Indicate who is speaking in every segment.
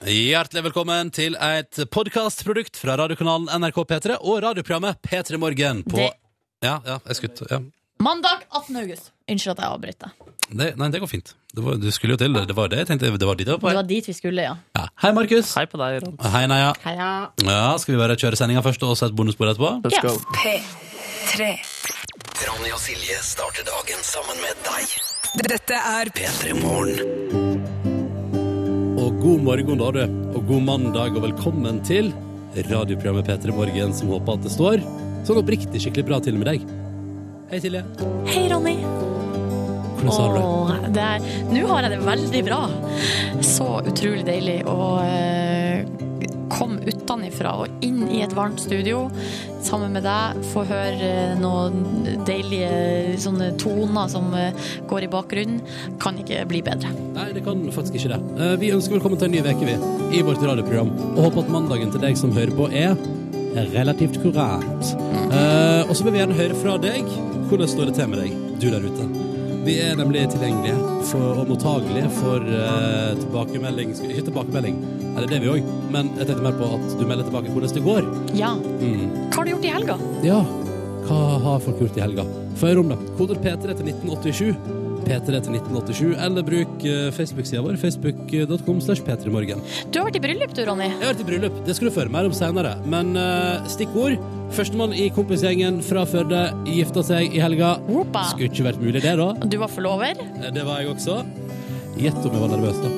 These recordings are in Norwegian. Speaker 1: Hjertelig velkommen til et podkastprodukt fra radiokanalen NRK P3 og radioprogrammet P3 Morgen på
Speaker 2: Det-
Speaker 1: Ja, ja, jeg skutt, ja.
Speaker 2: Mandag 18. august. Unnskyld at jeg avbrøt deg.
Speaker 1: Det, nei, det går fint. Det var, du skulle jo til det. Det var det jeg tenkte. Det var dit jeg var på
Speaker 2: Det
Speaker 1: vei.
Speaker 2: var dit vi skulle, ja.
Speaker 1: Ja. Hei, Markus.
Speaker 3: Hei på deg, Jørgen.
Speaker 1: Hei, Neia.
Speaker 2: Heia.
Speaker 1: Ja, skal vi bare kjøre sendinga først og så et bonusbord etterpå?
Speaker 3: Let's
Speaker 2: Ja.
Speaker 3: go.
Speaker 4: P3.
Speaker 5: Ronny og Silje starter dagen sammen med deg.
Speaker 4: Dette er
Speaker 5: P3 Morgen.
Speaker 1: Og god morgen, da, du. Og god mandag, og velkommen til radioprogrammet P3 Morgen, som håper at det står sånn oppriktig skikkelig bra til med deg. Hei, Silje.
Speaker 2: Hei, Ronny.
Speaker 1: Hvordan har du det?
Speaker 2: Åh, det er, nå har jeg det veldig bra. Så utrolig deilig å eh, komme utenifra og inn i et varmt studio sammen med deg. Få høre eh, noen deilige sånne toner som eh, går i bakgrunnen. Kan ikke bli bedre.
Speaker 1: Nei, det kan faktisk ikke det. Eh, Vi ønsker velkommen til en ny uke, vi, i vårt radioprogram. Og håper at mandagen til deg som hører på, er relativt kurant. Eh, og så vil vi gjerne høre fra deg hvordan står det til med deg, du der ute. Vi er nemlig tilgjengelige for, og mottagelige for eh, tilbakemelding Skal- Ikke tilbakemelding, Nei, det er det vi òg, men jeg tenkte mer på at du melder tilbake hvordan det går.
Speaker 2: Ja.
Speaker 1: Mm.
Speaker 2: Hva har du gjort i helga?
Speaker 1: Ja, hva har folk gjort i helga? Få høre om det. Koder P3 til 1987. P3 til 1987, eller bruk eh, Facebook-sida vår, facebook.com slash p3morgen.
Speaker 2: Du har vært i bryllup, du, Ronny.
Speaker 1: Jeg har vært i bryllup, det skal du få høre mer om senere. Men eh, stikkord Førstemann i kompisgjengen fra Førde gifta seg i helga.
Speaker 2: Whoopa.
Speaker 1: Skulle ikke vært mulig, det, da.
Speaker 2: Du var forlover.
Speaker 1: Eh, Det var jeg også. Gjett om jeg var nervøs, da.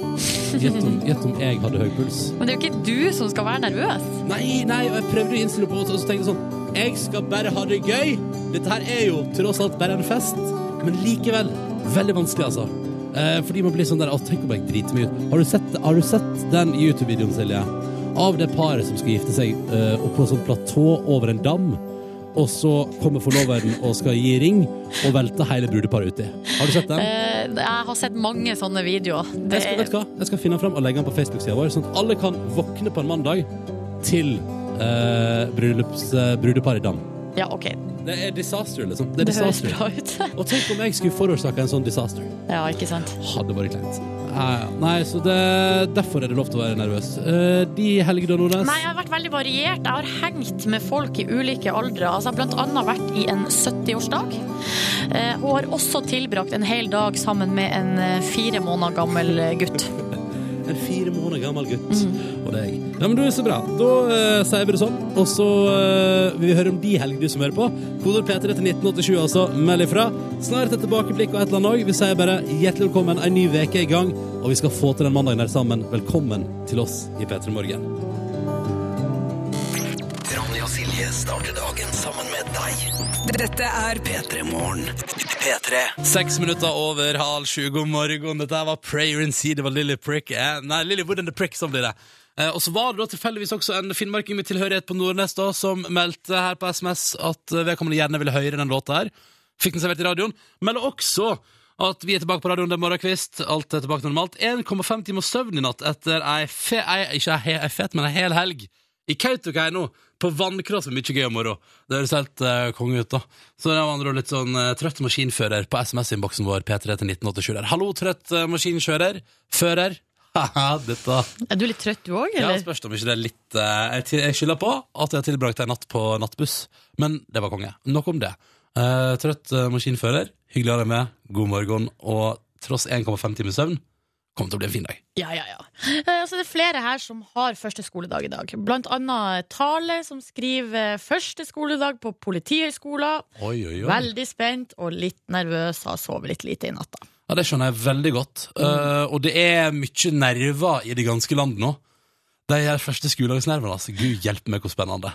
Speaker 1: Gjett om, gjett om jeg hadde høy puls.
Speaker 2: Men det er jo ikke du som skal være nervøs.
Speaker 1: Nei, nei, og jeg prøvde å innstille på det, og så tenkte jeg sånn Jeg skal bare ha det gøy. Dette her er jo tross alt bare en fest. Men likevel veldig vanskelig, altså. Eh, fordi man blir sånn der Å, tenk om jeg driter meg ut. Har du sett, har du sett den YouTube-videoen, Silje? Av det paret som skal gifte seg eh, oppå en sånn platå over en dam. Og så kommer forloveren og skal gi ring, og velter hele brudeparet uti. Har du sett den?
Speaker 2: Eh, Jeg har sett mange sånne videoer.
Speaker 1: Jeg skal, vet du hva? Jeg skal finne den fram og legge den på Facebook-sida vår, sånn at alle kan våkne på en mandag til eh, bryllups, eh, brudeparet i Dam.
Speaker 2: ja, ok.
Speaker 1: Det er disaster, liksom. Det er
Speaker 2: Det høres
Speaker 1: disaster.
Speaker 2: bra ut.
Speaker 1: Og tenk om jeg skulle forårsaka en sånn disaster.
Speaker 2: ja, ikke sant.
Speaker 1: Hadde vært kleint. Ja, ja. Nei, så det, derfor er det lov til å være nervøs. Eh, de helgene, Nordnes
Speaker 2: Nei, jeg har vært veldig variert. Jeg har hengt med folk i ulike aldre. Altså, jeg har blant annet vært i en 70-årsdag. Eh, Og har også tilbrakt en hel dag sammen med en eh, fire måneder gammel eh, gutt.
Speaker 1: En fire måneder gammel gutt og deg. Ja, men du er så bra. Da eh, sier vi det sånn. Og så eh, vil vi høre om de helgene du som hører på. Kodord P3 til 1987, altså. Meld ifra. Snart et tilbakeblikk og et eller annet òg. Vi sier bare hjertelig velkommen. En ny uke er i gang, og vi skal få til den mandagen her sammen. Velkommen til oss i P3 Morgen.
Speaker 5: Ronny og Silje starter dagen sammen med deg.
Speaker 4: Dette er
Speaker 5: P3 Morgen. P3.
Speaker 1: Seks minutter over halv sju, god morgen. Dette her var Prayer in Sea, det var Lily Prick. eh, Nei, Lily Wood and the Prick, sånn blir det. Eh, og så var det da tilfeldigvis også en finnmarking med tilhørighet på Nordnes da, som meldte her på SMS at eh, vedkommende gjerne ville høre den låta her. Fikk den servert i radioen. Melder også at vi er tilbake på radioen, det er morgenkvist. Alt er tilbake til normalt. 1,5 timer søvn i natt etter ei, fe, ei ikke ei, he- ei fet, men ei hel helg i Kautokeino på vannkross med mye gøy om morgenen. Det høres helt eh, konge ut, da. Så det var andre ord litt sånn eh, trøtt maskinfører på SMS-innboksen vår, P3 til 1987 der. Hallo, trøtt eh, maskinkjører. Fører. Haha, dette
Speaker 2: Er du litt trøtt du òg,
Speaker 1: Ja,
Speaker 2: eller?
Speaker 1: spørs det om ikke det er litt eh, Jeg til- jeg skylder på at jeg tilbrakte en natt på nattbuss, men det var konge. Nok om det. Eh, trøtt eh, maskinfører, hyggelig å ha deg med, god morgen, og tross 1,5 timers søvn, kommer til å bli en fin dag.
Speaker 2: Ja, ja, ja. Eh, Altså, det er flere her som har første skoledag i dag. Blant annet Tale, som skriver eh, første skoledag på Politihøgskolen.
Speaker 1: Oi, oi, oi.
Speaker 2: Veldig spent og litt nervøs. Har sovet litt lite i natt, da.
Speaker 1: Ja, det skjønner jeg veldig godt. Eh, og det er mye nerver i det ganske land nå. De her første skoledagsnervene, altså. Gud hjelpe meg hvor spennende.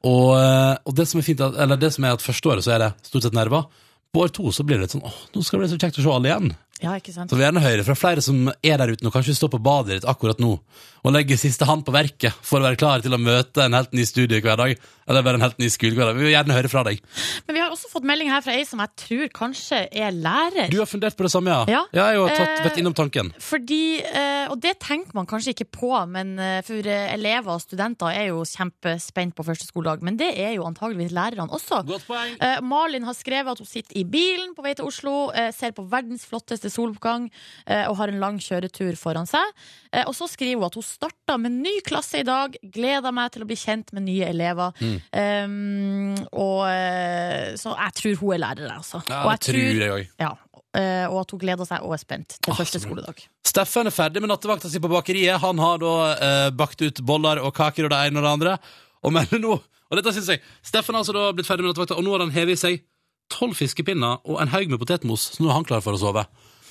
Speaker 1: Og, eh, og det som er fint, at- eller det som er at første året så er det stort sett nerver. På år to så blir det litt sånn, åh, nå skal det bli så kjekt å se alle igjen.
Speaker 2: Ja, ikke sant?
Speaker 1: Så vi vil gjerne høre fra flere som er der ute og kanskje står på badet ditt akkurat nå, og legger siste hand på verket for å være klar til å møte en helt ny studie hver dag, eller bare en helt ny skole hver dag. Vi vil gjerne høre fra deg.
Speaker 2: Men vi har også fått melding her fra ei som jeg tror kanskje er lærer.
Speaker 1: Du har fundert på det samme, ja?
Speaker 2: Ja.
Speaker 1: jeg har tatt,
Speaker 2: Eh,
Speaker 1: vært innom tanken.
Speaker 2: Fordi, eh, Og det tenker man kanskje ikke på, men eh, for eh, elever og studenter er jo kjempespent på første skoledag. Men det er jo antageligvis lærerne også.
Speaker 1: Godt poeng.
Speaker 2: Eh, Malin har skrevet at hun sitter i bilen på vei til Oslo, eh, ser på verdens flotteste til soloppgang eh, og har en lang kjøretur foran seg. Eh, Og så skriver hun at hun starta med ny klasse i dag, gleder meg til å bli kjent med nye elever.
Speaker 1: Mm.
Speaker 2: Eh, og, eh, så jeg tror hun er lærer, altså.
Speaker 1: Ja,
Speaker 2: og
Speaker 1: det tror jeg òg.
Speaker 2: ja, eh, og at hun gleder seg og er spent til
Speaker 1: Ah,
Speaker 2: første
Speaker 1: så bra.
Speaker 2: skoledag.
Speaker 1: Steffen er ferdig med nattevakta si på bakeriet. Han har da eh, bakt ut boller og kaker og det ene og det andre. Og melder nå Og dette synes jeg Steffen har altså da blitt ferdig med nattevakta, og nå har han hevet i seg tolv fiskepinner og en haug med potetmos, så nå er han klar for å sove.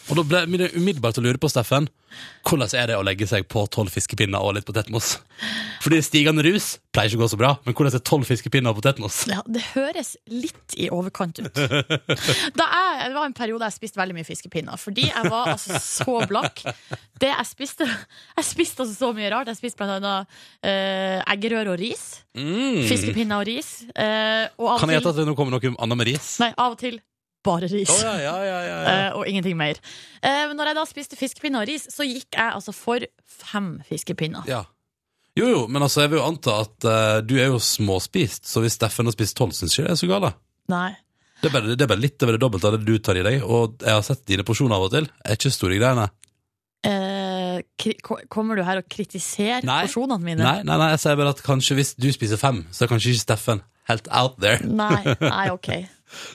Speaker 1: Og da ble det umiddelbart å lure på Steffen hvordan er det å legge seg på tolv fiskepinner og litt potetmos. Fordi stigende rus pleier ikke å gå så bra, men hvordan er tolv fiskepinner og potetmos?
Speaker 2: Ja, det høres litt i overkant ut. Da jeg, det var en periode jeg spiste veldig mye fiskepinner, fordi jeg var altså så blakk. Det jeg spiste Jeg spiste altså så mye rart. Jeg spiste blant annet eh, eggerøre og ris. Fiskepinner og ris. eh, og
Speaker 1: Mm.
Speaker 2: av
Speaker 1: Kan jeg
Speaker 2: og
Speaker 1: gjette at
Speaker 2: til,
Speaker 1: det nå kommer noe om Anna med ris?
Speaker 2: nei, av og til bare ris.
Speaker 1: Å, ja, ja, ja, ja, ja.
Speaker 2: Eh, og ingenting mer. Eh, men når jeg da spiste fiskepinner og ris, så gikk jeg altså for fem fiskepinner.
Speaker 1: Ja. Jo, jo, men altså, jeg vil jo anta at eh, du er jo småspist, så hvis Steffen har spist tolv, syns ikke det er så galt. da.
Speaker 2: Nei.
Speaker 1: Det er bare, det er bare litt over det dobbelte av det du tar i deg, og jeg har sett dine porsjoner av og til. Er ikke store greiene.
Speaker 2: Eh, kri ko- kommer du her og kritiserer
Speaker 1: Nei.
Speaker 2: porsjonene mine?
Speaker 1: Nei, nei, nei, jeg sier bare at kanskje hvis du spiser fem, så er kanskje ikke Steffen helt out there.
Speaker 2: Nei, nei, ok.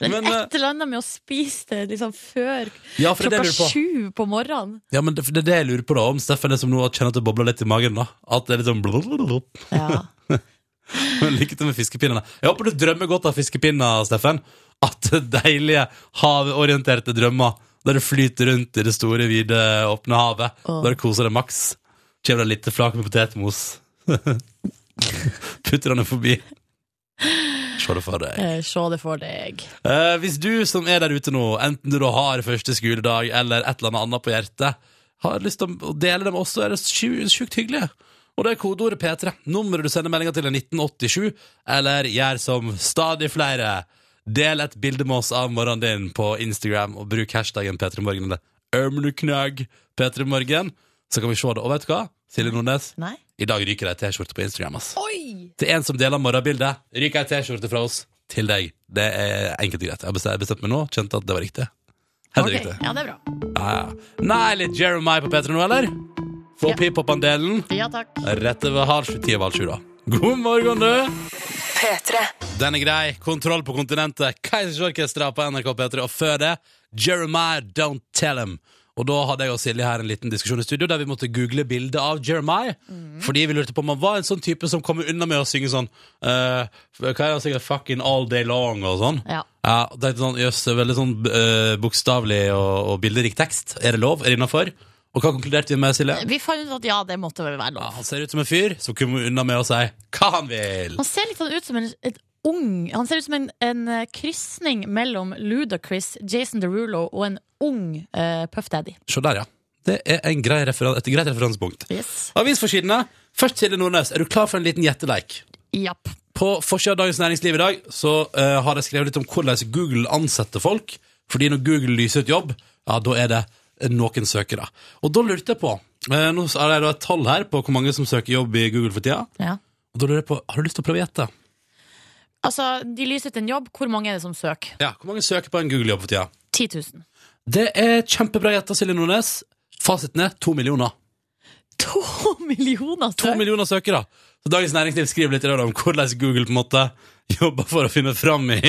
Speaker 2: Men,
Speaker 1: Men, eh,
Speaker 2: et eller annet med å spise det liksom før
Speaker 1: Ja, for det er det
Speaker 2: klokka
Speaker 1: jeg lurer på.
Speaker 2: sju på morgenen.
Speaker 1: Ja, men det, det er det jeg lurer på, da. Om Steffen er som nå kjenner at det bobler litt i magen, da. At det er litt sånn blablabla.
Speaker 2: Ja.
Speaker 1: Lykke til med fiskepinnene. Jeg håper du drømmer godt av fiskepinner, Steffen. At deilige havorienterte drømmer der du flyter rundt i det store, vide, åpne havet.
Speaker 2: Åh.
Speaker 1: Der du koser deg maks. Kjem deg litt flak med potetmos. Putter han det forbi. Se det for deg.
Speaker 2: eh, Se det for deg.
Speaker 1: Eh, hvis du som er der ute nå, enten du da har første skoledag eller et eller annet annet på hjertet, har lyst til å dele det med oss, så er det sju- sjukt hyggelig. Og det er kodeordet P3. Nummeret du sender meldinga til er 1987, eller gjør som stadig flere. Del et bilde med oss av morgenen din på Instagram, og bruk hashtaggen P3morgen eller ørmenuknagg P3morgen, så kan vi se det. Og vet du hva, Silje Nordnes,
Speaker 2: Nei?
Speaker 1: i dag ryker det ei T-skjorte på Instagram, ass.
Speaker 2: Oi!
Speaker 1: Til en som deler morgenbildet, ryker ei T-skjorte fra oss til deg. Det er enkelt og greit. Jeg bestemte, bestemte meg nå, kjente at det var riktig. Helt
Speaker 2: Ok,
Speaker 1: riktig.
Speaker 2: Ja, det er bra.
Speaker 1: Ja, ja. Nei, litt Jeremiah på P3 nå, eller? Få
Speaker 2: Ja.
Speaker 1: pip-opp-andelen.
Speaker 2: Ja takk.
Speaker 1: Rett over halv sju, ti over halv sju, da. God morgen, du!
Speaker 4: P3.
Speaker 1: Den er grei. Kontroll på kontinentet. Keisers Orkestra på NRK P3. Og før det, Jeremiah Don't Tell Him. Og da hadde jeg og Silje her en liten diskusjon i studio der vi måtte google bildet av Jeremiah. Fordi vi lurte på om han var en sånn type som kommer unna med å synge sånn eh, Hva er det han synger? Fucking all day long og sånn.
Speaker 2: Ja.
Speaker 1: Ja, og tenkte sånn, jøss, det er veldig sånn eh, bokstavelig og, og bilderik tekst. Er det lov? Er det innafor? Og hva konkluderte vi med, Silje?
Speaker 2: Vi fant ut at ja, det måtte vel være
Speaker 1: Ja,
Speaker 2: lov.
Speaker 1: han ser ut som en fyr som kommer unna med å si hva han vil.
Speaker 2: Han ser litt sånn ut som en, et ung Han ser ut som en, en eh, krysning mellom Ludacris, Jason Derulo og en ung eh, Puff Daddy.
Speaker 1: Se der, ja. Det er en grei referan- et greit referansepunkt.
Speaker 2: Yes.
Speaker 1: Avisforsidene. Først Silje Nordnes, er du klar for en liten gjetteleik?
Speaker 2: Japp.
Speaker 1: På forsida av Dagens Næringsliv i dag så eh, har jeg skrevet litt om hvordan Google ansetter folk. Fordi når Google lyser ut jobb, ja, da er det eh, noen søkere. Og da lurte jeg på eh, Nå er det da et tall her på hvor mange som søker jobb i Google for tida.
Speaker 2: Ja.
Speaker 1: Og da lurer jeg på, Har du lyst til å prøve å gjette?
Speaker 2: Altså, de lyser ut en jobb. Hvor mange er det som søker?
Speaker 1: Ja, Hvor mange søker på en Google-jobb for tida?
Speaker 2: 10 000.
Speaker 1: Det er kjempebra gjetta, Silje Nordnes. Fasiten er to millioner.
Speaker 2: To millioner
Speaker 1: To
Speaker 2: søk?
Speaker 1: millioner søkere. Så Dagens Næringsliv skriver litt i dag om hvordan Google på en måte jobber for å finne fram i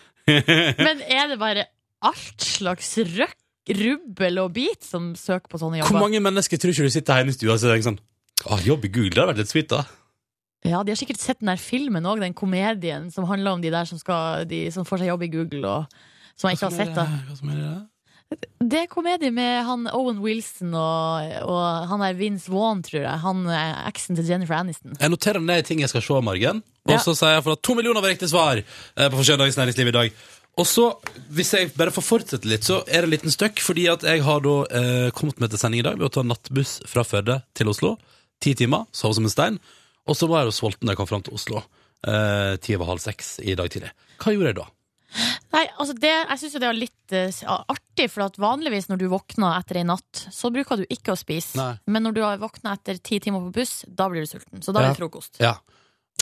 Speaker 2: Men er det bare alt slags røkk, rubbel og bit som søker på sånne
Speaker 1: Hvor
Speaker 2: jobber?
Speaker 1: mange mennesker tror ikke du sitter hjemme i stua og tenker sånn ah, Jobb i Google, det hadde vært litt sweet, da.
Speaker 2: Ja, De har sikkert sett den der filmen òg, den komedien som handler om de der som, skal, de som får seg jobb i Google, og som jeg ikke har sett. da
Speaker 1: Hva som er det der?
Speaker 2: Det er komedie med han Owen Wilson og, og han der Vince Vaughn, tror jeg. Han eh, eksen til Jennifer Aniston.
Speaker 1: Jeg noterer ned ting jeg skal se, Margen. Og
Speaker 2: Ja.
Speaker 1: så sier jeg for at to millioner var riktig svar eh, på forsiden av Dagens Næringsliv i dag. Og så, hvis jeg bare får fortsette litt, så er det en liten støkk, fordi at jeg har da eh, kommet meg til sending i dag ved å ta nattbuss fra Førde til Oslo. Ti timer, sov som en stein. Og så var jeg jo sulten da jeg kom fram til Oslo. Eh, Ti over halv seks i dag tidlig. Hva gjorde jeg da?
Speaker 2: Nei, altså det, Jeg syns jo det er litt eh, s- artig, for at vanligvis når du våkner etter ei natt, så bruker du ikke å spise.
Speaker 1: Nei.
Speaker 2: Men når du har våkna etter ti timer på buss, da blir du sulten. Så da blir det frokost.
Speaker 1: Ja.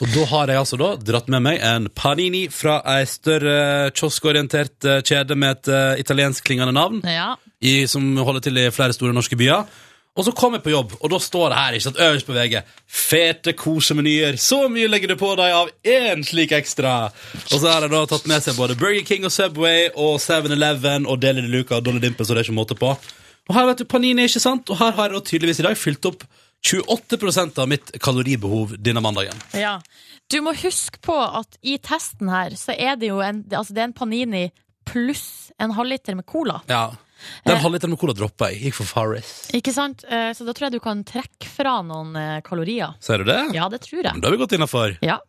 Speaker 1: Og da har jeg altså da dratt med meg en panini fra ei større kioskorientert eh, kjede med et eh, italienskklingende navn,
Speaker 2: Ja.
Speaker 1: i, som holder til i flere store norske byer. Og så kom jeg på jobb, og da står det her ikke sant, øverst på VG Fete kosemenyer. Så mye legger du på deg av én slik ekstra! Og så har jeg da tatt med seg både Burger King og Subway og 7-Eleven og Deli de Luca og Dolly Dimple, så det er ikke måte på. Og her vet du, Panini, ikke sant? Og her har jeg da tydeligvis i dag fylt opp 28 av mitt kaloribehov denne mandagen.
Speaker 2: ja. Du må huske på at i testen her, så er det jo en, altså det er en Panini pluss en halvliter med cola.
Speaker 1: Ja. Den halvliteren med cola droppa jeg. Gikk for Farris.
Speaker 2: Ikke sant? Eh, Så da tror jeg du kan trekke fra noen eh, kalorier.
Speaker 1: Ser du det?
Speaker 2: Ja, det tror jeg.
Speaker 1: Da er vi godt innafor.
Speaker 2: Ja.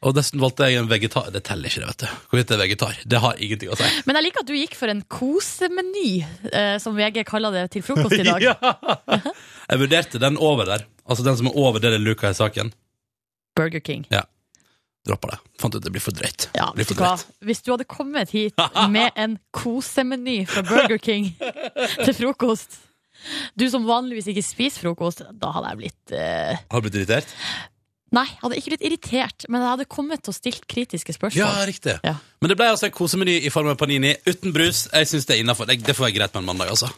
Speaker 1: Og dessuten valgte jeg en vegetar. Det teller ikke, det, vet du. Hvorvidt det er vegetar. Det har ingenting å si.
Speaker 2: Men jeg liker at du gikk for en kosemeny, eh, som VG kaller det til frokost i dag.
Speaker 1: Ja. Jeg vurderte den over der. Altså den som er over det det luka i saken.
Speaker 2: Burger King.
Speaker 1: Droppa det. Fant ut det blir for drøyt.
Speaker 2: Ja,
Speaker 1: Det blir
Speaker 2: vet du
Speaker 1: for
Speaker 2: hva?
Speaker 1: drøyt.
Speaker 2: Hvis du hadde kommet hit med en kosemeny fra Burger King til frokost Du som vanligvis ikke spiser frokost, da hadde jeg blitt eh,
Speaker 1: Har du blitt irritert?
Speaker 2: Nei, jeg hadde ikke blitt irritert, men jeg hadde kommet til å stilt kritiske
Speaker 1: Ja,
Speaker 2: spørsmål.
Speaker 1: riktig.
Speaker 2: Ja.
Speaker 1: Men det ble altså en kosemeny i form av panini uten brus. Jeg synes Det er innenfor. Det, det får være greit med en mandag, altså.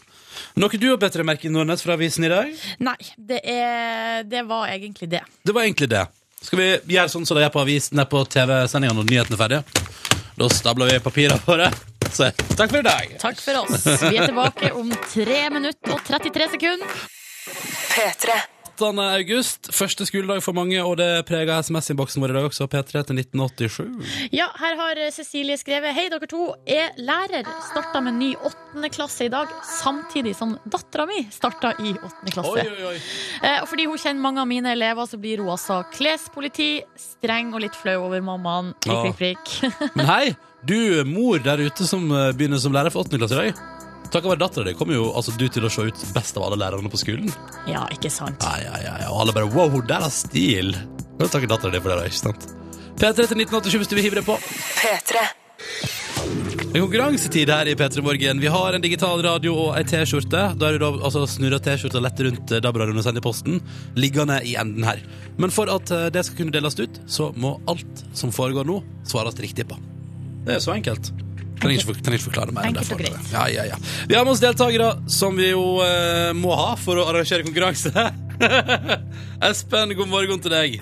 Speaker 1: Noe du har bedt deg merke i Nordnes fra avisen i dag?
Speaker 2: Nei, det, er, det var egentlig det.
Speaker 1: Det var egentlig det. Skal vi gjøre sånn som det er på avisen nei, på TV-sendinga når nyheten er ferdig? Da stabler vi papirene våre. Så takk for i dag.
Speaker 2: Takk for oss. Vi er tilbake om 3 minutter og 33 sekunder.
Speaker 4: P3.
Speaker 1: 8. august, første skoledag for mange, og det preger SMS-innboksen vår i dag også. P3 til 1987.
Speaker 2: Ja, her har Cecilie skrevet Hei, dere to. Er lærer. Starta med ny åttende klasse i dag, samtidig som dattera mi starta i åttende klasse.
Speaker 1: oi.
Speaker 2: Eh, Og fordi hun kjenner mange av mine elever, så blir hun altså klespoliti, streng og litt flau over mammaen. Prikk, prikk, prikk.
Speaker 1: Men hei, du mor der ute som eh, begynner som lærer for 8. klasse i dag. Takket være dattera di kommer jo altså, du til å se ut best av alle lærerne på skolen.
Speaker 2: ja, ikke sant.
Speaker 1: Ja, ja, ja, ja. Og alle bare wow, der er stil. Nå takker dattera di for det, da, ikke sant? P3 til 1987 hvis du vil hive deg på.
Speaker 4: P3.
Speaker 1: Det er konkurransetid her i P3 Morgen. Vi har en digital radio og ei T-skjorte. Da er det da altså, snurra T-skjorta lett rundt eh, DAB-radioen og sender i posten, liggende i enden her. Men for at eh, det skal kunne deles ut, så må alt som foregår nå, svares riktig på. Det er så enkelt. Trenger ikke, for- trenger ikke forklare mer. enn det
Speaker 2: Enkelt og
Speaker 1: for dere.
Speaker 2: greit.
Speaker 1: Ja, ja, ja. Vi har med oss deltakere som vi jo eh, må ha for å arrangere konkurranse. Espen, god morgen til deg.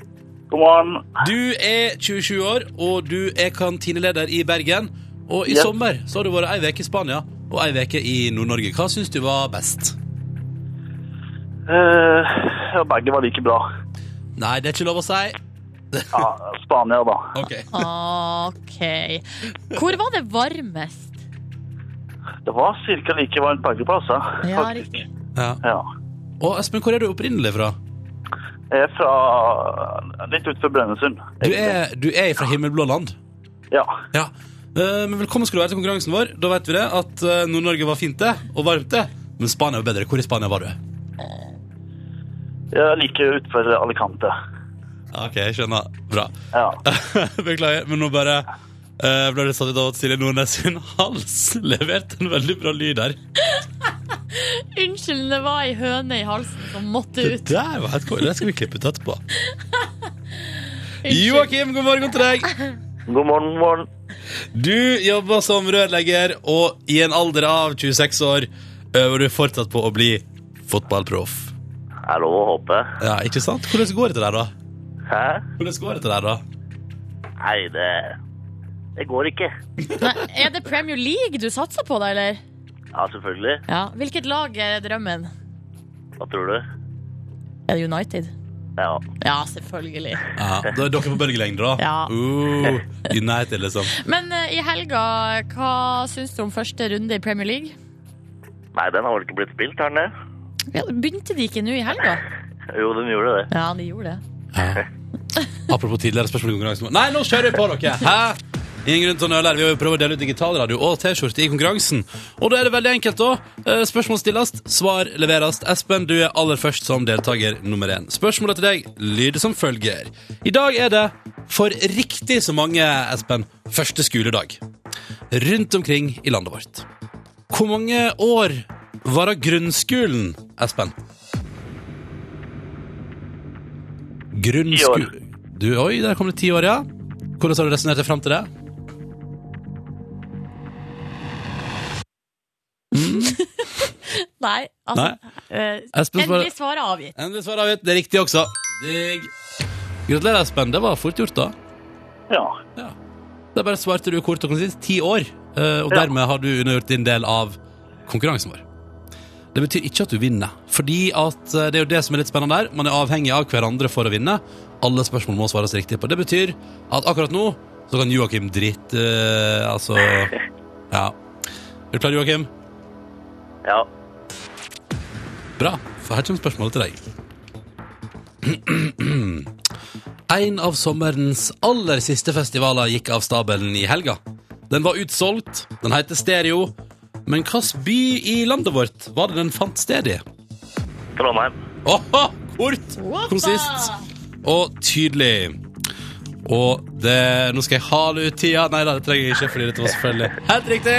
Speaker 3: God morgen.
Speaker 1: Du er 27 år, og du er kantineleder i Bergen. Og i
Speaker 3: Ja.
Speaker 1: sommer så har du vært ei uke i Spania og ei uke i Nord-Norge. Hva syns du var best?
Speaker 3: Eh, ja, begge var like bra.
Speaker 1: Nei, det er ikke lov å si.
Speaker 3: Ja, Spania, da.
Speaker 1: Ok.
Speaker 2: OK. Hvor var det varmest?
Speaker 3: Det var ca. like varmt begge plasser.
Speaker 2: Ja,
Speaker 3: faktisk.
Speaker 2: riktig.
Speaker 1: Ja.
Speaker 3: Ja.
Speaker 1: Og Espen, hvor er du opprinnelig fra?
Speaker 3: Jeg er fra litt utenfor Brønnøysund.
Speaker 1: Du er, du er fra himmelblå land.
Speaker 3: Ja.
Speaker 1: Ja. Eh, Men velkommen skal du være til konkurransen vår. Da vet vi det at eh, Nord-Norge var fint, det, og varmt, det. Men Spania var bedre. Hvor i Spania var du?
Speaker 3: Jeg er like utenfor Alicante.
Speaker 1: OK, jeg skjønner. Bra.
Speaker 3: Ja.
Speaker 1: Beklager, men nå bare eh, ble det satt ut av at Silje Nordnes sin hals leverte en veldig bra lyd her.
Speaker 2: Unnskyld, det var ei høne i halsen som måtte
Speaker 1: Det
Speaker 2: ut.
Speaker 1: der var helt kort. Det skal vi klippe ut etterpå.
Speaker 2: Unnskyld.
Speaker 1: Joakim, god morgen til deg.
Speaker 3: God morgen, morgen.
Speaker 1: Du jobber som rørlegger, og i en alder av 26 år øver du fortsatt på å bli fotballproff.
Speaker 3: Er lov å håpe.
Speaker 1: Ja, ikke sant? Hvordan går det til deg, da?
Speaker 3: Hæ?
Speaker 1: Hvordan går det til deg, da?
Speaker 3: Nei, det Det går ikke.
Speaker 2: Nei, er det Premier League du satser på, da, eller?
Speaker 3: Ja, selvfølgelig.
Speaker 2: Ja. Hvilket lag er drømmen?
Speaker 3: Hva tror du?
Speaker 2: Er det United?
Speaker 3: Ja.
Speaker 2: Ja, selvfølgelig.
Speaker 1: Ja, da er dere på bølgelengde, da.
Speaker 2: Ja.
Speaker 1: Uh, United, liksom.
Speaker 2: Men eh, i helga, hva syns du om første runde i Premier League?
Speaker 3: Nei, den har vel ikke blitt spilt, har den det?
Speaker 2: Ja, begynte de ikke nå i helga?
Speaker 3: Jo, den gjorde det.
Speaker 2: Ja, de gjorde det.
Speaker 1: Ja. Apropos tidligere spørsmål i konkurransen vår. Nei, nå kjører vi på dere! Hæ? Ingen grunn til å nøle. her. Vi vil prøve å dele ut digitalradio og T-skjorte i konkurransen. Og da er det veldig enkelt, da. Eh, Spørsmål stilles, svar leveres. Espen, du er aller først som deltaker nummer én. Spørsmålet til deg lyder som følger. I dag er det, for riktig så mange, Espen, første skoledag rundt omkring i landet vårt. Hvor mange år varer grunnskolen, Espen?
Speaker 3: Ti år.
Speaker 1: Grunnskole Du, oi, der kom det ti år, ja. Hvordan har du resonnert deg fram til det?
Speaker 2: Nei, altså
Speaker 1: Nei.
Speaker 2: eh,
Speaker 1: Espen svarer-
Speaker 2: Endelig svar er avgitt.
Speaker 1: Endelig svar avgitt. Det er riktig også. Digg. Gratulerer, Espen. Det var fort gjort, da.
Speaker 3: Ja.
Speaker 1: Da bare svarte du kort og konsist ti år, eh, og
Speaker 3: Ja.
Speaker 1: dermed har du undergjort din del av konkurransen vår. Det betyr ikke at du vinner, fordi at eh, det er jo det som er litt spennende her. Man er avhengig av hverandre for å vinne. Alle spørsmål må svares riktig på. Det betyr at akkurat nå så kan Joakim dritt eh, Altså Ja. Er du klar, Joakim?
Speaker 3: ja.
Speaker 1: Bra, for her kommer spørsmålet til deg. En av sommerens aller siste festivaler gikk av stabelen i helga. Den var utsolgt, den heter Stereo, men hvilken by i landet vårt var det den fant sted i?
Speaker 3: Trondheim.
Speaker 1: Åhå, kort,
Speaker 2: Hoppa!
Speaker 1: konsist og tydelig. Og det Nå skal jeg hale ut tida. Nei da, det trenger jeg ikke, fordi dette var selvfølgelig helt riktig.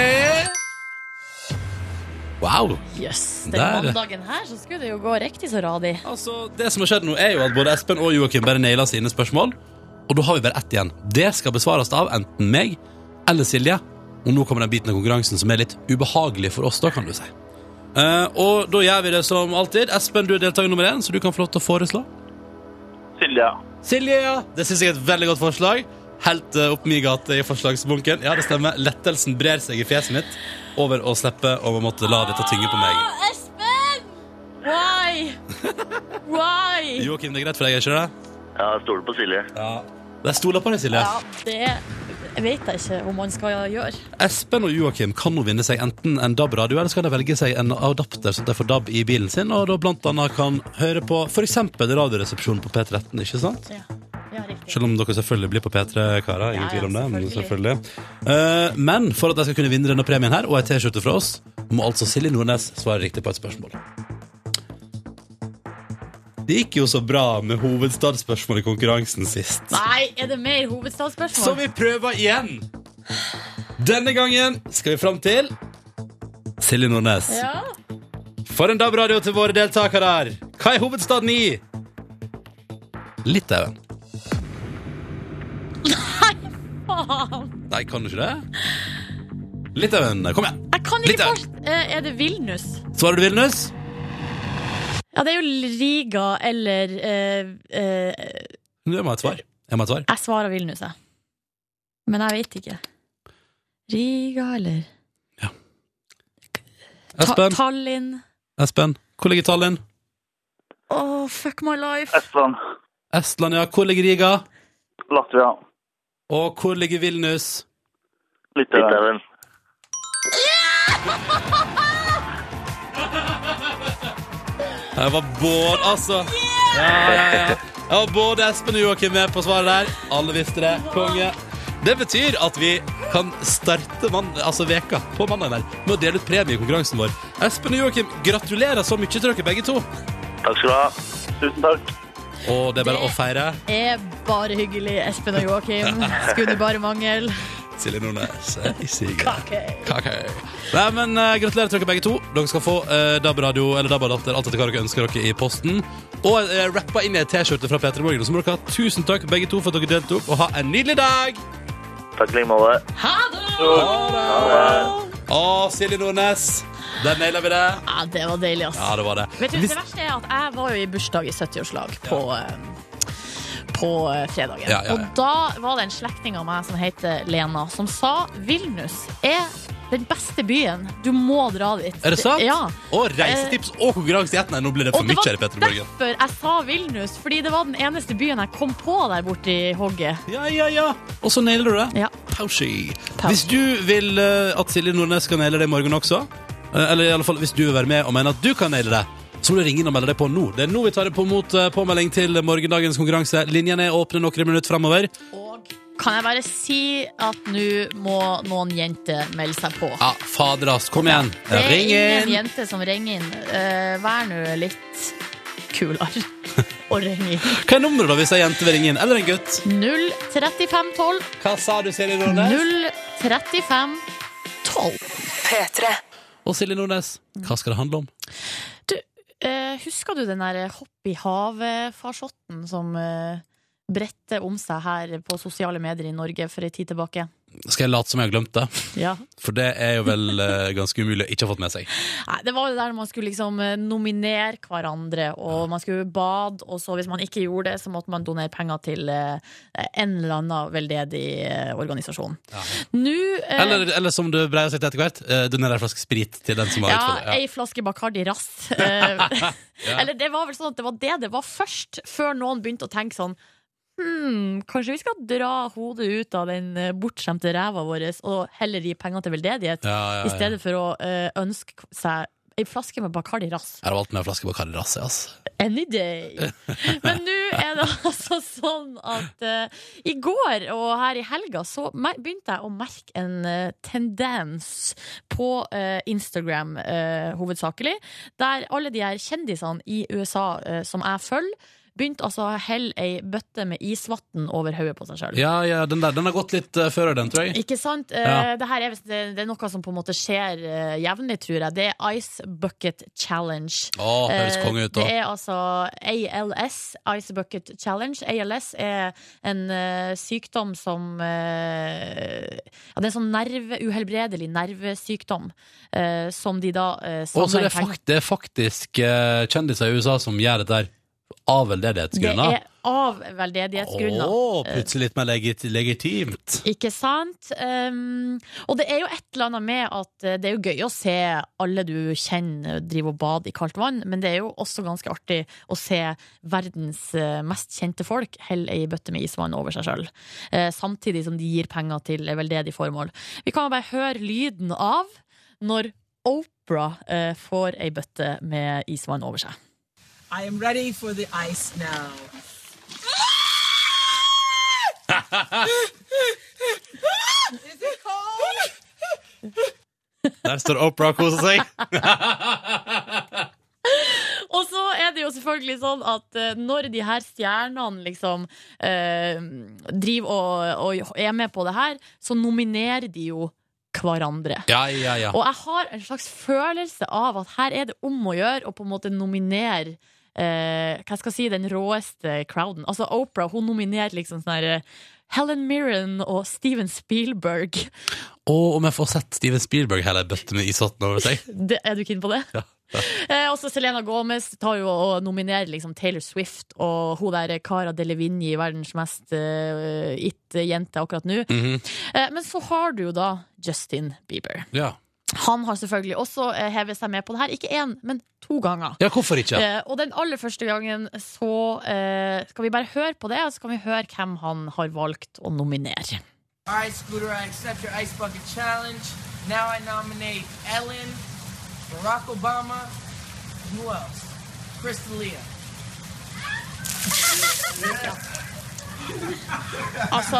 Speaker 1: Wow.
Speaker 2: Jøss. Den
Speaker 1: Der.
Speaker 2: mandagen her så skulle det jo gå riktig så radig.
Speaker 1: Altså, Det som har skjedd nå, er jo at både Espen og Joakim bare naila sine spørsmål. Og da har vi bare ett igjen. Det skal besvares av enten meg eller Silje. Og nå kommer den biten av konkurransen som er litt ubehagelig for oss, da, kan du si. Eh, og da gjør vi det som alltid. Espen, du er deltaker nummer én, så du kan få lov til å foreslå.
Speaker 3: Silja.
Speaker 1: Silje, ja. Det syns jeg er et veldig godt forslag. Helt eh, opp min gate i forslagsbunken. Ja, det stemmer. Lettelsen brer seg i fjeset mitt over å slippe å måtte la dette tynge på meg.
Speaker 2: Ah, Espen! Why? Why?
Speaker 1: Joakim, det er greit for deg, er ikke det?
Speaker 3: Ja, jeg stoler på Silje.
Speaker 1: Ja. Jeg stoler på deg, Silje.
Speaker 2: Ja, det vet jeg ikke om man skal gjøre.
Speaker 1: Espen og Joakim kan nå vinne seg enten en DAB-radio, eller så kan de velge seg en adapter, så de får DAB i bilen sin, og da blant annet kan høre på f.eks. Radioresepsjonen på P13, ikke sant?
Speaker 2: Ja, ja riktig.
Speaker 1: Selv om dere selvfølgelig blir på P3, karer. Ingen
Speaker 2: Ja, ja,
Speaker 1: tvil om det. Men, selvfølgelig.
Speaker 2: selvfølgelig.
Speaker 1: Eh, men for at de skal kunne vinne denne premien her, og ei T-skjorte fra oss, må altså Silje Nordnes svare riktig på et spørsmål. Det gikk jo så bra med hovedstadsspørsmål i konkurransen sist.
Speaker 2: Nei, er det mer
Speaker 1: Så
Speaker 2: hovedstadsspørsmål?
Speaker 1: vi prøver igjen. Denne gangen skal vi fram til Silje Nordnes.
Speaker 2: Ja.
Speaker 1: For en DAB-radio til våre deltakere her. Hva er hovedstaden i? Litauen.
Speaker 2: Faen.
Speaker 1: Nei, kan du ikke det? Litauen. Kom igjen.
Speaker 2: Jeg kan ikke
Speaker 1: Litauen.
Speaker 2: forst- Eh, Er det Vilnus?
Speaker 1: Svarer du Vilnius?
Speaker 2: Ja, det er jo Riga eller eh, eh,
Speaker 1: Du må ha et svar. Jeg må ha et svar.
Speaker 2: Jeg svarer Vilnus, jeg. Men jeg vet ikke. Riga eller Ta
Speaker 1: Espen,
Speaker 2: Tallinn.
Speaker 1: Espen. hvor ligger Tallinn?
Speaker 2: Oh, fuck my life.
Speaker 3: Estland.
Speaker 1: Estland, ja. Hvor ligger Riga?
Speaker 3: Latvia.
Speaker 1: Og hvor ligger Vilnius?
Speaker 3: Litauen.
Speaker 1: Jeg var både, altså ja, ja, ja. Jeg var både Espen og Joakim med på svaret der. Alle visste det. Konge. Det betyr at vi kan starte man, altså veka på mandag der med å dele ut premie i konkurransen vår. Espen og Joakim, gratulerer så mye til dere begge to.
Speaker 3: Takk skal du ha. Tusen takk.
Speaker 1: Og det er bare å feire.
Speaker 2: Er bare hyggelig, Espen og Joakim. Skulle bare mangle.
Speaker 1: Silje Nordnes er i siget.
Speaker 2: Okay.
Speaker 1: Kake. Nei, men eh, Gratulerer til dere begge to. Dere skal få eh, DAB-radio eller DAB-adapter alt etter hva dere ønsker dere i posten. Og uh, rappa inn i ei T-skjorte fra P3 Morgen. Så må dere ha tusen takk begge to for at dere deltok, og ha en nydelig dag!
Speaker 3: Takk i like måte.
Speaker 2: Ha det!
Speaker 1: Å, Silje Nordnes, der naila vi det.
Speaker 2: Ja, det var deilig, ass.
Speaker 1: Ja, det var det.
Speaker 2: Vet du,
Speaker 1: Hvis-
Speaker 2: Det verste er at jeg var jo i bursdag i 70-årslag på, eh, på eh, fredagen.
Speaker 1: Ja, ja, ja.
Speaker 2: Og da var det en slektning av meg som heter Lena, som sa Vilnus er den beste byen. Du må dra dit.
Speaker 1: er det sant?
Speaker 2: Ja.
Speaker 1: Og reisetips og konkurranse i ett. Nei, nå blir det for
Speaker 2: Og det
Speaker 1: mye
Speaker 2: var
Speaker 1: her i P3 Morgen.
Speaker 2: derfor jeg sa Vilnus, fordi det var den eneste byen jeg kom på der borte i hogget.
Speaker 1: Ja, ja, ja. Og så nailer du det.
Speaker 2: Ja.
Speaker 1: Pausi.
Speaker 2: Pausi.
Speaker 1: Hvis du vil eh, at Silje Nordnes skal naile det i morgen også, eh, eller i alle fall hvis du vil være med og mener at du kan naile det, så må du ringe inn og melde deg på nå. Det er nå vi tar det på mot eh, påmelding til morgendagens konkurranse. Linjene er åpne noen minutter framover.
Speaker 2: Og kan jeg bare si at nå må noen jenter melde seg på.
Speaker 1: Ja, faderast. Kom igjen.
Speaker 2: Det er
Speaker 1: Ring
Speaker 2: ingen
Speaker 1: inn.
Speaker 2: jente som ringer inn. Eh, vær nå litt kulere og ring inn.
Speaker 1: Hva er nummeret da hvis ei jente vil ringe inn? Eller en gutt?
Speaker 2: 03512.
Speaker 1: Hva sa du, Silje Nordnes?
Speaker 2: 03512.
Speaker 4: P3.
Speaker 1: Og Silje Nordnes, hva skal det handle om?
Speaker 2: Du, eh, husker du den der hopp i havet-farsotten som eh, bredte om seg her på sosiale medier i Norge for ei tid tilbake.
Speaker 1: Skal jeg late som jeg har glemt det?
Speaker 2: Ja.
Speaker 1: For det er jo vel eh, ganske umulig å ikke ha fått med seg.
Speaker 2: Nei, det var jo der man skulle liksom eh, nominere hverandre, og man skulle bade, og så hvis man ikke gjorde det, så måtte man donere penger til eh, en eller annen veldedig eh, organisasjon. Nå eh,
Speaker 1: Eller, eller som du breier seg til etter hvert, eh, donerer en flaske sprit til den som har
Speaker 2: ja,
Speaker 1: utfordret.
Speaker 2: ei flaske Bacardi Rass. Eh,
Speaker 1: Ja.
Speaker 2: Eller det var vel sånn at det var det det var først, før noen begynte å tenke sånn Hmm, kanskje vi skal dra hodet ut av den eh, bortskjemte ræva vår og heller gi penger til veldedighet,
Speaker 1: Ja, ja, ja.
Speaker 2: i stedet for å eh, ønske k- seg ei flaske med Bacardi Rass.
Speaker 1: Jeg har valgt meg en flaske Bacardi Rassi, altså.
Speaker 2: Any day! Men nå er det altså sånn at eh, i går og her i helga så mer- begynte jeg å merke en eh, tendens på eh, Instagram eh, hovedsakelig, der alle de her kjendisene i USA eh, som jeg følger, begynte altså å helle ei bøtte med isvann over hodet på seg sjøl.
Speaker 1: Ja, ja, den der, den har gått litt eh, før den, tror jeg.
Speaker 2: Ikke sant?
Speaker 1: Ja.
Speaker 2: Eh, Det, her er, visst- det, det er noe som på en måte skjer eh, jevnlig, tror jeg. Det er Ice Bucket Challenge.
Speaker 1: Å, høres
Speaker 2: Eh,
Speaker 1: konge ut, da.
Speaker 2: Det er altså ALS, Ice Bucket Challenge. ALS er en eh, sykdom som eh, Ja, det er en sånn nerve, uhelbredelig nervesykdom eh, som de da uh,
Speaker 1: Og så er det, fakt, det er faktisk eh, kjendiser i USA som gjør dette her av
Speaker 2: Det
Speaker 1: veldedighetsgrunner.
Speaker 2: er av veldedighetsgrunner.
Speaker 1: Åh, plutselig litt mer legit legitimt.
Speaker 2: Ikke sant? Um, og det er jo et eller annet med at eh, det er jo gøy å se alle du kjenner drive og bade i kaldt vann, men det er jo også ganske artig å se verdens eh, mest kjente folk helle ei bøtte med isvann over seg sjøl, samtidig som de gir penger til eh, veldedig formål. Vi kan jo bare høre lyden av når Oprah eh, får ei bøtte med isvann over seg.
Speaker 6: I am ready for the ice now. Is it cold?
Speaker 1: Der står Opera og koser seg.
Speaker 2: Og så er det jo selvfølgelig sånn at eh, når de her stjernene liksom eh, driver og, og er med på det her, så nominerer de jo hverandre.
Speaker 1: Ja, ja, ja.
Speaker 2: Og jeg har en slags følelse av at her er det om å gjøre å på en måte nominere eh, hva skal jeg si, den råeste crowden. Altså Oprah, hun nominerer liksom sånn her eh, Helen Mirren og Steven Spielberg.
Speaker 1: Og om jeg får sett Steven Spielberg hele bøtte med isvann over seg.
Speaker 2: Det, er du keen på det? Eh, også Selena Gomez tar jo og nominerer liksom Taylor Swift og hun der Cara Delevingne, verdens mest eh, it-jente akkurat nå. eh, men så har du jo da Justin Bieber.
Speaker 1: Ja.
Speaker 2: Han har selvfølgelig også eh, hevet seg med på det her. Ikke én, men to ganger.
Speaker 1: ja, hvorfor ikke?
Speaker 2: Eh, og den aller første gangen så eh, skal vi bare høre på det, og så kan vi høre hvem han har valgt å nominere.
Speaker 6: All right, Scooter, I accept your ice bucket challenge. Now I nominate Ellen, Barack Obama, who else? Crystalia.
Speaker 2: Altså,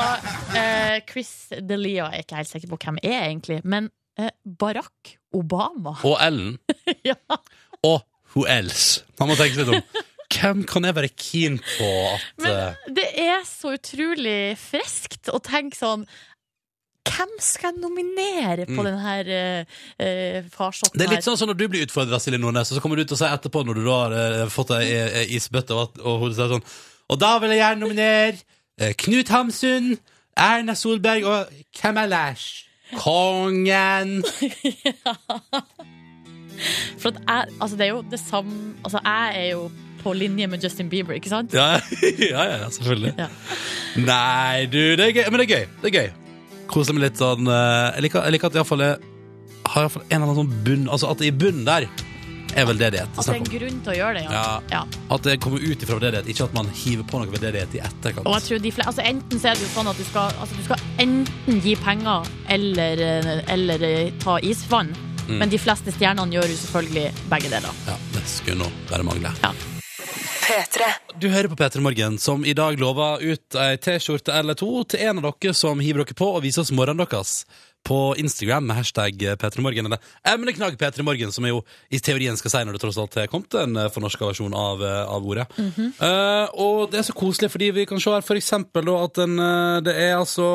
Speaker 2: eh, Chris Delia er jeg ikke helt sikker på hvem er egentlig, men eh, Barack Obama.
Speaker 1: Og Ellen.
Speaker 2: ja.
Speaker 1: Og who else? Man må tenke seg litt om. Hvem kan jeg være keen på at
Speaker 2: Men
Speaker 1: eh,
Speaker 2: det er så utrolig friskt å tenke sånn hvem skal jeg nominere på denne uh,
Speaker 1: Mm.
Speaker 2: farsotten
Speaker 1: Det er litt sånn som når du blir utfordra, Silje Nordnes, og så kommer du ut og sier etterpå, når du da har eh, fått ei ei isbøtte, og, at- og hun sier sånn Og da vil jeg gjerne nominere eh, Knut Hamsun, Erna Solberg og hvem ellers? Kongen! sånn-
Speaker 2: her? For at jeg, altså, det er jo det samme Altså, jeg er jo på linje med Justin Bieber, ikke sant?
Speaker 1: Ja, ja, ja, ja selvfølgelig.
Speaker 2: Ja.
Speaker 1: Nei, du, det er gøy. Men det er gøy. Det er gøy. Kose meg litt sånn eh, Jeg liker, jeg liker at det iallfall er har i hvert fall en eller annen sånn bunn Altså at i bunnen der er veldedighet.
Speaker 2: At det er en grunn til å gjøre det,
Speaker 1: Ja.
Speaker 2: ja.
Speaker 1: At det kommer ut ifra veldedighet, ikke at man hiver på noe veldedighet i etterkant.
Speaker 2: Og jeg tror de fle- altså Enten så er det jo sånn at du skal, altså du skal enten gi penger eller, eller eh, ta isvann. Men de fleste stjernene gjør jo selvfølgelig begge deler.
Speaker 1: Ja, det skulle nå bare mangle.
Speaker 2: Ja.
Speaker 4: P3.
Speaker 1: Du hører på P3 Morgen, som i dag lover ut ei T-skjorte eller to til en av dere som hiver dere på og viser oss morgenen deres på Instagram med hashtag P3morgen eller emneknagg P3morgen, som jeg jo i teorien skal si når det tross alt er kommet en eh, fornorska versjon av, eh, av ordet. Eh, og det er så koselig, fordi vi kan se her for eksempel da, at en, eh, det er altså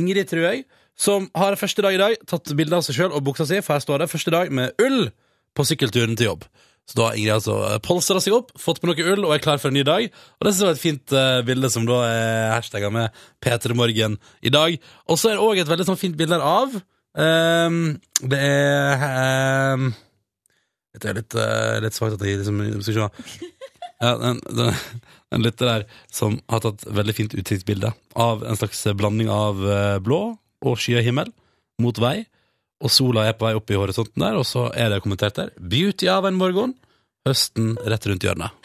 Speaker 1: Ingrid, tror jeg, som har første dag i dag tatt bilde av seg sjøl og buksa si, for her står det første dag med ull på sykkelturen til jobb. Så da har Ingrid altså eh, polstret seg opp, fått på noe ull og er klar for en ny dag. Og det synes jeg var et fint eh, bilde som da er hashtagget med P3morgen i dag. Og så er det også et veldig sånn fint bilde her av ehm, Det er ehm, Det er litt, uh, litt svagt at jeg liksom Skal vi se. Ja, den, den, en lytter der som har tatt veldig fint utsiktsbilde av en slags blanding av eh, blå og skyet himmel mot vei, og sola er på vei opp i horisonten der, og så er det kommentert der 'Beauty av en morgen', høsten rett rundt hjørnet.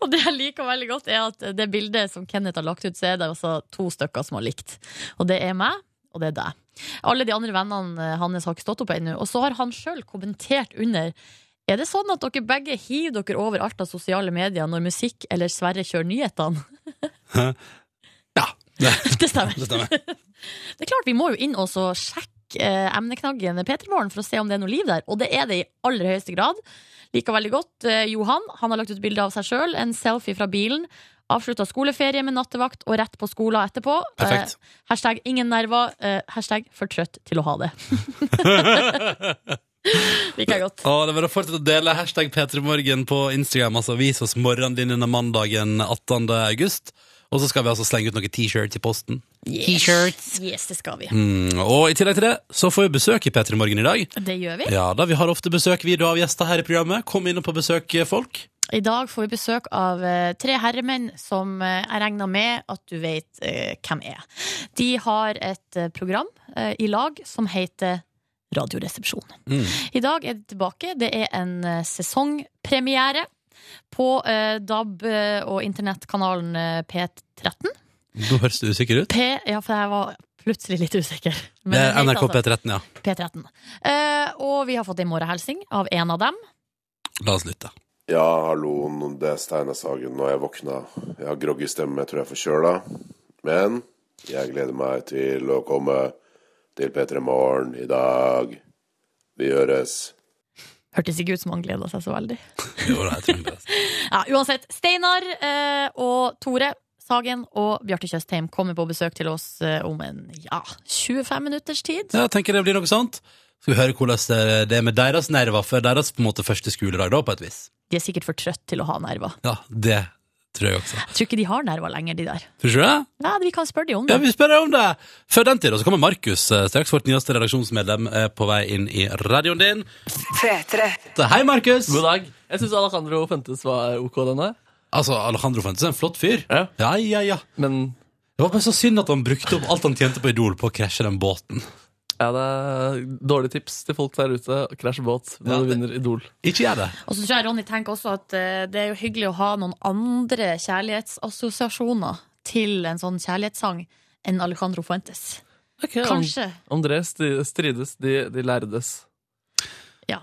Speaker 2: Og det jeg liker veldig godt, er at det bildet som Kenneth har lagt ut, så er det altså to stykker som har likt. Og det er meg, og det er deg. Alle de andre vennene eh, hans har ikke stått opp ennå. Og så har han sjøl kommentert under. Er det sånn at dere begge hiver dere over alt av sosiale medier når musikk eller Sverre kjører nyhetene?
Speaker 1: Ja, det,
Speaker 2: Det stemmer.
Speaker 1: det stemmer.
Speaker 2: Det er klart, vi må jo inn og så sjekke eh, emneknaggen P3morgen for å se om det er noe liv der. Og det er det i aller høyeste grad. Liker veldig godt eh, Johan. Han har lagt ut bilde av seg sjøl, en selfie fra bilen. Avslutta skoleferie med nattevakt og rett på skolen etterpå.
Speaker 1: Perfekt.
Speaker 2: Eh, hashtag ingen nerver. Eh, hashtag for trøtt til å ha det. Liker jeg godt.
Speaker 1: Og det er bare å fortsette å dele hashtag P3morgen på Instagram, altså vis oss morgenen din denne mandagen 18. august. Og så skal vi altså slenge ut noen T-shirts i posten.
Speaker 2: T-shirts. Yes, det skal vi.
Speaker 1: Mm, og i tillegg til det, så får vi besøk i P3 Morgen i dag.
Speaker 2: Det gjør vi.
Speaker 1: Ja da, vi har ofte besøk vi da av gjester her i programmet. Kom inn og på besøk, eh, folk.
Speaker 2: I dag får vi besøk av eh, tre herremenn som eh, jeg regner med at du vet eh, hvem er. De har et eh, program eh, i lag som heter Radioresepsjonen.
Speaker 1: Mm.
Speaker 2: I dag er de tilbake. Det er en eh, sesongpremiere på eh, DAB eh, og internettkanalen eh, P13.
Speaker 1: Nå høres du usikker ut.
Speaker 2: P, ja, for jeg var plutselig litt usikker. Men
Speaker 1: Det
Speaker 2: den
Speaker 1: er
Speaker 2: heter
Speaker 1: NRK
Speaker 2: altså
Speaker 1: P13, ja.
Speaker 2: P13. Eh, og vi har fått en morgenhilsing av en av dem.
Speaker 1: La oss lytte.
Speaker 7: Ja, hallo, det er Steinar Sagen, og jeg våkna. Jeg har groggy stemme, jeg tror jeg er forkjøla. Men jeg gleder meg til å komme til P3 Morgen i dag. Vi høres.
Speaker 2: Hørtes ikke ut som han gleda seg så veldig.
Speaker 1: Jo, da, jeg tror det.
Speaker 2: Ja, uansett. Steinar eh, og Tore Sagen og Bjarte Tjøstheim kommer på besøk til oss eh, om en ja, 25 minutters tid.
Speaker 1: Ja, jeg tenker det blir noe sånt. Skal vi høre hvordan det- det er med deres nerver før deres på en måte første skoledag, da, på et vis.
Speaker 2: De er sikkert for trøtt til å ha nerver.
Speaker 1: Ja, det tror jeg også.
Speaker 2: Jeg tror ikke de har nerver lenger, de der.
Speaker 1: Tror du ikke det?
Speaker 2: Nei, vi kan spørre de om
Speaker 1: Ja,
Speaker 2: det.
Speaker 1: vi spør deg om det! Før den tid da, så kommer Markus, eh, straks vårt nyeste redaksjonsmedlem, eh, på vei inn i radioen din.
Speaker 4: P3.
Speaker 1: Så, Hei, Markus!
Speaker 8: God dag. Jeg syns Alejandro Fentes var ok denne,
Speaker 1: Altså, Alejandro Fuentes er en flott fyr.
Speaker 8: Ja.
Speaker 1: ja, ja. ja.
Speaker 8: men
Speaker 1: Det var bare så synd at han brukte opp alt han tjente på Idol på å krasje den båten.
Speaker 8: ja, det er dårlig tips til folk der ute. Krasj båt når
Speaker 1: Ja,
Speaker 8: du
Speaker 1: det-
Speaker 8: vinner Idol.
Speaker 1: Ikke gjør det.
Speaker 2: Og så tror jeg Ronny tenker også at eh, det er jo hyggelig å ha noen andre kjærlighetsassosiasjoner til en sånn kjærlighetssang enn Alejandro Fuentes. Kanskje.
Speaker 8: André sti- strides, de, de lærdes.
Speaker 2: Ja.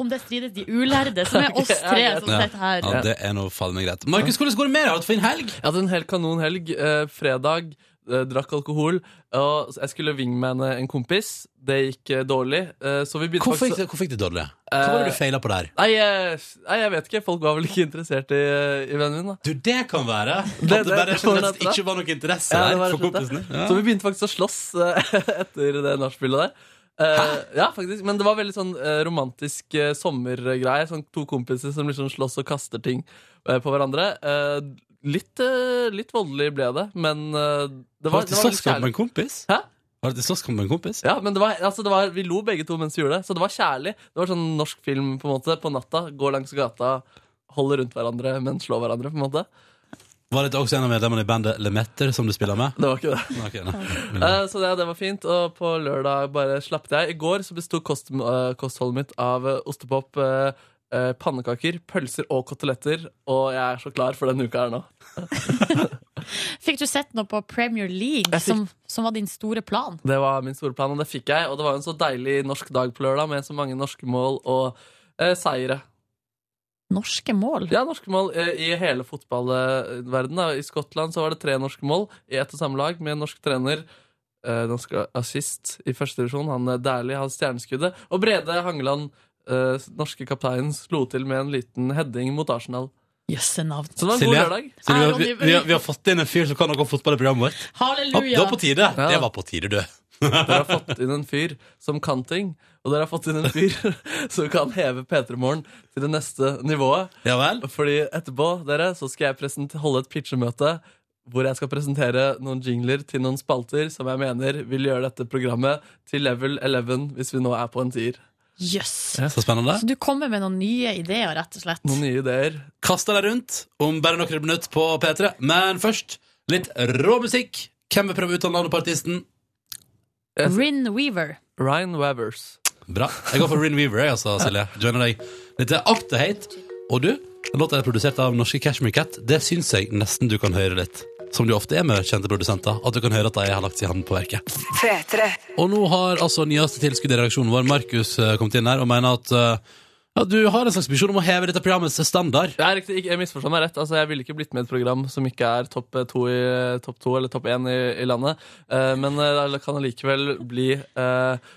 Speaker 2: Om det strides de ulærde, som er oss
Speaker 8: Ok, ja,
Speaker 2: tre
Speaker 8: greit.
Speaker 2: som sitter her.
Speaker 1: Ja, det er noe faen meg greit. Markus, hvordan går det med deg? Har du hatt fin helg?
Speaker 8: Jeg hadde en helt kanon helg. Eh, fredag eh, drakk alkohol. Og jeg skulle wingmanne en kompis. Det gikk eh, dårlig. Eh, så vi begynte
Speaker 1: Hvorfor
Speaker 8: faktisk
Speaker 1: gikk
Speaker 8: Eh,
Speaker 1: det, hvorfor gikk det dårlig? Hva var det du feila på der?
Speaker 8: Nei, eh, nei, jeg vet ikke. Folk var vel ikke interessert i, eh, i vennen min. da
Speaker 1: Du, det kan være. At
Speaker 8: det
Speaker 1: det bare
Speaker 8: kan være
Speaker 1: generelt
Speaker 8: dette.
Speaker 1: ikke var noe interesse
Speaker 8: Ja, det
Speaker 1: der
Speaker 8: var rett
Speaker 1: for
Speaker 8: og slett
Speaker 1: kompisene.
Speaker 8: det.
Speaker 1: Ja.
Speaker 8: Så vi begynte faktisk å slåss eh, etter det nachspielet der. Eh, ja, faktisk, Men det var veldig sånn eh, romantisk eh, sommergreie. Sånn to kompiser som liksom slåss og kaster ting eh, på hverandre. Eh, litt, eh, litt voldelig ble det, men eh, det
Speaker 1: Var
Speaker 8: var,
Speaker 1: det
Speaker 8: det
Speaker 1: til
Speaker 8: var litt
Speaker 1: slåsskamp med
Speaker 8: kjærlig.
Speaker 1: en kompis?
Speaker 8: Hæ?
Speaker 1: Var det til slåsskamp med en kompis?
Speaker 8: Ja, men det var, altså det var, Vi lo begge to mens vi gjorde det, så det var kjærlig. Det var sånn norsk film på en måte, på natta. Går langs gata, holder rundt hverandre, men slår hverandre. på en måte
Speaker 1: Var det også en av medlemmene i bandet Lemetter som du spiller med?
Speaker 8: Det var ikke det.
Speaker 1: Nei, ok, nei.
Speaker 8: Eh, Så det, det var fint, og på lørdag bare slappet jeg. I går så bestod kost, eh, kostholdet mitt av eh, ostepop, eh, eh, pannekaker, pølser og koteletter. Og jeg er så klar for denne uka her nå.
Speaker 2: Fikk du sett noe på Premier League,
Speaker 8: Jeg fikk-
Speaker 2: som, som var din store plan?
Speaker 8: Det var min store plan, og det fikk jeg. Og det var jo en så deilig norsk dag på lørdag med så mange norske mål og eh, seire.
Speaker 2: Norske mål?
Speaker 8: Ja, norske mål eh, i hele fotballverdenen. da. I Skottland så var det tre norske mål i ett og samme lag med en norsk trener. Eh, norsk assist i første divisjon. Han eh, Dæhlie hadde stjerneskuddet. Og Brede Hangeland, eh, norske kapteinen, slo til med en liten heading mot Arsenal.
Speaker 2: Jøsse navn.
Speaker 8: Så det var en
Speaker 1: Silje?
Speaker 8: god lørdag.
Speaker 1: Så vi, har- vi, vi, har- vi har fått inn en fyr som kan noe om fotball i programmet vårt. Ja, Det
Speaker 2: Halleluja.
Speaker 1: var på tide.
Speaker 8: Ja.
Speaker 1: Det var på tide, du.
Speaker 8: Dere har fått inn en fyr som kan ting, og dere har fått inn en fyr som kan heve P3 Morgen til det neste nivået.
Speaker 1: Ja vel?
Speaker 8: Fordi etterpå, dere, så skal jeg present- holde et pitchemøte hvor jeg skal presentere noen jingler til noen spalter som jeg mener vil gjøre dette programmet til level 11 hvis vi nå er på en tier.
Speaker 2: Jøss.
Speaker 1: Så spennende.
Speaker 2: Så du kommer med noen nye ideer, rett og slett.
Speaker 8: Noen nye ideer.
Speaker 1: Kasta deg rundt om bare noen minutter på P3. Men først litt rå musikk. Hvem vil prøve ut av navnet på artisten?
Speaker 8: Jeg-
Speaker 2: Rin Weaver.
Speaker 8: Ryan Wavers.
Speaker 1: Bra. Jeg går for Rin Weaver, jeg, altså, Silje. Joiner deg. Dette er Up to Hate. Og du, den låta er produsert av norske Cashmere Cat. Det syns jeg nesten du kan høre litt. Som du ofte er med kjente produsenter. At du kan høre at de har lagt sin hand på verket.
Speaker 4: P3.
Speaker 1: Og nå har altså nyeste tilskudd i redaksjonen vår, Markus, eh, kommet inn her og mener at eh, ja, du har en slags misjon om å heve dette programmets standard.
Speaker 8: Det er riktig, ikke- jeg misforstår meg rett. Altså, jeg ville ikke blitt med i et program som ikke er topp eh, to, i, topp to eller topp én i, i landet, Eh, men eh, det kan allikevel bli eh,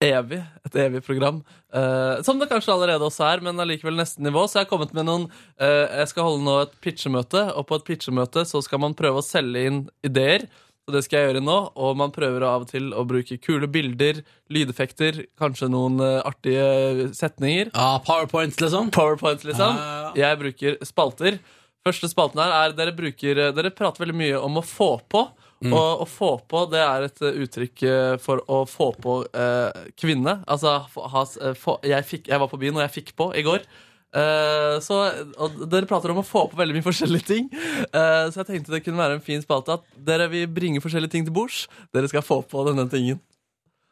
Speaker 8: evig. Et evig program. Eh, som det kanskje allerede også er, men allikevel neste nivå. Så jeg har kommet med noen eh, Jeg skal holde nå et pitchemøte, og på et pitchemøte så skal man prøve å selge inn ideer. Så det skal jeg gjøre nå, og man prøver av og til å bruke kule bilder, lydeffekter, kanskje noen eh, artige setninger.
Speaker 1: Ja, Powerpoint, liksom.
Speaker 8: PowerPoint, liksom.
Speaker 1: Ja,
Speaker 8: Jeg bruker spalter. Første spalten her er dere bruker eh, Dere prater veldig mye om å få på. Og å få på det er et eh, uttrykk eh, for å få på eh, kvinne. Altså få- ha, s- eh, få, jeg, fikk, jeg var på byen, og jeg fikk på i går. Eh, så og Dere prater om å få på veldig mye forskjellige ting. Eh, så jeg tenkte det kunne være en fin spalte at dere vil bringe forskjellige ting til bords. Dere skal få på denne tingen.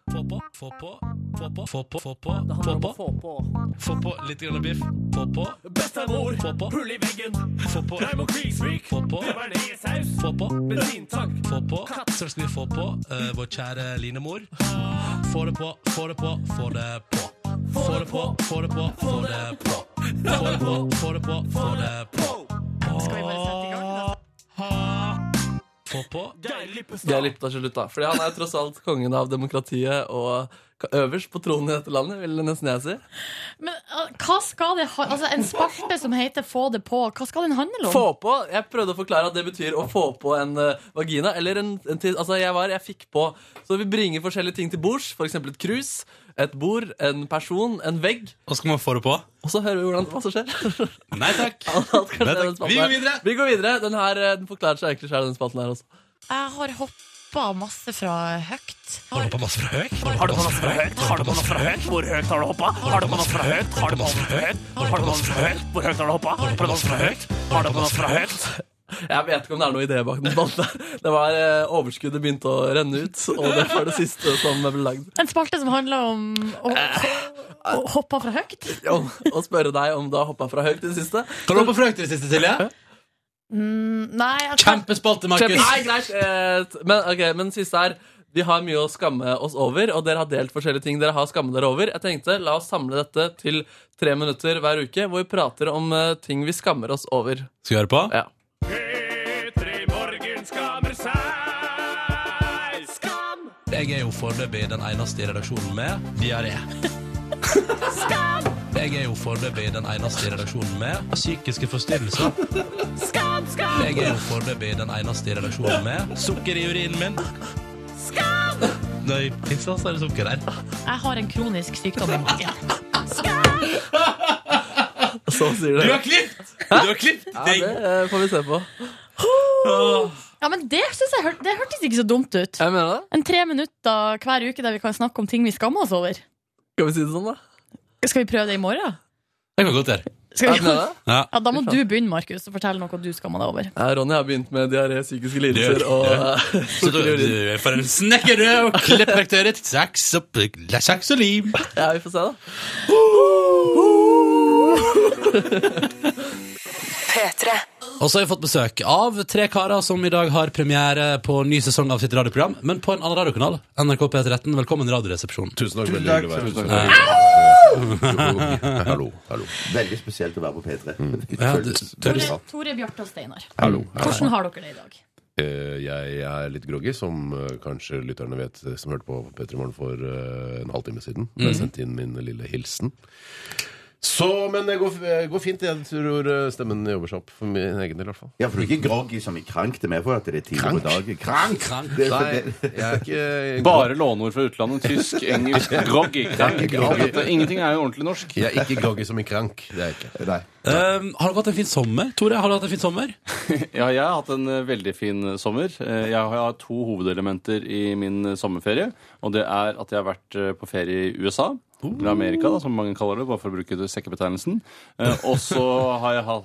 Speaker 1: Få på, få på, få på, få på, få på, få på,
Speaker 8: Få på.
Speaker 1: få på litt grann biff. Få på,
Speaker 9: Bestemor,
Speaker 1: få på,
Speaker 9: hull i veggen,
Speaker 1: få på,
Speaker 9: Raimo Krigsvik,
Speaker 1: Få på.
Speaker 9: bearnéssaus,
Speaker 1: få på.
Speaker 9: bensintank.
Speaker 1: Få på, så skal vi få på eh, vår kjære Linemor. Få det på, få det på, få det på. Få det på, få det på, få det på. Få det på, få det på, få det på.
Speaker 2: Skal vi bare sette i gang? da?
Speaker 1: Få på.
Speaker 9: Geir Lippestad.
Speaker 8: Geir Lippestad til slutt, da. Fordi han er jo tross alt kongen av demokratiet og ka- øverst på tronen i dette landet, vil nesten jeg si.
Speaker 2: Men uh, hva skal det ha Altså, en spalte som heter Få det på, hva skal den handle om?
Speaker 8: Få på! Jeg prøvde å forklare at det betyr å få på en eh, vagina. Eller en, en til, Altså, jeg var Jeg fikk på. Så vi bringer forskjellige ting til bords. F.eks. et krus, et bord, en person, en vegg.
Speaker 1: Hva skal man få det på?
Speaker 8: Og så hører vi hvordan, hva som skjer.
Speaker 1: Nei takk.
Speaker 8: Alt kan skje i den spalten
Speaker 1: Vi går
Speaker 8: her.
Speaker 1: videre.
Speaker 8: Vi går videre. Den her eh, den forklarer seg egentlig sjøl, den spalten her også.
Speaker 2: Jeg har hoppa masse fra høyt.
Speaker 1: Har du på masse fra høyt?
Speaker 9: Har du på noe fra høyt? Har du på noe fra høyt? Hvor høyt har du hoppa? Har du på noe fra høyt? Har du på noe fra høyt? Har du på noe fra høyt? Hvor høyt har du hoppa? Har du på noe fra høyt? Har du på noe fra høyt?
Speaker 8: Jeg vet ikke om det er noe idé bak den spalten her. Det var eh, Overskuddet begynte å renne ut, og det var det siste som ble lagd.
Speaker 2: En spalte som handler om å, å hoppe fra høyt.
Speaker 8: om å spørre deg om du har hoppa fra høyt i det siste.
Speaker 1: Kan du hoppe fra høyt i det siste, Silje?
Speaker 2: Mm, nei, jeg kan
Speaker 1: Kjempespalte,
Speaker 8: Kjempe-
Speaker 1: Markus.
Speaker 8: Nei, greit. eh, t- Men, ok, men siste her vi har mye å skamme oss over, og dere har delt forskjellige ting dere har skammet dere over. Jeg tenkte, La oss samle dette til tre minutter hver uke, hvor vi prater om eh, ting vi skammer oss over.
Speaker 1: Skal vi høre på?
Speaker 8: Ja.
Speaker 9: Petri Morgen skammer seg. Skam!
Speaker 1: Jeg er jo foreløpig den eneste i redaksjonen med diaré. Jeg er jo foreløpig den eneste i redaksjonen med psykiske forstyrrelser. Jeg er jo foreløpig den eneste i redaksjonen med sukker i urinen min. Når jeg pisser, så er det sukker der.
Speaker 2: Jeg har en kronisk sykdom i magen.
Speaker 8: Så sier dere.
Speaker 1: klippet! Du har klippet
Speaker 8: Ja, det eh, får vi se på.
Speaker 2: Ja, men det, synes jeg, hør- det hørtes ikke så dumt ut.
Speaker 8: Jeg mener det.
Speaker 2: En tre minutter hver uke der vi kan snakke om ting vi skammer oss over.
Speaker 8: Skal vi si det sånn, da?
Speaker 2: Skal vi prøve det i morgen?
Speaker 1: Det kan godt gjøre.
Speaker 2: Skal
Speaker 8: Jeg
Speaker 2: vi?
Speaker 8: mener det.
Speaker 1: Ja.
Speaker 2: Ja, da må du begynne, Markus, og fortelle noe du skammer deg over.
Speaker 8: Ja, Ronny har begynt med diaré, psykiske
Speaker 1: Det
Speaker 8: lidelser
Speaker 1: gjør-
Speaker 8: og
Speaker 1: det gjør.
Speaker 8: eh,
Speaker 1: Så du,
Speaker 8: sukker i
Speaker 1: du
Speaker 8: urinen.
Speaker 1: er for en snekker du er, og klippverktøyet ditt. Saks og, saks og lim.
Speaker 8: Ja, vi får se, da.
Speaker 4: P3.
Speaker 1: Og så har vi fått besøk av tre karer som i dag har premiere på ny sesong av sitt radioprogram, men på en annen radiokanal. NRK P13, velkommen Radioresepsjonen.
Speaker 7: Tusen takk. Veldig hyggelig å være
Speaker 10: Tusen
Speaker 7: her. Hallo. Hallo. Hallo.
Speaker 10: Veldig spesielt å være på P3.
Speaker 1: Ja, det-
Speaker 10: Føles-
Speaker 1: det-
Speaker 10: føles
Speaker 2: Tore,
Speaker 10: rart.
Speaker 2: Tore Bjarte og Steinar,
Speaker 7: Hallo.
Speaker 2: hvordan har dere det i dag?
Speaker 7: Eh, Jeg er litt groggy, som eh, kanskje lytterne vet, eh,
Speaker 10: Mhm.
Speaker 7: som hørte på P3 Morgen for eh, en halvtime siden. Da Jeg sendte inn min lille hilsen.
Speaker 10: Så, men det går, eh, går fint. Jeg tror eh, stemmen jobber seg opp. For min egen del, i hvert fall.
Speaker 11: Ja, for du er ikke groggy som i krank. Det er mer for at det er tidlig på dagen. Krank! Det,
Speaker 10: Nei, jeg er ikke
Speaker 12: Bare låneord fra utlandet. Tysk, engelsk, groggy.
Speaker 10: Jeg er ikke groggy.
Speaker 12: Dette- Ingenting er jo ordentlig norsk.
Speaker 10: Jeg er ikke groggy som i krank. Det er jeg ikke.
Speaker 11: Nei.
Speaker 1: Ehm, har dere hatt en fin sommer? Tore, har du hatt en fin sommer?
Speaker 12: Ja, jeg har hatt en eh, veldig fin eh, sommer. Eh, Jeg har hatt to hovedelementer i min eh, sommerferie. Og det er at jeg har vært eh, på ferie i USA. Eller Amerika, da, som mange kaller det, bare for å bruke det- sekkebetegnelsen. Eh, Og så har jeg hatt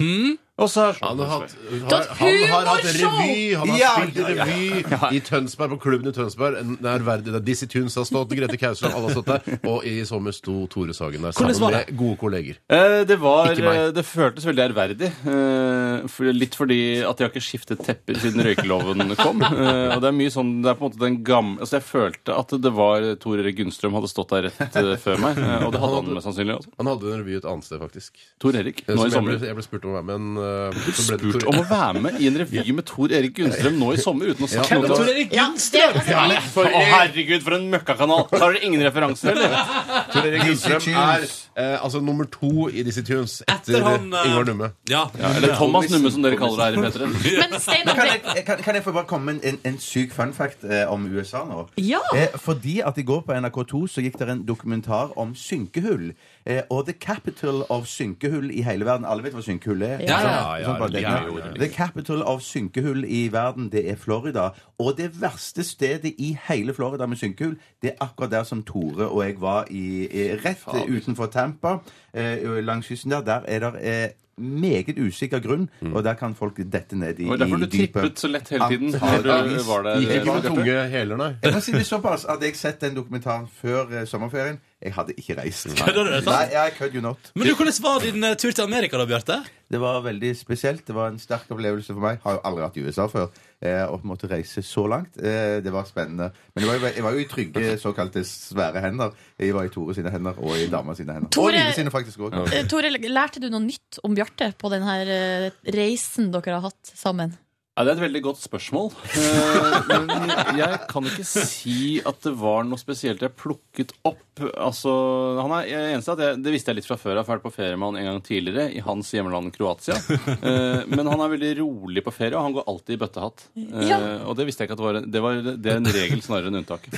Speaker 2: Hæ?
Speaker 12: Og så har
Speaker 10: Han har hatt,
Speaker 2: Du har
Speaker 10: har,
Speaker 2: hatt
Speaker 10: han har hatt
Speaker 2: humorshow!
Speaker 10: revy Han har
Speaker 11: Ja,
Speaker 10: spilt
Speaker 11: ja, ja.
Speaker 10: revy i Tønsberg, på klubben i Tønsberg. En- Det er verdig, det er Dizzie Tunes har stått, Grete Kausland, alle har stått der. Og i sommer sto Tore Sagen der
Speaker 1: Hvordan var
Speaker 10: sammen med gode kolleger.
Speaker 12: Eh, Det var,
Speaker 10: Ikke meg.
Speaker 12: eh, det føltes veldig ærverdig. Eh, for- Litt fordi at jeg har ikke skiftet tepper siden røykeloven kom. Eh, Og det er mye sånn, det er på en måte den gamle Altså jeg følte at det var Tor Erik Gunnstrøm hadde stått der rett eh, før meg. eh, Og det hadde han mest sannsynlig også.
Speaker 10: Han hadde en revy et annet sted, faktisk.
Speaker 12: Tor Erik,
Speaker 10: Som
Speaker 12: nå i
Speaker 10: jeg, ble,
Speaker 12: sommer.
Speaker 10: jeg ble spurt om å være med, men eh, så ble det
Speaker 12: Spurt
Speaker 10: Tore-
Speaker 12: om å være med i en revy med Tor Erik Gunnstrøm nå i sommer uten å snakke noe om det.
Speaker 2: Ja, det, altså,
Speaker 12: Å, herregud, for en møkkakanal! Tar dere ingen referanser, eller?
Speaker 10: Tor Erik Gullstrøm er
Speaker 11: Tunes.
Speaker 10: eh, altså nummer to i Dizzie Tunes etter,
Speaker 1: Etter han, eh,
Speaker 10: Ingvar Numme.
Speaker 1: Ja.
Speaker 12: Ja, eller Thomas Numme, som dere kaller det her i P3.
Speaker 2: men Steinar
Speaker 11: Kan
Speaker 2: det-
Speaker 11: jeg, kan, kan jeg få bare komme med en, en syk fun fact eh, om USA nå?
Speaker 2: Ja.
Speaker 11: Eh, fordi at i går på NRK2 så gikk det en dokumentar om synkehull. Eh, og the capital of synkehull i hele verden. Alle vet hva synkehull er?
Speaker 2: Ja, ja,
Speaker 11: Sånn- sånn bare det.
Speaker 10: ja,
Speaker 11: The capital of synkehull i verden, det er Florida. Og det verste stedet i hele Florida med synkehull, det er akkurat der som Tore og jeg var i, i rett utenfor Tampa. Eh, langs kysten der. Der er det eh, meget usikker grunn, og der kan folk dette ned i
Speaker 12: Det var derfor
Speaker 11: i
Speaker 12: du
Speaker 11: dypet.
Speaker 12: trippet så lett hele tiden.
Speaker 11: Antageligvis.
Speaker 12: når du var der,
Speaker 10: Gikk ikke
Speaker 12: Bjarte.
Speaker 10: på tunge hæler, nei.
Speaker 11: Jeg må si det såpass at jeg sett den dokumentaren før eh, sommerferien. Jeg hadde ikke reist.
Speaker 1: Kødder du, er det sant?
Speaker 11: Nei, jeg kødder jo not.
Speaker 1: Men du, hvordan var din eh, tur til Amerika, da, Bjarte?
Speaker 11: Det var veldig spesielt. Det var en sterk opplevelse for meg. Har jo aldri vært i USA før. eh, Og måtte reise så langt. Eh, Det var spennende. Men det var jo, jeg var jo i trygge såkalte svære hender. Jeg var i Tore sine hender og i dama sine hender.
Speaker 2: Tore-
Speaker 11: Og mine sine faktisk òg.
Speaker 2: Eh, Tore, lærte du noe nytt om Bjarte på den her eh, reisen dere har hatt sammen?
Speaker 12: Ja, Det er et veldig godt spørsmål. Eh, Men jeg kan ikke si at det var noe spesielt jeg plukket opp. Altså, han er jeg er eneste at jeg, Det visste jeg litt fra før. Jeg har vært på ferie med han en gang tidligere i hans hjemland Kroatia. Eh, Men han er veldig rolig på ferie, og han går alltid i bøttehatt. Eh,
Speaker 2: Ja.
Speaker 12: Og det visste jeg ikke at det var en, det var det er en regel snarere enn unntak.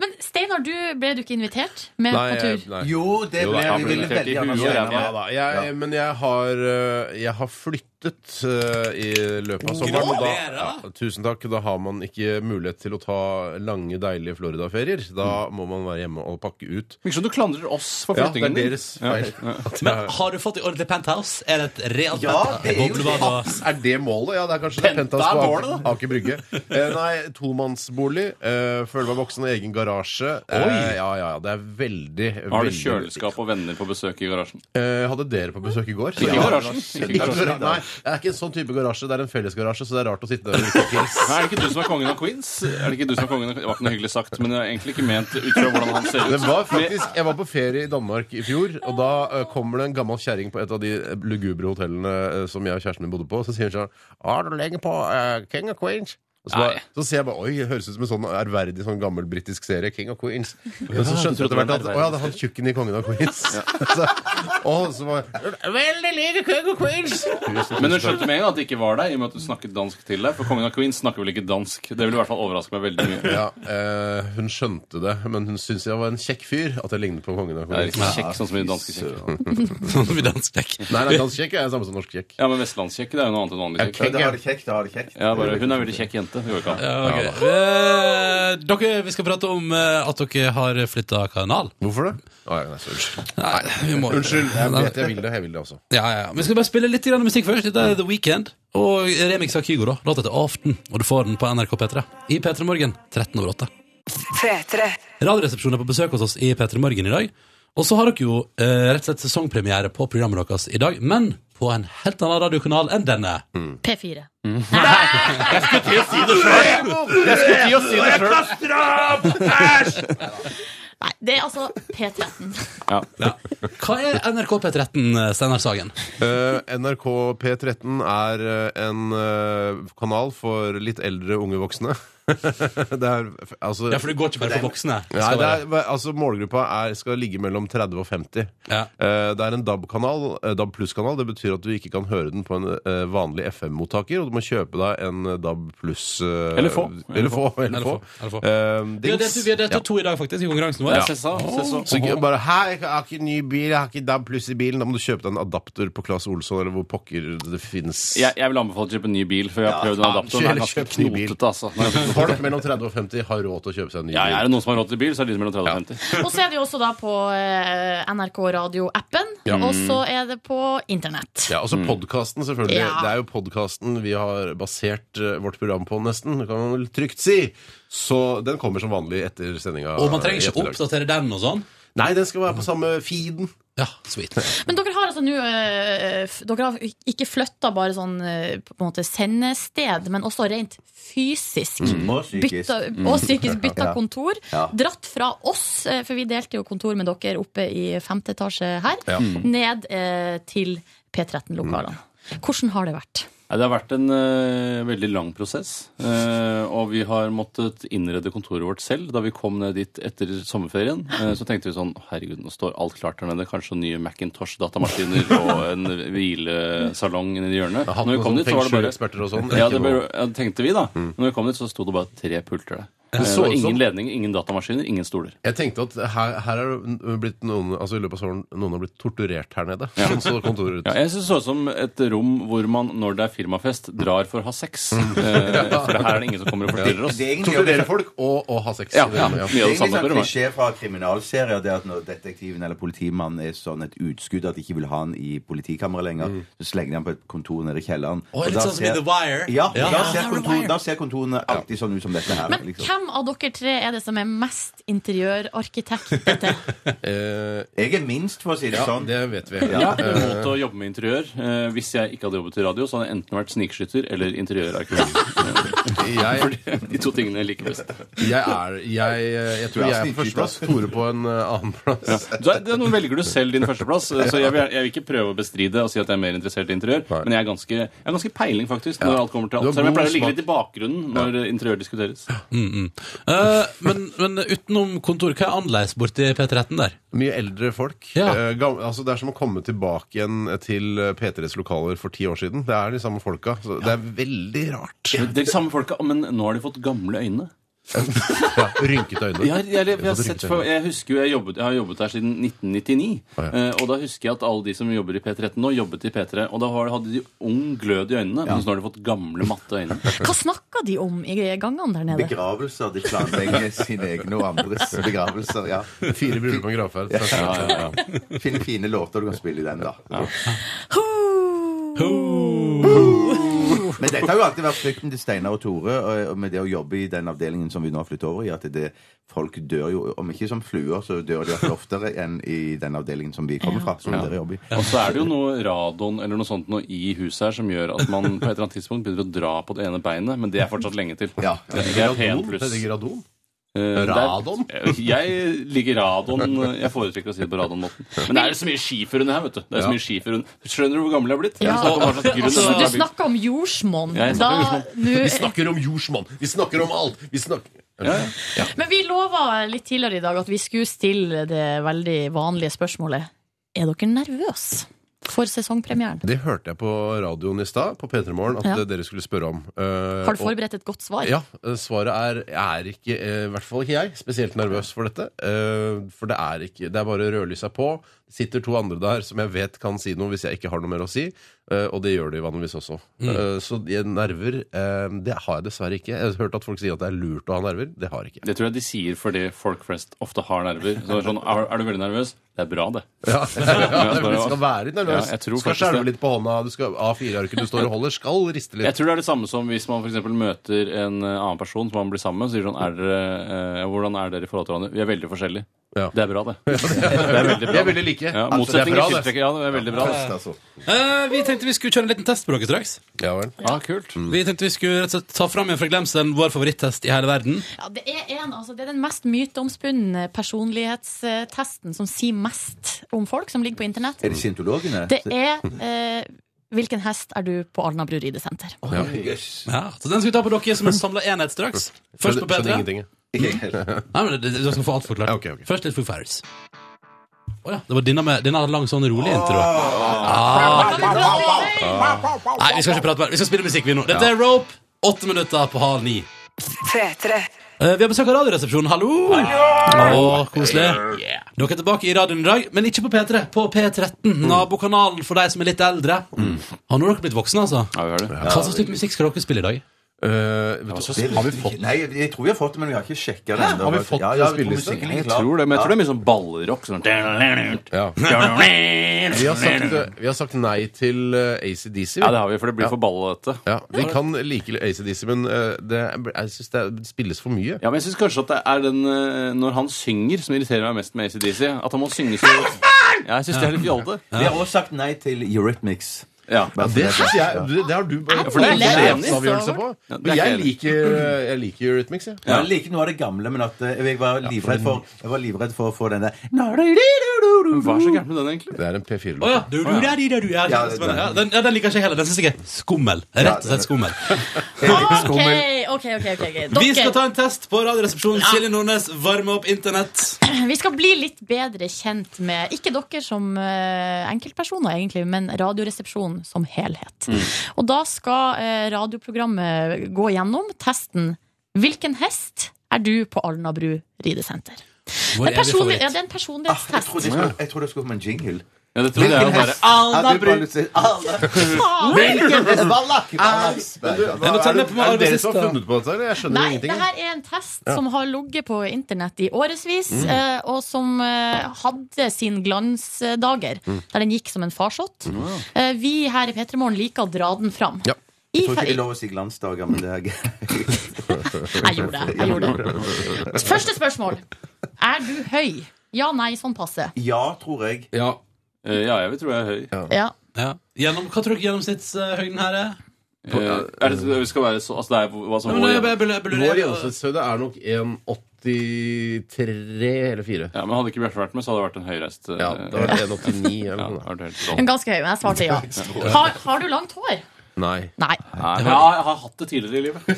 Speaker 2: Men Steinar, du ble du ikke invitert med
Speaker 10: Nei,
Speaker 2: på
Speaker 10: jeg-
Speaker 2: tur?
Speaker 10: nei.
Speaker 11: Jo, det
Speaker 12: Jo da,
Speaker 11: ble
Speaker 12: han
Speaker 11: vi
Speaker 12: ble
Speaker 11: ville
Speaker 12: invitert i
Speaker 11: veldig gjerne
Speaker 12: huet og
Speaker 11: ha
Speaker 12: ræva.
Speaker 11: med.
Speaker 10: Ja da. Jeg, men jeg har, eh, jeg har flyttet eh, i løpet av sommeren. og Da,
Speaker 1: Gratulerer!
Speaker 10: ja, tusen takk. Da har man ikke mulighet til å ta lange, deilige Florida-ferier. Da
Speaker 12: Mm.
Speaker 10: må man være hjemme og pakke ut.
Speaker 12: Virker som du klandrer oss for
Speaker 10: Ja, det er
Speaker 12: flyttingen din.
Speaker 10: deres feil. At jeg-
Speaker 1: Men har du fått et ordentlig penthouse? Er det et realt
Speaker 11: Ja,
Speaker 1: penthouse?
Speaker 11: det er jo
Speaker 1: Boblebad og-
Speaker 10: Er det målet? Ja, det er kanskje det. Pentas
Speaker 12: er
Speaker 10: på
Speaker 12: målet,
Speaker 10: Aker, Aker Brygge. Eh, nei, tomannsbolig. Eh, føler meg voksen og egen garasje. Eh, ja, ja, ja. Det er veldig,
Speaker 12: Har du
Speaker 10: veldig
Speaker 12: kjøleskap og venner på besøk i garasjen?
Speaker 10: Eh, hadde dere på besøk i går?
Speaker 12: Ikke i
Speaker 10: Ja.
Speaker 12: garasjen. Ikke i
Speaker 10: Ikke
Speaker 12: garasjen.
Speaker 10: garasje. Nei, det er ikke en sånn type garasje. Det er en fellesgarasje, så det er rart å sitte der og drikke pils.
Speaker 12: Nei, er det ikke du som er kongen av Queens? Er det ikke du som er kongen av Queens? Det var ikke noe hyggelig sagt, men jeg har egentlig ikke ment ut fra hvordan han ser ut.
Speaker 10: Det var faktisk, Jeg var på ferie i Danmark i fjor, og da eh, kommer det en gammel kjerring på et av de eh, lugubre hotellene eh, som jeg og kjæresten min bodde på, så sier hun sånn Har du lenge på eh, King of Queens? Og så,
Speaker 12: Nei.
Speaker 10: bare, så ser jeg bare Oi, det høres ut som en sånn ærverdig sånn gammel britisk serie. King of Queens. Men så skjønte jeg etter hvert at Å ja, det er han tjukken i Kongen av Queens. Så, og så var Veldig like King of Queens!
Speaker 12: Men hun skjønte med en gang at det ikke var deg, i og med at du snakket dansk til deg. For kongen av Queens snakker vel ikke dansk? Det ville i hvert fall overraske meg veldig mye.
Speaker 10: Ja, eh, hun skjønte det, men hun syntes jeg var en kjekk fyr. At jeg lignet på kongen av
Speaker 12: Det er
Speaker 10: Queens.
Speaker 12: ikke kjekk, sånn som i danske kjekk.
Speaker 1: Sånn som i dansk vekk.
Speaker 10: Nei, nei, dansk kjekk er det samme som norsk kjekk.
Speaker 12: Ja, men vestlandskjekk, det er jo noe annet enn vanlig kjekk.
Speaker 11: Da har det kjekt, da har det kjekt.
Speaker 12: Ja, bare, hun er en veldig kjekk jente. Det går ikke an.
Speaker 1: Ja, ok. Eh, dere, vi skal prate om eh, at dere har flytta kanal.
Speaker 10: Hvorfor det? Å, ja, nei, så unnskyld.
Speaker 1: Nei, vi må
Speaker 10: Unnskyld. Jeg vet jeg vil det. Jeg vil det også.
Speaker 1: Ja, ja. ja. Vi skal bare spille litt grann musikk først. Dette er The Weekend. Og remix av Kygo, da. Låta heter Aften, og du får den på NRK P3. I P3 Morgen 13 over 8.
Speaker 4: P3.
Speaker 1: Radioresepsjonen er på besøk hos oss i P3 Morgen i dag. Og så har dere jo eh, rett og slett sesongpremiere på programmet deres i dag, men på en helt annen radiokanal enn denne.
Speaker 2: P4. Nei, det er altså P13.
Speaker 1: Hva er NRK P13, Steinar Sagen?
Speaker 10: Eh, NRK P13 er eh, en eh, kanal for litt eldre unge voksne. det er, altså,
Speaker 1: Ja, for det går ikke bare for voksne. Det
Speaker 10: Nei,
Speaker 1: skal
Speaker 10: det er, altså, målgruppa er, skal ligge mellom 30 og 50. Eh, det er en DAB-kanal, eh, DAB pluss-kanal. Det betyr at du ikke kan høre den på en eh, vanlig FM-mottaker, og du må kjøpe deg en eh, DAB pluss eh,
Speaker 1: Eller få.
Speaker 10: Eller få.
Speaker 1: Eller
Speaker 10: Eller få.
Speaker 1: få, eller få.
Speaker 10: Eh,
Speaker 1: Vi har delt- vi har delt
Speaker 10: ja.
Speaker 1: ut to i dag, faktisk, i konkurransen vår.
Speaker 10: Ja. Så ikke bare Hei, jeg har ikke ny bil, jeg har ikke DAB pluss i bilen. Da må du kjøpe deg en adapter på Claes Olsson, eller hvor pokker det fins.
Speaker 8: Jeg, jeg vil anbefale å kjøpe en ny bil, for jeg har prøvd en adapter. Den er ganske knotete, altså. Den er ganske knotete.
Speaker 10: Folk mellom 30 og 50 har råd til å kjøpe seg en ny
Speaker 8: Ja,
Speaker 10: bil.
Speaker 8: er det noen som har råd til bil, så er det de som har råd til 30 og 50.
Speaker 2: Og så er det jo også da på eh, NRK Radio-appen,
Speaker 10: Ja.
Speaker 2: og så er det på internett.
Speaker 10: Ja,
Speaker 8: Mm.
Speaker 10: også podkasten, selvfølgelig.
Speaker 2: Ja.
Speaker 10: Det er jo podkasten vi har basert eh, vårt program på, nesten. Det kan man vel trygt si. Så den kommer som vanlig etter sendinga.
Speaker 1: Og man trenger ikke
Speaker 10: oppdatere den og sånn? Nei, den skal være på samme feeden. Ja, sweet.
Speaker 2: Men dere har altså nå eh, f- Dere har ikke flytta bare sånn eh, på en måte sendested, men også rent fysisk.
Speaker 12: Mm, og psykisk.
Speaker 2: Bytta,
Speaker 12: Mm.
Speaker 2: og psykisk bytta
Speaker 12: Ja.
Speaker 2: kontor.
Speaker 12: Ja.
Speaker 2: Dratt fra oss, eh, for vi delte jo kontor med dere oppe i femte etasje her,
Speaker 8: Ja. Mm.
Speaker 2: ned eh, til P13-lokalene.
Speaker 12: Mm.
Speaker 2: Hvordan har det vært?
Speaker 8: Nei, Det har vært en eh, veldig lang prosess. eh, og vi har måttet innrede kontoret vårt selv. Da vi kom ned dit etter sommerferien, eh, så tenkte vi sånn Herregud, nå står alt klart her nede. Kanskje nye Macintosh-datamaskiner og en hvilesalong nedi hjørnet.
Speaker 10: hatt
Speaker 8: Når vi
Speaker 10: noen
Speaker 8: kom
Speaker 10: sånne
Speaker 8: dit, så var det
Speaker 10: feng shui-eksperter
Speaker 8: bare
Speaker 10: og sånn.
Speaker 8: Ja, det ble- ja, det tenkte vi, da. Når vi kom dit, så sto det bare tre pulter der.
Speaker 10: Det
Speaker 8: Eh,
Speaker 10: så
Speaker 8: og
Speaker 10: ut som-
Speaker 8: ingen ledninger, ingen datamaskiner, ingen stoler.
Speaker 10: Jeg tenkte at her, her er det blitt noen altså i løpet av sommeren noen har blitt torturert her nede. Sånn så kontoret ut.
Speaker 8: Ja, jeg synes det så ut som et rom hvor man, når det er firmafest, drar for å ha sex. Eh, for her er det ingen som kommer og forstyrrer oss.
Speaker 12: Det er egentlig-
Speaker 10: Torturere folk og, og ha sex.
Speaker 8: Ja,
Speaker 12: Det er
Speaker 8: ja.
Speaker 12: egentlig sånn klisjé fra kriminalserier Det at når detektiven eller politimannen er sånn et utskudd at de ikke vil ha han i politikammeret lenger,
Speaker 8: Mm.
Speaker 12: så slenger de han på et kontor nede i kjelleren.
Speaker 1: Å, litt
Speaker 12: da
Speaker 1: sånn som i
Speaker 12: ser-
Speaker 1: The Wire.
Speaker 12: Ja,
Speaker 1: Ja.
Speaker 12: Da,
Speaker 1: Ja,
Speaker 12: ser
Speaker 1: The
Speaker 12: kontor,
Speaker 1: Wire.
Speaker 12: da ser kontorene alltid sånn ut som dette her.
Speaker 2: Men
Speaker 12: liksom.
Speaker 2: hvem av dere tre er det som er mest interiørarkitekt?
Speaker 12: Jeg er minst, for å si det
Speaker 8: Ja,
Speaker 12: sånn.
Speaker 10: Eh, Det vet vi.
Speaker 8: Jeg har ikke måte å jobbe med interiør. Eh, Hvis jeg ikke hadde jobbet i radio, så hadde jeg enten vært snikskytter eller interiørarkitekt.
Speaker 10: Jeg-
Speaker 8: For de to tingene jeg liker best.
Speaker 10: Jeg er Jeg, eh, jeg tror jeg er på førsteplass. Tore på en eh, annenplass.
Speaker 8: Ja. Du er, det er noe velger du selv din førsteplass, eh, så jeg vil, jeg vil ikke prøve å bestride og si at jeg er mer interessert i interiør, men jeg er ganske, jeg er ganske peiling, faktisk, når alt kommer til
Speaker 1: Du
Speaker 8: alt.
Speaker 1: har
Speaker 8: Selv om jeg
Speaker 1: god
Speaker 8: pleier å ligge
Speaker 1: smak.
Speaker 8: litt i bakgrunnen når eh, interiør diskuteres.
Speaker 1: Eh, men, men utenom kontor, hva er annerledes borti P13 der?
Speaker 10: Mye eldre folk. Eh, gam- altså det er som å komme tilbake igjen til eh, P3s lokaler for ti år siden. Det er de samme folka. Så Det er veldig rart.
Speaker 8: Det er de samme folka, men nå har de fått gamle øyne.
Speaker 10: Ja, rynkete øyne.
Speaker 8: Jeg, har- jeg, jeg,
Speaker 10: Jeg har
Speaker 8: har
Speaker 10: fått
Speaker 8: sett,
Speaker 10: rykte.
Speaker 8: for- jeg husker jo, jeg, jobbet, jeg har jobbet her siden 1999.
Speaker 10: Å, ja.
Speaker 8: eh, Og da husker jeg at alle de som jobber i P13 nå, jobbet i P3. Og da har- hadde de ung glød i øynene, mens nå har de fått gamle, matte øyne.
Speaker 2: Hva snakker de om i gangene der nede?
Speaker 12: Begravelser. De planlegger sine egne og andres begravelser. ja.
Speaker 10: Fire bryllup og en gravferd.
Speaker 12: Ja, ja, ja. Finne fine låter du kan spille i den, da. Men dette har jo alltid vært frykten til Steinar og Tore og- og med det å jobbe i den avdelingen som vi nå har flyttet over i, at det, folk dør jo, om ikke som fluer, så dør de iallfall oftere enn i den avdelingen som vi kommer fra. som dere jobber i.
Speaker 8: Og så er det jo noe radon eller noe sånt noe i huset her som gjør at man på et eller annet tidspunkt begynner å dra på det ene beinet, men det er fortsatt lenge til. Det det er pen pluss.
Speaker 10: Heter det radon?
Speaker 8: Eh, det er-
Speaker 10: Radon?
Speaker 8: Jeg liker radon. Jeg foretrekker å si det på radon-måten. Men det er jo så mye skifer under her, vet du. Det er så
Speaker 10: Ja.
Speaker 8: mye skifer under. Skjønner du hvor gammel jeg har blitt? Jeg snakker om hva slags grunn
Speaker 2: Altså,
Speaker 8: denne
Speaker 2: du
Speaker 8: er bygd.
Speaker 2: snakker om jordsmonn.
Speaker 8: Ja, jeg
Speaker 2: Da,
Speaker 8: snakker om
Speaker 2: nå-
Speaker 10: Vi snakker om jordsmonn! Vi snakker om alt! Vi snakker
Speaker 2: Men vi lova litt tidligere i dag at vi skulle stille det veldig vanlige spørsmålet. Er dere nervøse for sesongpremieren?
Speaker 10: Det hørte jeg på radioen i stad, på P3 Morgen, at
Speaker 2: Ja.
Speaker 10: eh, dere skulle spørre om. Eh,
Speaker 2: Har du
Speaker 10: og-
Speaker 2: forberedt et godt svar?
Speaker 10: Ja. eh, Svaret er jeg er ikke, eh, i hvert fall ikke jeg, spesielt nervøs for dette. Eh, For det er ikke Det er bare rødlysa på. Det sitter to andre der som jeg vet kan si noe hvis jeg ikke har noe mer å si. eh, Og det gjør de vanligvis også.
Speaker 1: Mm.
Speaker 10: Eh, Så jeg- nerver eh, Det har jeg dessverre ikke. Jeg har hørt at folk sier at det er lurt å ha nerver. Det har jeg ikke.
Speaker 8: Det tror jeg de sier fordi folk flest ofte har nerver. Så det er, sånn, er, er du veldig nervøs? Det er bra, det.
Speaker 10: Ja,
Speaker 8: Ja,
Speaker 10: Du skal være litt nervøs.
Speaker 8: Ja, jeg
Speaker 10: du
Speaker 8: tror
Speaker 10: skal
Speaker 8: faktisk det.
Speaker 10: skjelve litt på hånda. Du skal A4-arket du står og holder, skal riste litt.
Speaker 8: Jeg tror det er det samme som hvis man for eksempel møter en eh, annen person som man blir sammen med, og sier sånn er dere, eh, Hvordan er dere i forhold til hverandre? Vi er veldig forskjellige. Det er bra, det. Det er veldig bra.
Speaker 1: Vi er veldig like.
Speaker 8: Ja,
Speaker 1: Altså, det er
Speaker 8: motsetninger
Speaker 1: bra, det.
Speaker 8: skiltrekker. Ja, det er veldig bra.
Speaker 1: Ja,
Speaker 8: det.
Speaker 1: altså. Eh, vi tenkte vi skulle kjøre en liten test på dere straks.
Speaker 10: Ja vel.
Speaker 8: Ja, kult.
Speaker 1: Vi tenkte vi skulle rett og slett ta fram igjen fra glemselen vår favorittest i hele verden.
Speaker 2: Ja, det, er en, altså, det er den mest myteomspunne personlighetstesten som sier mest om folk, som ligger på internett.
Speaker 12: Er det scientologene?
Speaker 2: Det er eh, Hvilken hest er du på Alna bruridesenter?
Speaker 1: Ja. Ja, Mm. så den skal vi ta på dere som en samla enhet straks. Først på
Speaker 10: Skjønner
Speaker 1: P3.
Speaker 10: ingenting, jeg.
Speaker 1: Nei, men det- Du skal få alt forklart. Først litt Foo Fighters. Å ja. Det var denne med denne hadde lang sånn rolig intro. Ah. Nei, vi skal ikke prate mer. Vi skal spille musikk, vi nå. Dette er Rope. Åtte minutter på halv ni. Eh, vi har besøk av Radioresepsjonen. Hallo! Å, koselig. Dere er tilbake i radioen i dag, men ikke på P3. På P13, nabokanalen for de som er litt eldre. Har nå dere blitt voksne, altså?
Speaker 8: Ja, vi har det.
Speaker 1: Hva slags type musikk skal dere spille i dag?
Speaker 10: Eh,
Speaker 12: har vi fått Nei, jeg tror vi har fått det, men vi har ikke sjekka det ennå.
Speaker 8: Har vi fått
Speaker 12: ja, ja,
Speaker 8: spilleliste?
Speaker 12: musikken er
Speaker 8: Jeg
Speaker 12: klar.
Speaker 8: tror det, men jeg tror det er mye sånn ballrock. Sånn.
Speaker 10: Vi har, sagt, eh, vi har sagt nei til eh, ACDC.
Speaker 8: Ja, det har vi, for det blir
Speaker 10: Ja.
Speaker 8: for ballete.
Speaker 10: Ja, vi kan like ACDC, men eh, det, jeg syns det spilles for mye.
Speaker 8: Ja, men jeg synes kanskje at det er den eh, når han synger, som irriterer meg mest med ACDC. At han må synge så Ja, jeg syns det er litt fjollete.
Speaker 12: Vi har også sagt nei til Eurythmics.
Speaker 8: Ja.
Speaker 10: Det synes jeg, det, det har du bare
Speaker 12: for det er ikke enig.
Speaker 10: sjefsavgjørelse på.
Speaker 12: Ja, det er
Speaker 10: Men
Speaker 12: ikke
Speaker 10: jeg
Speaker 12: enig.
Speaker 10: liker, eh, jeg liker Eurythmics, jeg.
Speaker 12: Jeg liker noe av det gamle, men at eh, jeg var livredd for, jeg var livredd for å få denne
Speaker 8: Hva er så gærent med den, egentlig?
Speaker 10: Det er en P4.
Speaker 1: Å ja. Du, du, der, de, der, du. Ja,
Speaker 12: Ja,
Speaker 1: kjempespennende.
Speaker 12: det- det-
Speaker 1: ja, den, ja, den liker ikke jeg heller. Den syns jeg er skummel. Rett og slett skummel.
Speaker 2: Ok, ok, ok. ok, ok. Dere,
Speaker 1: Vi skal ta en test på Radioresepsjonen. Silje Nordnes, varme opp internett.
Speaker 2: vi skal bli litt bedre kjent med Ikke dere som eh, enkeltpersoner, egentlig, men Radioresepsjonen som helhet. Og da skal eh, radioprogrammet gå gjennom testen. Hvilken hest er du på Alnabru ridesenter?
Speaker 12: Vår
Speaker 2: Det er,
Speaker 12: evige
Speaker 2: personlig,
Speaker 12: favoritt. Ah,
Speaker 2: ja, det er en
Speaker 12: Altså, Jeg trodde det
Speaker 2: personlighetstest.
Speaker 12: skulle- jeg trodde det skulle komme en jingle.
Speaker 8: Ja, det trodde jeg jo bare.
Speaker 12: Alna
Speaker 2: Alna
Speaker 12: Bru! Alna
Speaker 2: Faen!
Speaker 12: Hvilken hest? Wallach!
Speaker 10: Men du, hva Er det er det dere som har funnet på dette? eller? Jeg skjønner
Speaker 2: Nei, det
Speaker 10: ingenting.
Speaker 2: her er en test
Speaker 10: Ja.
Speaker 2: som har ligget på internett i årevis,
Speaker 10: Mm.
Speaker 2: eh, og som eh, hadde sin glansdager,
Speaker 10: Mm.
Speaker 2: der den gikk som en farsott.
Speaker 12: Mm.
Speaker 2: Eh, vi her i P3morgen liker å dra den fram.
Speaker 10: Ja.
Speaker 2: I
Speaker 12: Jeg tror ikke det er
Speaker 2: fe-
Speaker 12: lov å si glansdager, men det er greit.
Speaker 2: Jeg gjorde det, jeg gjorde Første spørsmål. Er du høy? Ja, nei, sånn passe.
Speaker 12: Ja, tror jeg.
Speaker 10: Ja,
Speaker 8: Eh, ja jeg vil tro jeg er høy.
Speaker 2: Ja.
Speaker 1: Gjennom, hva tror dere gjennomsnittshøyden her er?
Speaker 8: Eh, er det, det skal være så, altså det er hva som
Speaker 1: Ja, men jeg- jeg- jeg- jeg-
Speaker 10: Vår gjennomsnittshøyde er nok 1,83 eller 4.
Speaker 8: Ja, men Hadde ikke Bjarte vært med, så hadde det vært en høyreist. eh,
Speaker 10: Ja, det var 1,89 eller noe.
Speaker 8: Ja, det var helt
Speaker 2: Men
Speaker 8: sånn.
Speaker 2: ganske høy, men jeg svarte ja. Har, har du langt hår?
Speaker 10: Nei.
Speaker 2: Nei.
Speaker 8: Nei, men jeg har, jeg har hatt det tidligere i livet.
Speaker 10: Har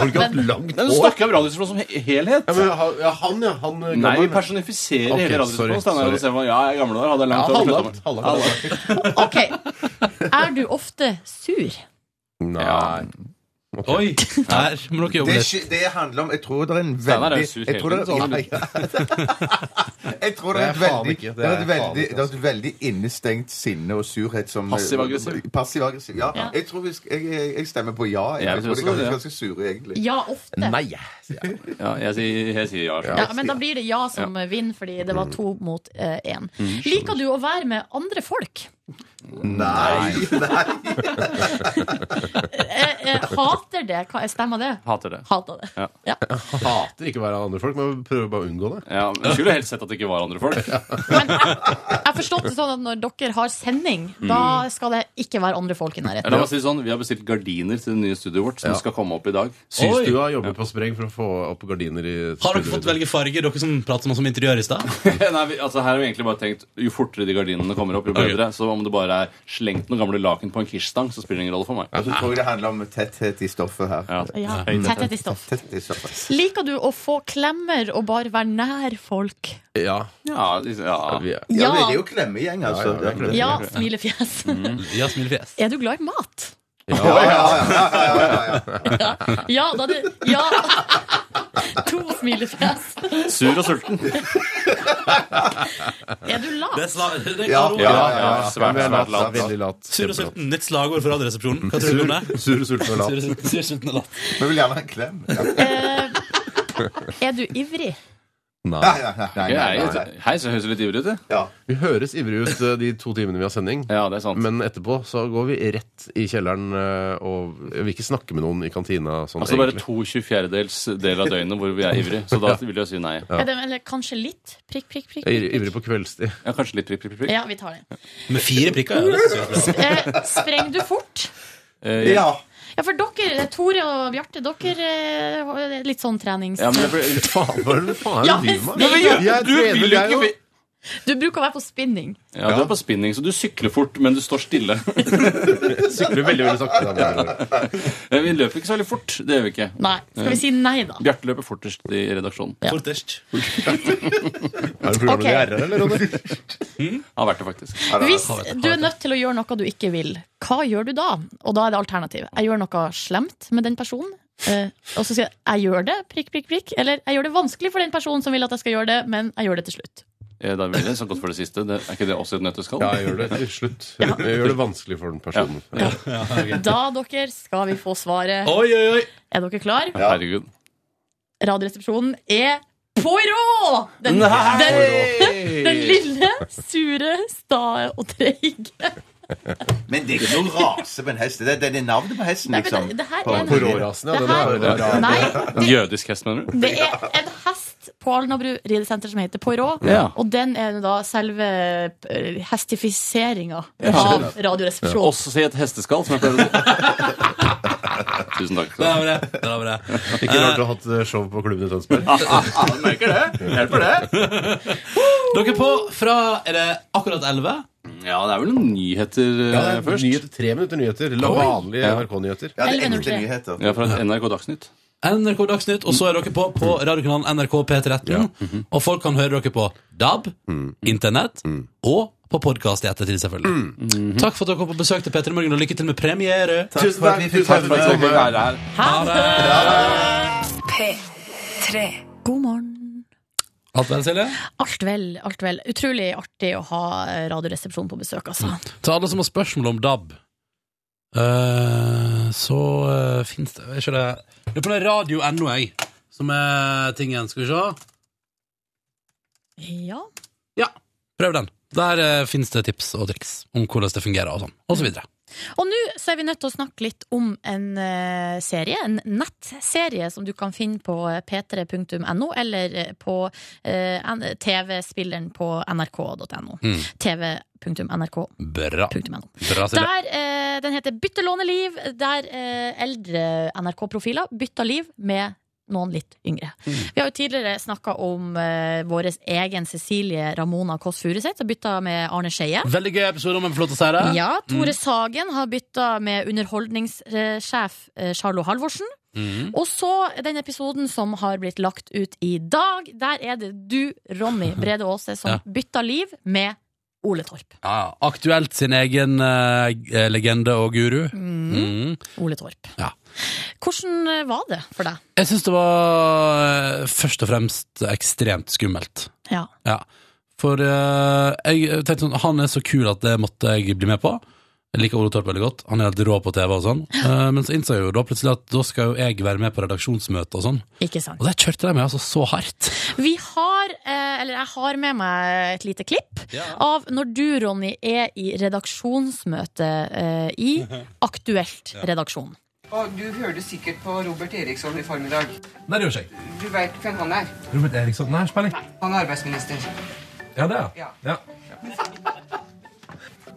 Speaker 10: du ikke hatt langt
Speaker 8: Nei, Du
Speaker 10: hår?
Speaker 8: snakker om Radioresepsjonen som he- helhet.
Speaker 10: Ja, men, ha- ja, han, ja. Han eh,
Speaker 8: Nei, vi
Speaker 10: gammel.
Speaker 8: personifiserer
Speaker 10: Ok,
Speaker 8: hele
Speaker 10: sorry,
Speaker 8: Radioresepsjonen. Steinar
Speaker 10: sorry.
Speaker 8: Radioresepsjonen. Ja, jeg i gamle dager hadde jeg langt
Speaker 10: Ja,
Speaker 8: hår.
Speaker 10: halvlangt,
Speaker 8: sluttet med.
Speaker 10: halvlangt.
Speaker 2: Ok. Er du ofte sur?
Speaker 10: Nei.
Speaker 1: Oi! Her må dere jobbe
Speaker 12: Det, er
Speaker 1: litt.
Speaker 12: ikke- det handler om Jeg tror det er en
Speaker 1: Steinar er
Speaker 12: veldig
Speaker 1: jo sur
Speaker 12: Jeg tror det
Speaker 1: hele
Speaker 12: er,
Speaker 1: tiden,
Speaker 12: ja, ja. Jeg tror det er
Speaker 10: Det
Speaker 12: et
Speaker 10: er faen
Speaker 12: veldig,
Speaker 10: ikke. Det
Speaker 12: det
Speaker 10: er
Speaker 12: er et
Speaker 10: faen
Speaker 12: veldig,
Speaker 10: ikke,
Speaker 12: det er et veldig innestengt sinne og surhet som
Speaker 8: Passiv-aggressiv.
Speaker 12: Passiv-aggressiv, ja.
Speaker 2: Ja.
Speaker 12: Jeg tror vi sk- jeg, jeg, jeg stemmer på ja. Jeg,
Speaker 8: Jeg
Speaker 12: tror
Speaker 8: tror
Speaker 12: det
Speaker 8: også
Speaker 12: er
Speaker 8: det, ja.
Speaker 12: ganske sure, egentlig.
Speaker 2: Ja, ofte.
Speaker 8: Ja, jeg sier, jeg sier ja.
Speaker 2: Ja, men da blir det ja Mm. som vinner, fordi det var to mot én. Liker du å være med andre folk?
Speaker 12: Nei!
Speaker 2: Eh, eh, hater det? Hva- Stemmer det?
Speaker 8: Hater det.
Speaker 2: Hater det.
Speaker 8: Ja.
Speaker 10: Jeg hater ikke å være andre folk, men prøver bare å unngå det.
Speaker 8: Ja, men jeg Skulle helst sett at det ikke var andre folk.
Speaker 2: Jeg har forstått det sånn at når dere har sending, da skal det ikke være andre folk i
Speaker 8: La meg
Speaker 2: nærheten.
Speaker 8: si det sånn, Vi har bestilt gardiner til det nye studioet vårt, som
Speaker 10: Ja.
Speaker 8: skal komme opp i dag.
Speaker 10: Systua jobber på spreng for å få opp gardiner i
Speaker 1: Har dere fått velge farge, dere som prater om som interiør i stad?
Speaker 8: Nei, vi, altså Her har vi egentlig bare tenkt jo fortere de gardinene kommer opp, jo bedre. Så om det bare er slengt noen gamle laken på en kirsstang, så spiller det ingen rolle for meg.
Speaker 12: Og så tror jeg det handler om tetthet i stoffet her.
Speaker 2: Ja, tetthet i stoff.
Speaker 12: Tetthet i stoffet.
Speaker 2: Liker du å få klemmer og bare være nær folk?
Speaker 10: Ja.
Speaker 8: Ja, liksom, ja.
Speaker 10: Vi er,
Speaker 2: Ja.
Speaker 12: Ja, det er jo klemmegjeng, altså.
Speaker 10: Ja, ja, det er klart.
Speaker 2: Ja, smilefjes.
Speaker 1: Ja, smilefjes.
Speaker 2: Er du glad i mat?
Speaker 10: Ja,
Speaker 2: Ja, da er det Ja! To smilefjes.
Speaker 8: Sur og sulten.
Speaker 2: Er du lat?
Speaker 1: Det er sla- det er
Speaker 10: Ja,
Speaker 1: klare ord.
Speaker 10: ja, ja, ja.
Speaker 8: Svært,
Speaker 10: Vi er
Speaker 8: svært lat.
Speaker 10: Veldig lat.
Speaker 1: Sur og sulten. Nytt slagord for Radioresepsjonen. Hva tror du om det?
Speaker 10: Sur, sulten og
Speaker 1: Sur og
Speaker 10: lat.
Speaker 1: sulten- sur, sulten og latt.
Speaker 12: Vi vil gjerne ha en klem. Ja.
Speaker 2: Eh, Er du ivrig?
Speaker 10: Nei.
Speaker 12: Nei, nei, nei,
Speaker 8: Jeg
Speaker 12: nei,
Speaker 8: er
Speaker 12: nei.
Speaker 8: jo- Hei, så høres du litt ivrig ut, du.
Speaker 12: Ja.
Speaker 10: Vi høres ivrige ut eh, de to timene vi har sending,
Speaker 8: Ja, det er sant.
Speaker 10: men etterpå så går vi rett i kjelleren eh, og jeg vil ikke snakke med noen i kantina. Sånn,
Speaker 8: Altså bare
Speaker 10: egentlig.
Speaker 8: to 24-dels del av døgnet hvor vi er ivrig, så da vil jeg si nei.
Speaker 2: Er det, eller kanskje litt? Prikk, prikk, prikk.
Speaker 10: Jeg er Ivrig på kveldstid.
Speaker 8: Ja, kanskje litt prikk, prikk, prikk.
Speaker 2: Ja, vi tar det.
Speaker 1: Med fire prikker? Ja, det synes jeg er bra.
Speaker 2: Eh, spreng du fort?
Speaker 8: Eh,
Speaker 12: Ja.
Speaker 2: Ja, for dere, Tore og Bjarte, dere eh, er litt sånn trenings...
Speaker 8: ja, men jeg ble,
Speaker 10: Faen, hva er det faen er det
Speaker 2: Ja, men-
Speaker 10: du driver med? Jeg
Speaker 8: Du vil
Speaker 10: trener,
Speaker 8: jo ikke
Speaker 10: jeg jo.
Speaker 8: vi-
Speaker 2: Du bruker å være på spinning.
Speaker 12: Ja, Du er på spinning, så du sykler fort, men du står stille.
Speaker 10: sykler veldig veldig sakte.
Speaker 12: Ja. Eh, Vi løper ikke så veldig fort. Det gjør vi ikke.
Speaker 2: Nei. Skal vi si nei, da?
Speaker 12: Bjarte løper fortest i redaksjonen.
Speaker 1: Fortest.
Speaker 12: er
Speaker 2: det programmet Ok. de er her, eller, Ronny?
Speaker 12: Har vært det, faktisk.
Speaker 2: Hvis du er nødt til å gjøre noe du ikke vil, hva gjør du da? Og da er det alternativet. Jeg gjør noe slemt med den personen. eh, og så sier jeg 'jeg gjør det', prikk, prikk, prikk. Eller 'jeg gjør det vanskelig for den personen som vil at jeg skal gjøre det', men jeg gjør det til slutt.
Speaker 12: Eh, Da vil jeg så godt for det siste. Det, er ikke det også et nøtteskall?
Speaker 10: Ja, jeg gjør det til slutt. Jeg gjør det vanskelig for den personen.
Speaker 2: Da, dere, skal vi få svaret.
Speaker 10: Oi, oi, oi.
Speaker 2: Er dere klar?
Speaker 12: Herregud.
Speaker 2: Radioresepsjonen er Poirot! Den,
Speaker 12: Nei!
Speaker 2: den, den lille, sure, sta og treige.
Speaker 11: Men det er ikke noen rase på en hest. Det er, den er navnet på hesten,
Speaker 2: Nei, men
Speaker 11: liksom.
Speaker 2: det- det her er
Speaker 11: På-
Speaker 2: en-
Speaker 11: på rårasen,
Speaker 2: det her- Nei,
Speaker 12: Jødisk hest, mener du?
Speaker 2: Det er en hest på Alnabru ridesenter som heter Poirot,
Speaker 12: Ja.
Speaker 2: og den er jo da selve eh, hestifiseringa
Speaker 12: Ja.
Speaker 2: av Radioresepsjonen.
Speaker 12: Også si et hesteskall, som jeg pleier å si. Tusen takk.
Speaker 1: Der var det. Der var det.
Speaker 10: Ikke rart du har hatt eh, show på klubben i Tønsberg.
Speaker 1: Du merker det. Hjelper det. Dere på fra Er det akkurat 11?
Speaker 12: Ja, det er vel noen nyheter eh,
Speaker 10: Ja, det er
Speaker 12: først?
Speaker 10: nyheter, tre minutter nyheter. La
Speaker 12: Oi.
Speaker 10: vanlige
Speaker 12: Ja.
Speaker 10: NRK-nyheter.
Speaker 12: Ja, det er enkle nyheter. Ja, fra NRK Dagsnytt.
Speaker 1: NRK Dagsnytt, og så er dere på på radiokanalen NRK P13. Og folk kan høre dere på DAB, Internett og på podkast i ettertid, selvfølgelig. Takk for at dere kom på besøk til P3 Morgen, og lykke til med premiere.
Speaker 11: Takk Tusen for at takk. vi fikk Takk for at vi fikk være her.
Speaker 1: Ha det!
Speaker 2: P3. God morgen.
Speaker 1: Alt vel, Silje?
Speaker 2: Alt vel, alt vel. Utrolig artig å ha eh, Radioresepsjonen på besøk, altså.
Speaker 1: Til alle som har spørsmål om DAB, eh, så uh, fins det Er ikke det Det er på den radio.no, jeg, som er tingen. Skal vi se.
Speaker 12: Mm.
Speaker 2: Ja.
Speaker 1: Prøv den. Der uh, fins det tips og triks om hvordan det fungerer og sånn, og så videre.
Speaker 2: Og nå så er vi nødt til å snakke litt om en eh, serie, en nettserie som du kan finne på eh, p3.no eller eh, på eh, N- TV-spilleren på nrk.no.
Speaker 1: Mm.
Speaker 2: tv.nrk.
Speaker 1: Bra. Bra, Silje.
Speaker 2: Der, eh, den heter Bytte låne liv, der eh, eldre NRK-profiler bytter liv med noen litt yngre.
Speaker 1: Mm.
Speaker 2: Vi har jo tidligere snakka om eh, vår egen Cecilie Ramona Kåss Furuseth, som bytta med Arne Skeie.
Speaker 1: Veldig gøy episode, om jeg får lov til å si det.
Speaker 2: Ja, Tore
Speaker 1: Mm.
Speaker 2: Sagen har bytta med underholdningssjef eh, Charlo Halvorsen.
Speaker 1: Mm.
Speaker 2: Og så den episoden som har blitt lagt ut i dag. Der er det du, Ronny Brede Aase, som
Speaker 1: Ja.
Speaker 2: bytta liv med Ole Torp.
Speaker 1: Ja, aktuelt sin egen eh, legende og guru.
Speaker 2: Mm. Ole Torp.
Speaker 1: Ja.
Speaker 2: Hvordan eh, var det for deg?
Speaker 1: Jeg syns det var eh, først og fremst ekstremt skummelt.
Speaker 2: Ja.
Speaker 1: Ja. For eh, jeg tenkte sånn, han er så kul at det måtte jeg bli med på. Jeg liker Ole Torp veldig godt. Han er helt rå på TV og sånn. Eh, men så innså jeg jo da plutselig at da skal jo jeg være med på redaksjonsmøte og sånn.
Speaker 2: Ikke sant?
Speaker 1: Og der kjørte de meg altså så hardt.
Speaker 2: Vi har, eh, eller jeg har med meg et lite klipp av når du, Ronny, er i redaksjonsmøte eh, i Aktuelt redaksjon.
Speaker 13: Og du hørte sikkert på Robert Eriksson i formiddag.
Speaker 1: Nei, det gjør ikke
Speaker 13: Du veit hvem han er?
Speaker 1: Robert Eriksson, nei, spilling.
Speaker 13: Han er arbeidsminister.
Speaker 1: Ja, det er ja.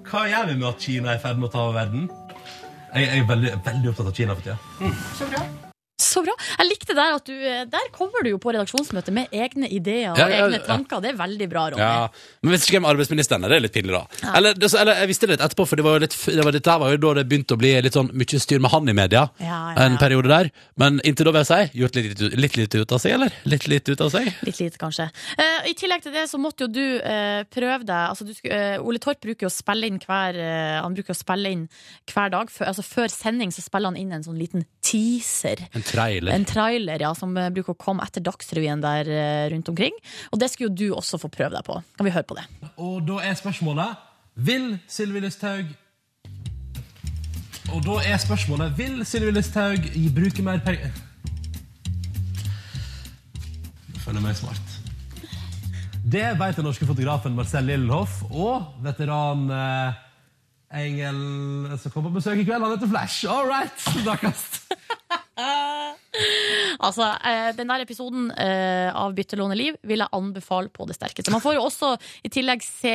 Speaker 1: Hva gjør vi med at Kina er i ferd med å ta over verden? Jeg, er veldig, opptatt av Kina for tida.
Speaker 13: Så bra.
Speaker 2: Så bra. Jeg likte der at du eh, Der kommer du jo på redaksjonsmøte med egne ideer og
Speaker 1: Ja, ja,
Speaker 2: egne
Speaker 1: ja.
Speaker 2: tanker. Det er veldig bra, Ronny.
Speaker 1: Ja, men hvis ikke hvem arbeidsministeren er, det er litt pinlig, da.
Speaker 2: Ja.
Speaker 1: Eller, det- eller jeg visste det litt etterpå, for det var jo litt, det var, dette her var jo da det begynte å bli litt sånn mye styr med han i media.
Speaker 2: Ja,
Speaker 1: En periode der. Men inntil da vil jeg si gjort litt, litt, litt lite ut av seg, eller? Litt lite ut av seg.
Speaker 2: Litt lite, kanskje. Eh, I tillegg til det så måtte jo du eh, prøve deg altså, du, sku- eh, Ole Torp bruker jo å spille inn hver eh, Han bruker å spille inn hver dag. Før, altså, før sending så spiller han inn en sånn liten teaser.
Speaker 1: En trailer.
Speaker 2: En trailer, ja, som eh, bruker å komme etter Dagsrevyen der eh, rundt omkring. Og det skulle jo du også få prøve deg på. Kan vi høre på det?
Speaker 1: Og da er spørsmålet Vil Sylvi Listhaug Og da er spørsmålet Vil Sylvi Listhaug gi- bruke mer penger Jeg føler meg smart. Det vet den norske fotografen Marcel Lillenhoff og veteran eh, Engel som kom på besøk i kveld. Han heter Flash. All right! Snakkes.
Speaker 2: Altså, eh, den der episoden eh, av Byttelåne liv vil jeg anbefale på det sterkeste. Man får jo også i tillegg se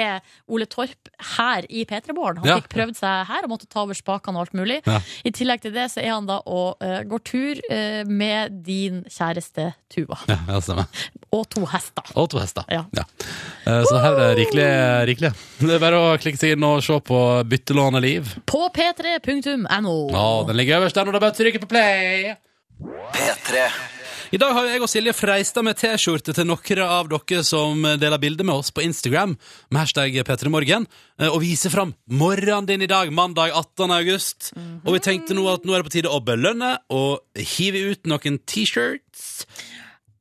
Speaker 2: Ole Torp her i P3-båren. Han
Speaker 14: Ja.
Speaker 2: fikk prøvd seg her og måtte ta over spakene og alt mulig.
Speaker 14: Ja.
Speaker 2: I tillegg til det så er han da og eh, går tur eh, med din kjæreste Tuva.
Speaker 1: Ja, det stemmer.
Speaker 2: Og to hester.
Speaker 1: Og to hester.
Speaker 2: Ja.
Speaker 1: Eh, Så her er det rikelig, rikelig. Det er bare å klikke seg inn og se på Byttelån og liv.
Speaker 2: På p3.no.
Speaker 1: Ja, den ligger øverst der når det er bare å trykke på play.
Speaker 5: P3.
Speaker 1: I dag har jo jeg og Silje freista med T-skjorte til noen av dere som deler bilder med oss på Instagram med hashtag P3morgen, eh, og viser fram morgenen din i dag, mandag 18. august. Og vi tenkte nå at nå er det på tide å belønne og hive ut noen T-shirts.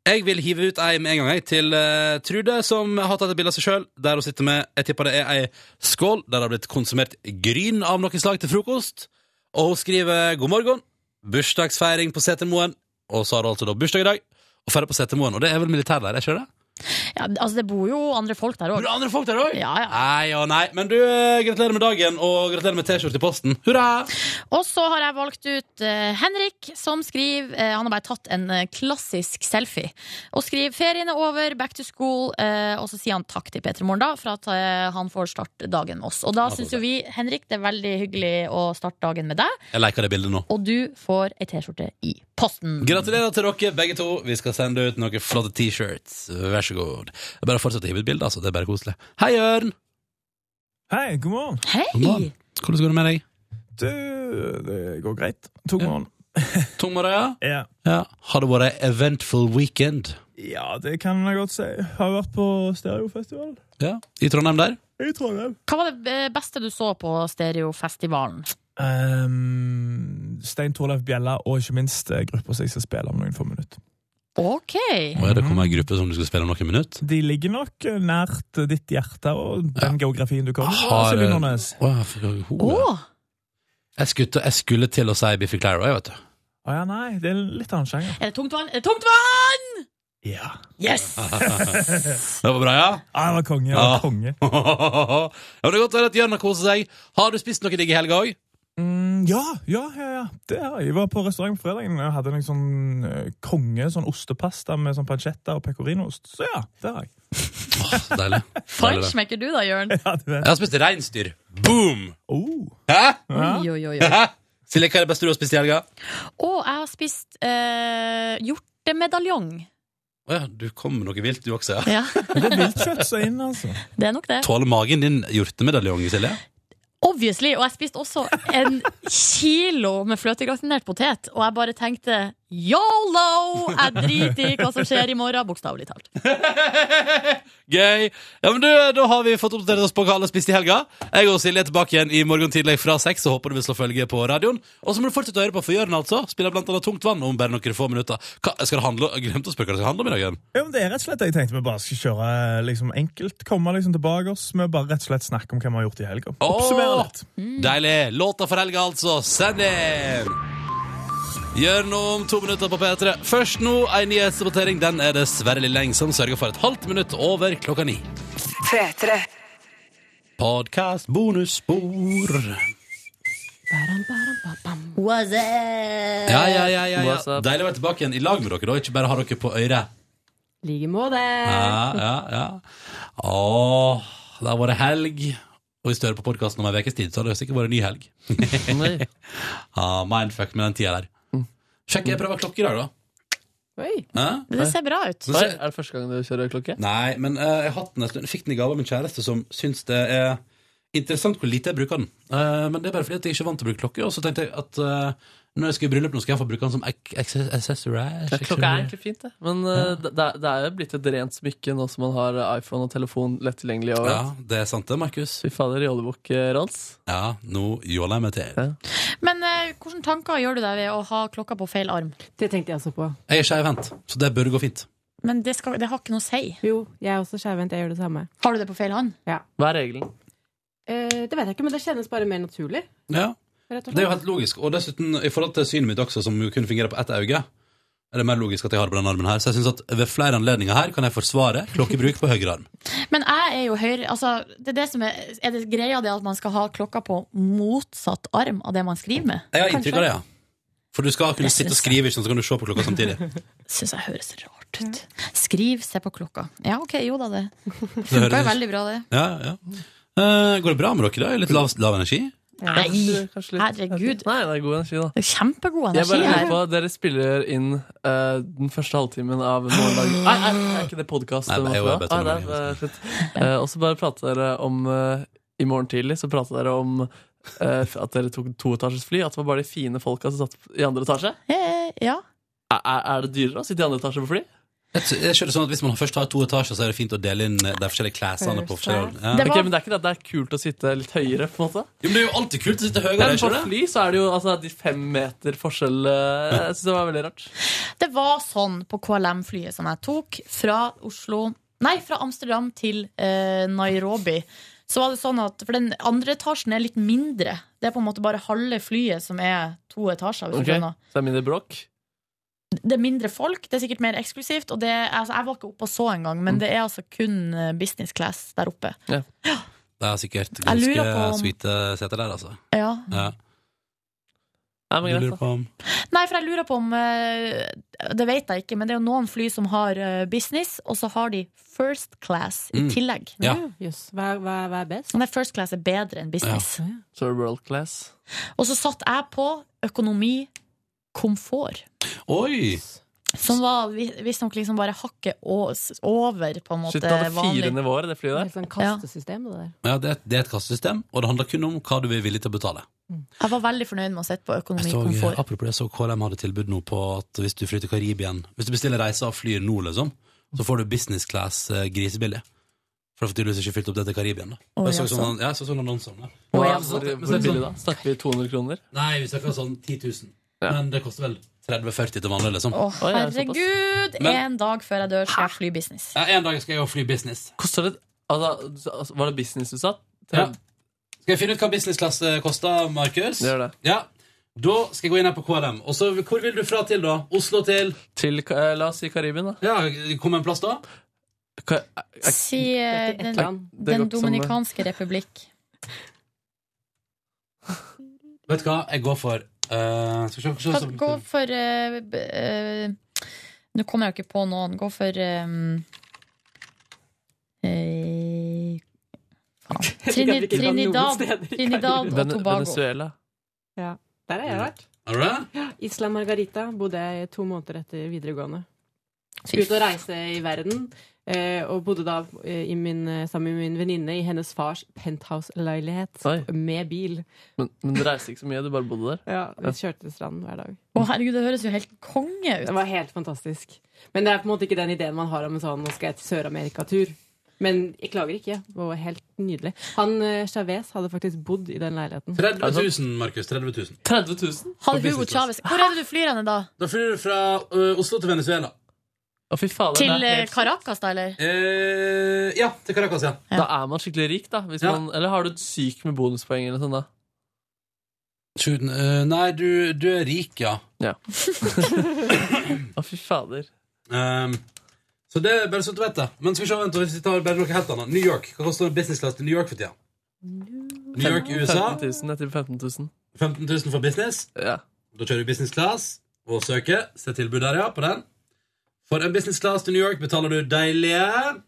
Speaker 1: Jeg vil hive ut ei med en gang jeg, til eh, Trude, som har tatt et bilde av seg sjøl. Der hun sitter med jeg tipper det er ei skål der det har blitt konsumert gryn av noe slag til frokost. Og hun skriver 'God morgen'. Bursdagsfeiring på Setermoen. Og så har hun altså da bursdag i dag. Og ferdig på Setermoen. Og det er vel militærleir, er ikke det?
Speaker 2: Ja, altså, det bor jo andre folk der òg.
Speaker 1: Andre folk der òg?
Speaker 2: Ja, ja.
Speaker 1: Nei og nei. Men du, eh, gratulerer med dagen, og gratulerer med T-skjorte i posten. Hurra!
Speaker 2: Og så har jeg valgt ut eh, Henrik, som skriver eh, Han har bare tatt en eh, klassisk selfie. Og skriver 'Ferien er over, back to school', eh, og så sier han takk til Peter Morgen da, for at eh, han får starte dagen med oss. Og da
Speaker 1: Ja,
Speaker 2: syns
Speaker 1: bra.
Speaker 2: jo vi, Henrik, det er veldig hyggelig å starte dagen med deg,
Speaker 1: Jeg liker det bildet nå.
Speaker 2: og du får ei T-skjorte i posten.
Speaker 1: Gratulerer til dere begge to. Vi skal sende ut noen flotte T-shirts. Vær så god. Det er Bare fortsett å hive ut bilder, altså. Det er bare koselig. Hei, Jørn!
Speaker 15: Hei, god morgen.
Speaker 2: Hei.
Speaker 1: God morgen. Hvordan går det med deg?
Speaker 15: Du, det går greit. Tung morgen.
Speaker 1: Tung morgen, ja?
Speaker 15: ja.
Speaker 1: Ja. Har det vært ei eventful weekend
Speaker 15: Ja, det kan jeg godt si. Har vært på stereofestival.
Speaker 1: Ja. i Trondheim der?
Speaker 15: I Trondheim.
Speaker 2: Hva var det eh, beste du så på stereofestivalen?
Speaker 15: Um, Stein Torleif Bjella og ikke minst eh, grupper som jeg skal spille om noen få minutter.
Speaker 2: OK.
Speaker 1: Og er det kommet ei gruppe som du skal spille om noen minutter?
Speaker 15: De ligger nok eh, nært ditt hjerte og den geografien du kommer fra.
Speaker 1: Har,
Speaker 15: Silje
Speaker 1: eh,
Speaker 15: Nordnes.
Speaker 1: Å, jeg fikk- ho, ja. jeg, skulle, jeg skulle til å si Biffy Clyro, jeg, vet du.
Speaker 15: Å ja, nei, det er en litt annen sjanger.
Speaker 2: Er det tungt vann? Er det tungt vann?!
Speaker 15: Ja.
Speaker 2: Yes!
Speaker 1: det var bra, ja?
Speaker 15: Ja, jeg Ah, var konge. Jeg
Speaker 1: Ja.
Speaker 15: var konge.
Speaker 1: ja, men det er godt å høre at Jørn har koset seg. Har du spist noe digg i helga òg?
Speaker 15: Mm, ja, ja, ja, ja. Det har jeg. Jeg var på restaurant på fredagen og hadde en sånn eh, konge sånn ostepasta med sånn pancetta og pecorinoost. Så ja, det har jeg.
Speaker 1: Deilig.
Speaker 2: Fart smekker du da, Jørn?
Speaker 1: Jeg har spist reinsdyr. Boom! Hæ?
Speaker 2: Oi, oi, oi, oi.
Speaker 1: Hæ? Silje, hva er det beste du har spist i helga?
Speaker 2: Og jeg har spist eh, hjortemedaljong.
Speaker 1: Å ja, du kom med noe vilt, du også, ja.
Speaker 2: Ja.
Speaker 15: Det er viltkjøtt som er inne, altså.
Speaker 2: Det er nok det.
Speaker 1: Tåler magen din hjortemedaljongen, Silje?
Speaker 2: Obviously. Og jeg spiste også en kilo med fløtegratinert potet, og jeg bare tenkte yolo! Jeg driter i hva som skjer i morgen, bokstavelig talt.
Speaker 1: Gøy. Ja, men du, Da har vi fått oppdatert oss på hva alle har spist i helga. Jeg og Silje er tilbake igjen i morgen tidlig fra seks. og Håper du vil slå følge på radioen. Og så må du fortsette å høre på Forgjøren, altså. Spiller blant annet Tungt vann om bare noen få minutter. Hva, skal det handle, jeg glemte å spørre hva det skal handle om i dag. Jørn.
Speaker 15: Ja, men det er rett og slett det jeg tenkte vi bare skal kjøre liksom enkelt. Komme liksom tilbake oss med bare rett og slett snakke om hva vi har gjort i helga. Oppsummere
Speaker 1: Åh,
Speaker 15: litt.
Speaker 1: Deilig. Låta for helga, altså. Send inn! Gjør noe om to minutter på P3. Først nå ei nyhetsrapportering. Den er det Sverre Lilleng som sørger for et halvt minutt over klokka ni.
Speaker 4: P3.
Speaker 1: Podkast bonusspor.
Speaker 2: What's up?
Speaker 1: Ja, ja, ja. ja,
Speaker 16: What's
Speaker 1: ja. Deilig å være tilbake igjen i lag med dere, da. Ikke bare ha dere på øret.
Speaker 16: like måte.
Speaker 1: Ja, ja, ja. Åh, det har vært helg. Og hvis du hører på podkasten om ei ukes tid, så har det sikkert vært en ny helg. ah, mindfuck med den tida der. Sjekk, jeg prøver klokke i dag, da.
Speaker 16: Oi.
Speaker 1: Hæ?
Speaker 2: Det ser bra ut.
Speaker 1: Nå ser-
Speaker 16: Er det første gang du kjører klokke?
Speaker 1: Nei, men eh, jeg har hatt den en stund. Jeg Fikk den i gave av min kjæreste, som syns det er interessant hvor lite jeg bruker den. Eh, men det er bare fordi at jeg ikke er vant til å bruke klokke, og så tenkte jeg at eh, når jeg skal i bryllup, nå skal jeg få bruke den som ac- ac- accessory.
Speaker 8: Klokka er egentlig fint, det. Men eh, det, det er- det er jo blitt et rent smykke nå som man har iPhone og telefon lett tilgjengelig
Speaker 1: Ja,
Speaker 8: overalt.
Speaker 1: det er sant det, Markus.
Speaker 8: Fy fader, jollebukk-rans.
Speaker 1: Ja, nå jåler jeg meg til.
Speaker 2: Men eh, hvilke tanker gjør du deg ved å ha klokka på feil arm?
Speaker 16: Det tenkte jeg også på.
Speaker 1: Jeg er skeivhendt, så det burde gå fint.
Speaker 2: Men det, skal, det har ikke noe å si.
Speaker 16: Jo, jeg er også skjevhendt. Jeg gjør det samme.
Speaker 2: Har du det på feil hånd?
Speaker 16: Ja.
Speaker 8: Hva er regelen?
Speaker 16: Eh, det vet jeg ikke, men det kjennes bare mer naturlig.
Speaker 1: Ja,
Speaker 16: Rett og
Speaker 1: Det er jo
Speaker 16: slett.
Speaker 1: helt logisk. Og dessuten, i forhold til synet mitt også, som jo kun fungerer på ett øye, er det mer logisk at jeg har det på den armen her. Så jeg synes at ved flere anledninger her kan jeg forsvare klokkebruk på høyre arm.
Speaker 2: Men jeg er jo høyre altså, det er, det som er, er det greia det at man skal ha klokka på motsatt arm av det man skriver med?
Speaker 1: Jeg har inntrykk av det, ja. For du skal kunne
Speaker 2: Jeg
Speaker 1: sitte og
Speaker 2: synes
Speaker 1: skrive, ikke sant, så kan du se på klokka samtidig.
Speaker 2: Syns jeg høres rart ut. Skriv, se på klokka. Ja, ok, jo da, det
Speaker 1: høres-
Speaker 2: funka jo veldig bra, det.
Speaker 1: Ja, ja. Eh, går det bra med dere, da? Litt lav, lav energi?
Speaker 2: Nei, herregud.
Speaker 8: Nei, det er god energi, da.
Speaker 2: Det er kjempegod
Speaker 8: Jeg
Speaker 2: energi
Speaker 8: bare lurer
Speaker 2: her.
Speaker 8: på, Dere spiller inn eh, den første halvtimen av morgendagen Nei, nei, er ikke det podkast?
Speaker 1: Nei, nei, jo, jeg vet
Speaker 8: ah,
Speaker 1: det, men-
Speaker 8: det er, eh, shit. Eh, og så bare prater dere om eh, I morgen tidlig så prater dere om eh, at dere tok toetasjes fly. At det var bare de fine folka som satt i andre etasje.
Speaker 2: Eh, Ja.
Speaker 8: Er, er er det dyrere å sitte i andre etasje på fly?
Speaker 1: Jeg tror- jeg skjønner sånn at Hvis man først har to etasjer, så er det fint å dele inn eh, de forskjellige klesene på forskjellige ja.
Speaker 8: Ok, men det er ikke det at det er kult å sitte litt høyere? på en måte
Speaker 1: Jo, men Det er jo alltid kult å sitte høyere.
Speaker 8: Men på
Speaker 1: ikke det?
Speaker 8: fly så er det jo altså, de fem meter forskjell eh, Jeg synes det var veldig rart.
Speaker 2: Det var sånn på KLM-flyet som jeg tok fra Oslo Nei, fra Amsterdam til eh, Nairobi. Så var det sånn at, For den andre etasjen er litt mindre. Det er på en måte bare halve flyet som er to etasjer. Hvis
Speaker 8: Ok,
Speaker 2: du skjønner.
Speaker 8: Så det er mindre bråk?
Speaker 2: Det er mindre folk, det er sikkert mer eksklusivt. Og det, altså, jeg var ikke oppe og så engang, men det er altså kun eh, business class der oppe.
Speaker 1: Det er sikkert
Speaker 2: Jeg lurer på
Speaker 1: ganske
Speaker 2: om-
Speaker 1: sweete seter der, altså.
Speaker 2: Ja.
Speaker 1: Ja.
Speaker 8: Nei, men
Speaker 1: Du
Speaker 8: greit,
Speaker 1: lurer på om
Speaker 2: Nei, for jeg lurer på om eh, Det vet jeg ikke, men det er jo noen fly som har eh, business, og så har de first class i
Speaker 8: Mm.
Speaker 2: tillegg.
Speaker 8: Ja.
Speaker 2: Yes. Hva, er best? Nei, first class er bedre enn business.
Speaker 8: Så er det world class.
Speaker 2: Og så satt jeg på økonomi, komfort.
Speaker 1: Oi!
Speaker 2: Som var vi- visstnok liksom bare hakket å- s- over, på en måte.
Speaker 1: Shit, det hadde fire
Speaker 2: vanlig.
Speaker 1: nivåer, det flyet der.
Speaker 16: Helt sånn kastesystem, det der.
Speaker 1: Ja, det er, et- det er et kassesystem, og det handler kun om hva du er villig til å betale.
Speaker 2: Jeg var veldig fornøyd med å sitte på økonomi,
Speaker 1: Så, eh,
Speaker 2: komfort.
Speaker 1: apropos det, så KLM hadde tilbud nå på at hvis du flyr til Karibien Hvis du bestiller reise og flyr nå, liksom, så får du business class eh, grisebillig. For det har tydeligvis ikke fylt opp det til Karibien, da.
Speaker 8: Å,
Speaker 1: jeg så
Speaker 8: jaså.
Speaker 1: sånn, ja, så sånn annonse om det.
Speaker 8: Hvor,
Speaker 1: Ja,
Speaker 8: hvor,
Speaker 1: så- men så
Speaker 8: hvor
Speaker 1: er det sånn-
Speaker 8: billig da? Snakker vi 200 kroner?
Speaker 1: Nei, vi snakker sånn 10 000. Men det koster vel 30-40 til vanlig, liksom.
Speaker 2: Å, herregud!
Speaker 1: Men-
Speaker 2: En dag før jeg dør, skal jeg fly business.
Speaker 1: Ja, en dag skal jeg jo fly business.
Speaker 8: Koster det altså, altså, Var det Eh, business du sa?
Speaker 1: Ja. Skal jeg finne ut hva business class eh, koster, Markus?
Speaker 8: Gjør det.
Speaker 1: Ja. Da skal jeg gå inn her på KLM. Og så, Hvor vil du fra til, da? Oslo til
Speaker 8: Til, eh, La oss si Karibien, da.
Speaker 1: Ja, Kom en plass, da?
Speaker 2: Si eh,
Speaker 8: Det går
Speaker 2: Den,
Speaker 8: ikke
Speaker 2: den
Speaker 8: sammen.
Speaker 2: dominikanske republikk.
Speaker 1: Vet du hva, jeg går for eh, Skal vi se- se
Speaker 2: Hva-
Speaker 1: se-
Speaker 2: Gå for eh, b- eh, Nå kommer jeg jo ikke på noen. Gå for um, eh, faen. Trini,
Speaker 8: ikke dra noen
Speaker 2: Trinidad,
Speaker 8: steder i
Speaker 2: Trinidad og
Speaker 8: Vene-
Speaker 2: Tobago.
Speaker 8: Venezuela.
Speaker 16: Ja, Der har jeg vært.
Speaker 1: Har du det?
Speaker 16: Isla Margarita bodde jeg i to måneder etter videregående. Skulle ut og reise i verden, eh, og bodde da eh, i min, eh, sammen med min venninne i hennes fars penthouse-leilighet med bil.
Speaker 8: Men, men du reiste ikke så mye, du bare bodde der?
Speaker 16: Ja, vi kjørte til stranden hver dag.
Speaker 2: Å, herregud, det høres jo helt konge ut.
Speaker 16: Det var helt fantastisk. Men det er på en måte ikke den ideen man har om en sånn 'nå skal jeg til Sør-Amerika-tur'. Men jeg klager ikke. Det var helt nydelig. Han eh, Chavez hadde faktisk bodd i den leiligheten.
Speaker 1: 30 000, Markus. 30 000.
Speaker 8: 30 000?
Speaker 2: Han Hugo Chavez. Hvor er det du flyr henne, da?
Speaker 1: Da flyr du fra ø, Oslo til Venezuela.
Speaker 8: Å, fy fader,
Speaker 2: Til
Speaker 8: det er
Speaker 2: eh,
Speaker 8: helt-
Speaker 2: Caracas, da, eller?
Speaker 1: Eh, ja, til Caracas, ja.
Speaker 8: Da er man skikkelig rik, da. Hvis man, eller har du et syk med bonuspoeng eller sånn, da?
Speaker 1: Tjuden, eh, nei, du, du er rik, ja.
Speaker 8: Ja. Å, fy fader.
Speaker 1: Ehm, så det er bare sånn at du vet det. Men skal vi se, vent, hvis vi tar bare noe helt annet. New York. Hva koster business class til New York for tida? New York i USA.
Speaker 8: 15 000, jeg tipper 15 000.
Speaker 1: 15 000 for business. Da kjører du business class og søker. Se tilbud der, ja, på den. For en business class til New York betaler du deilige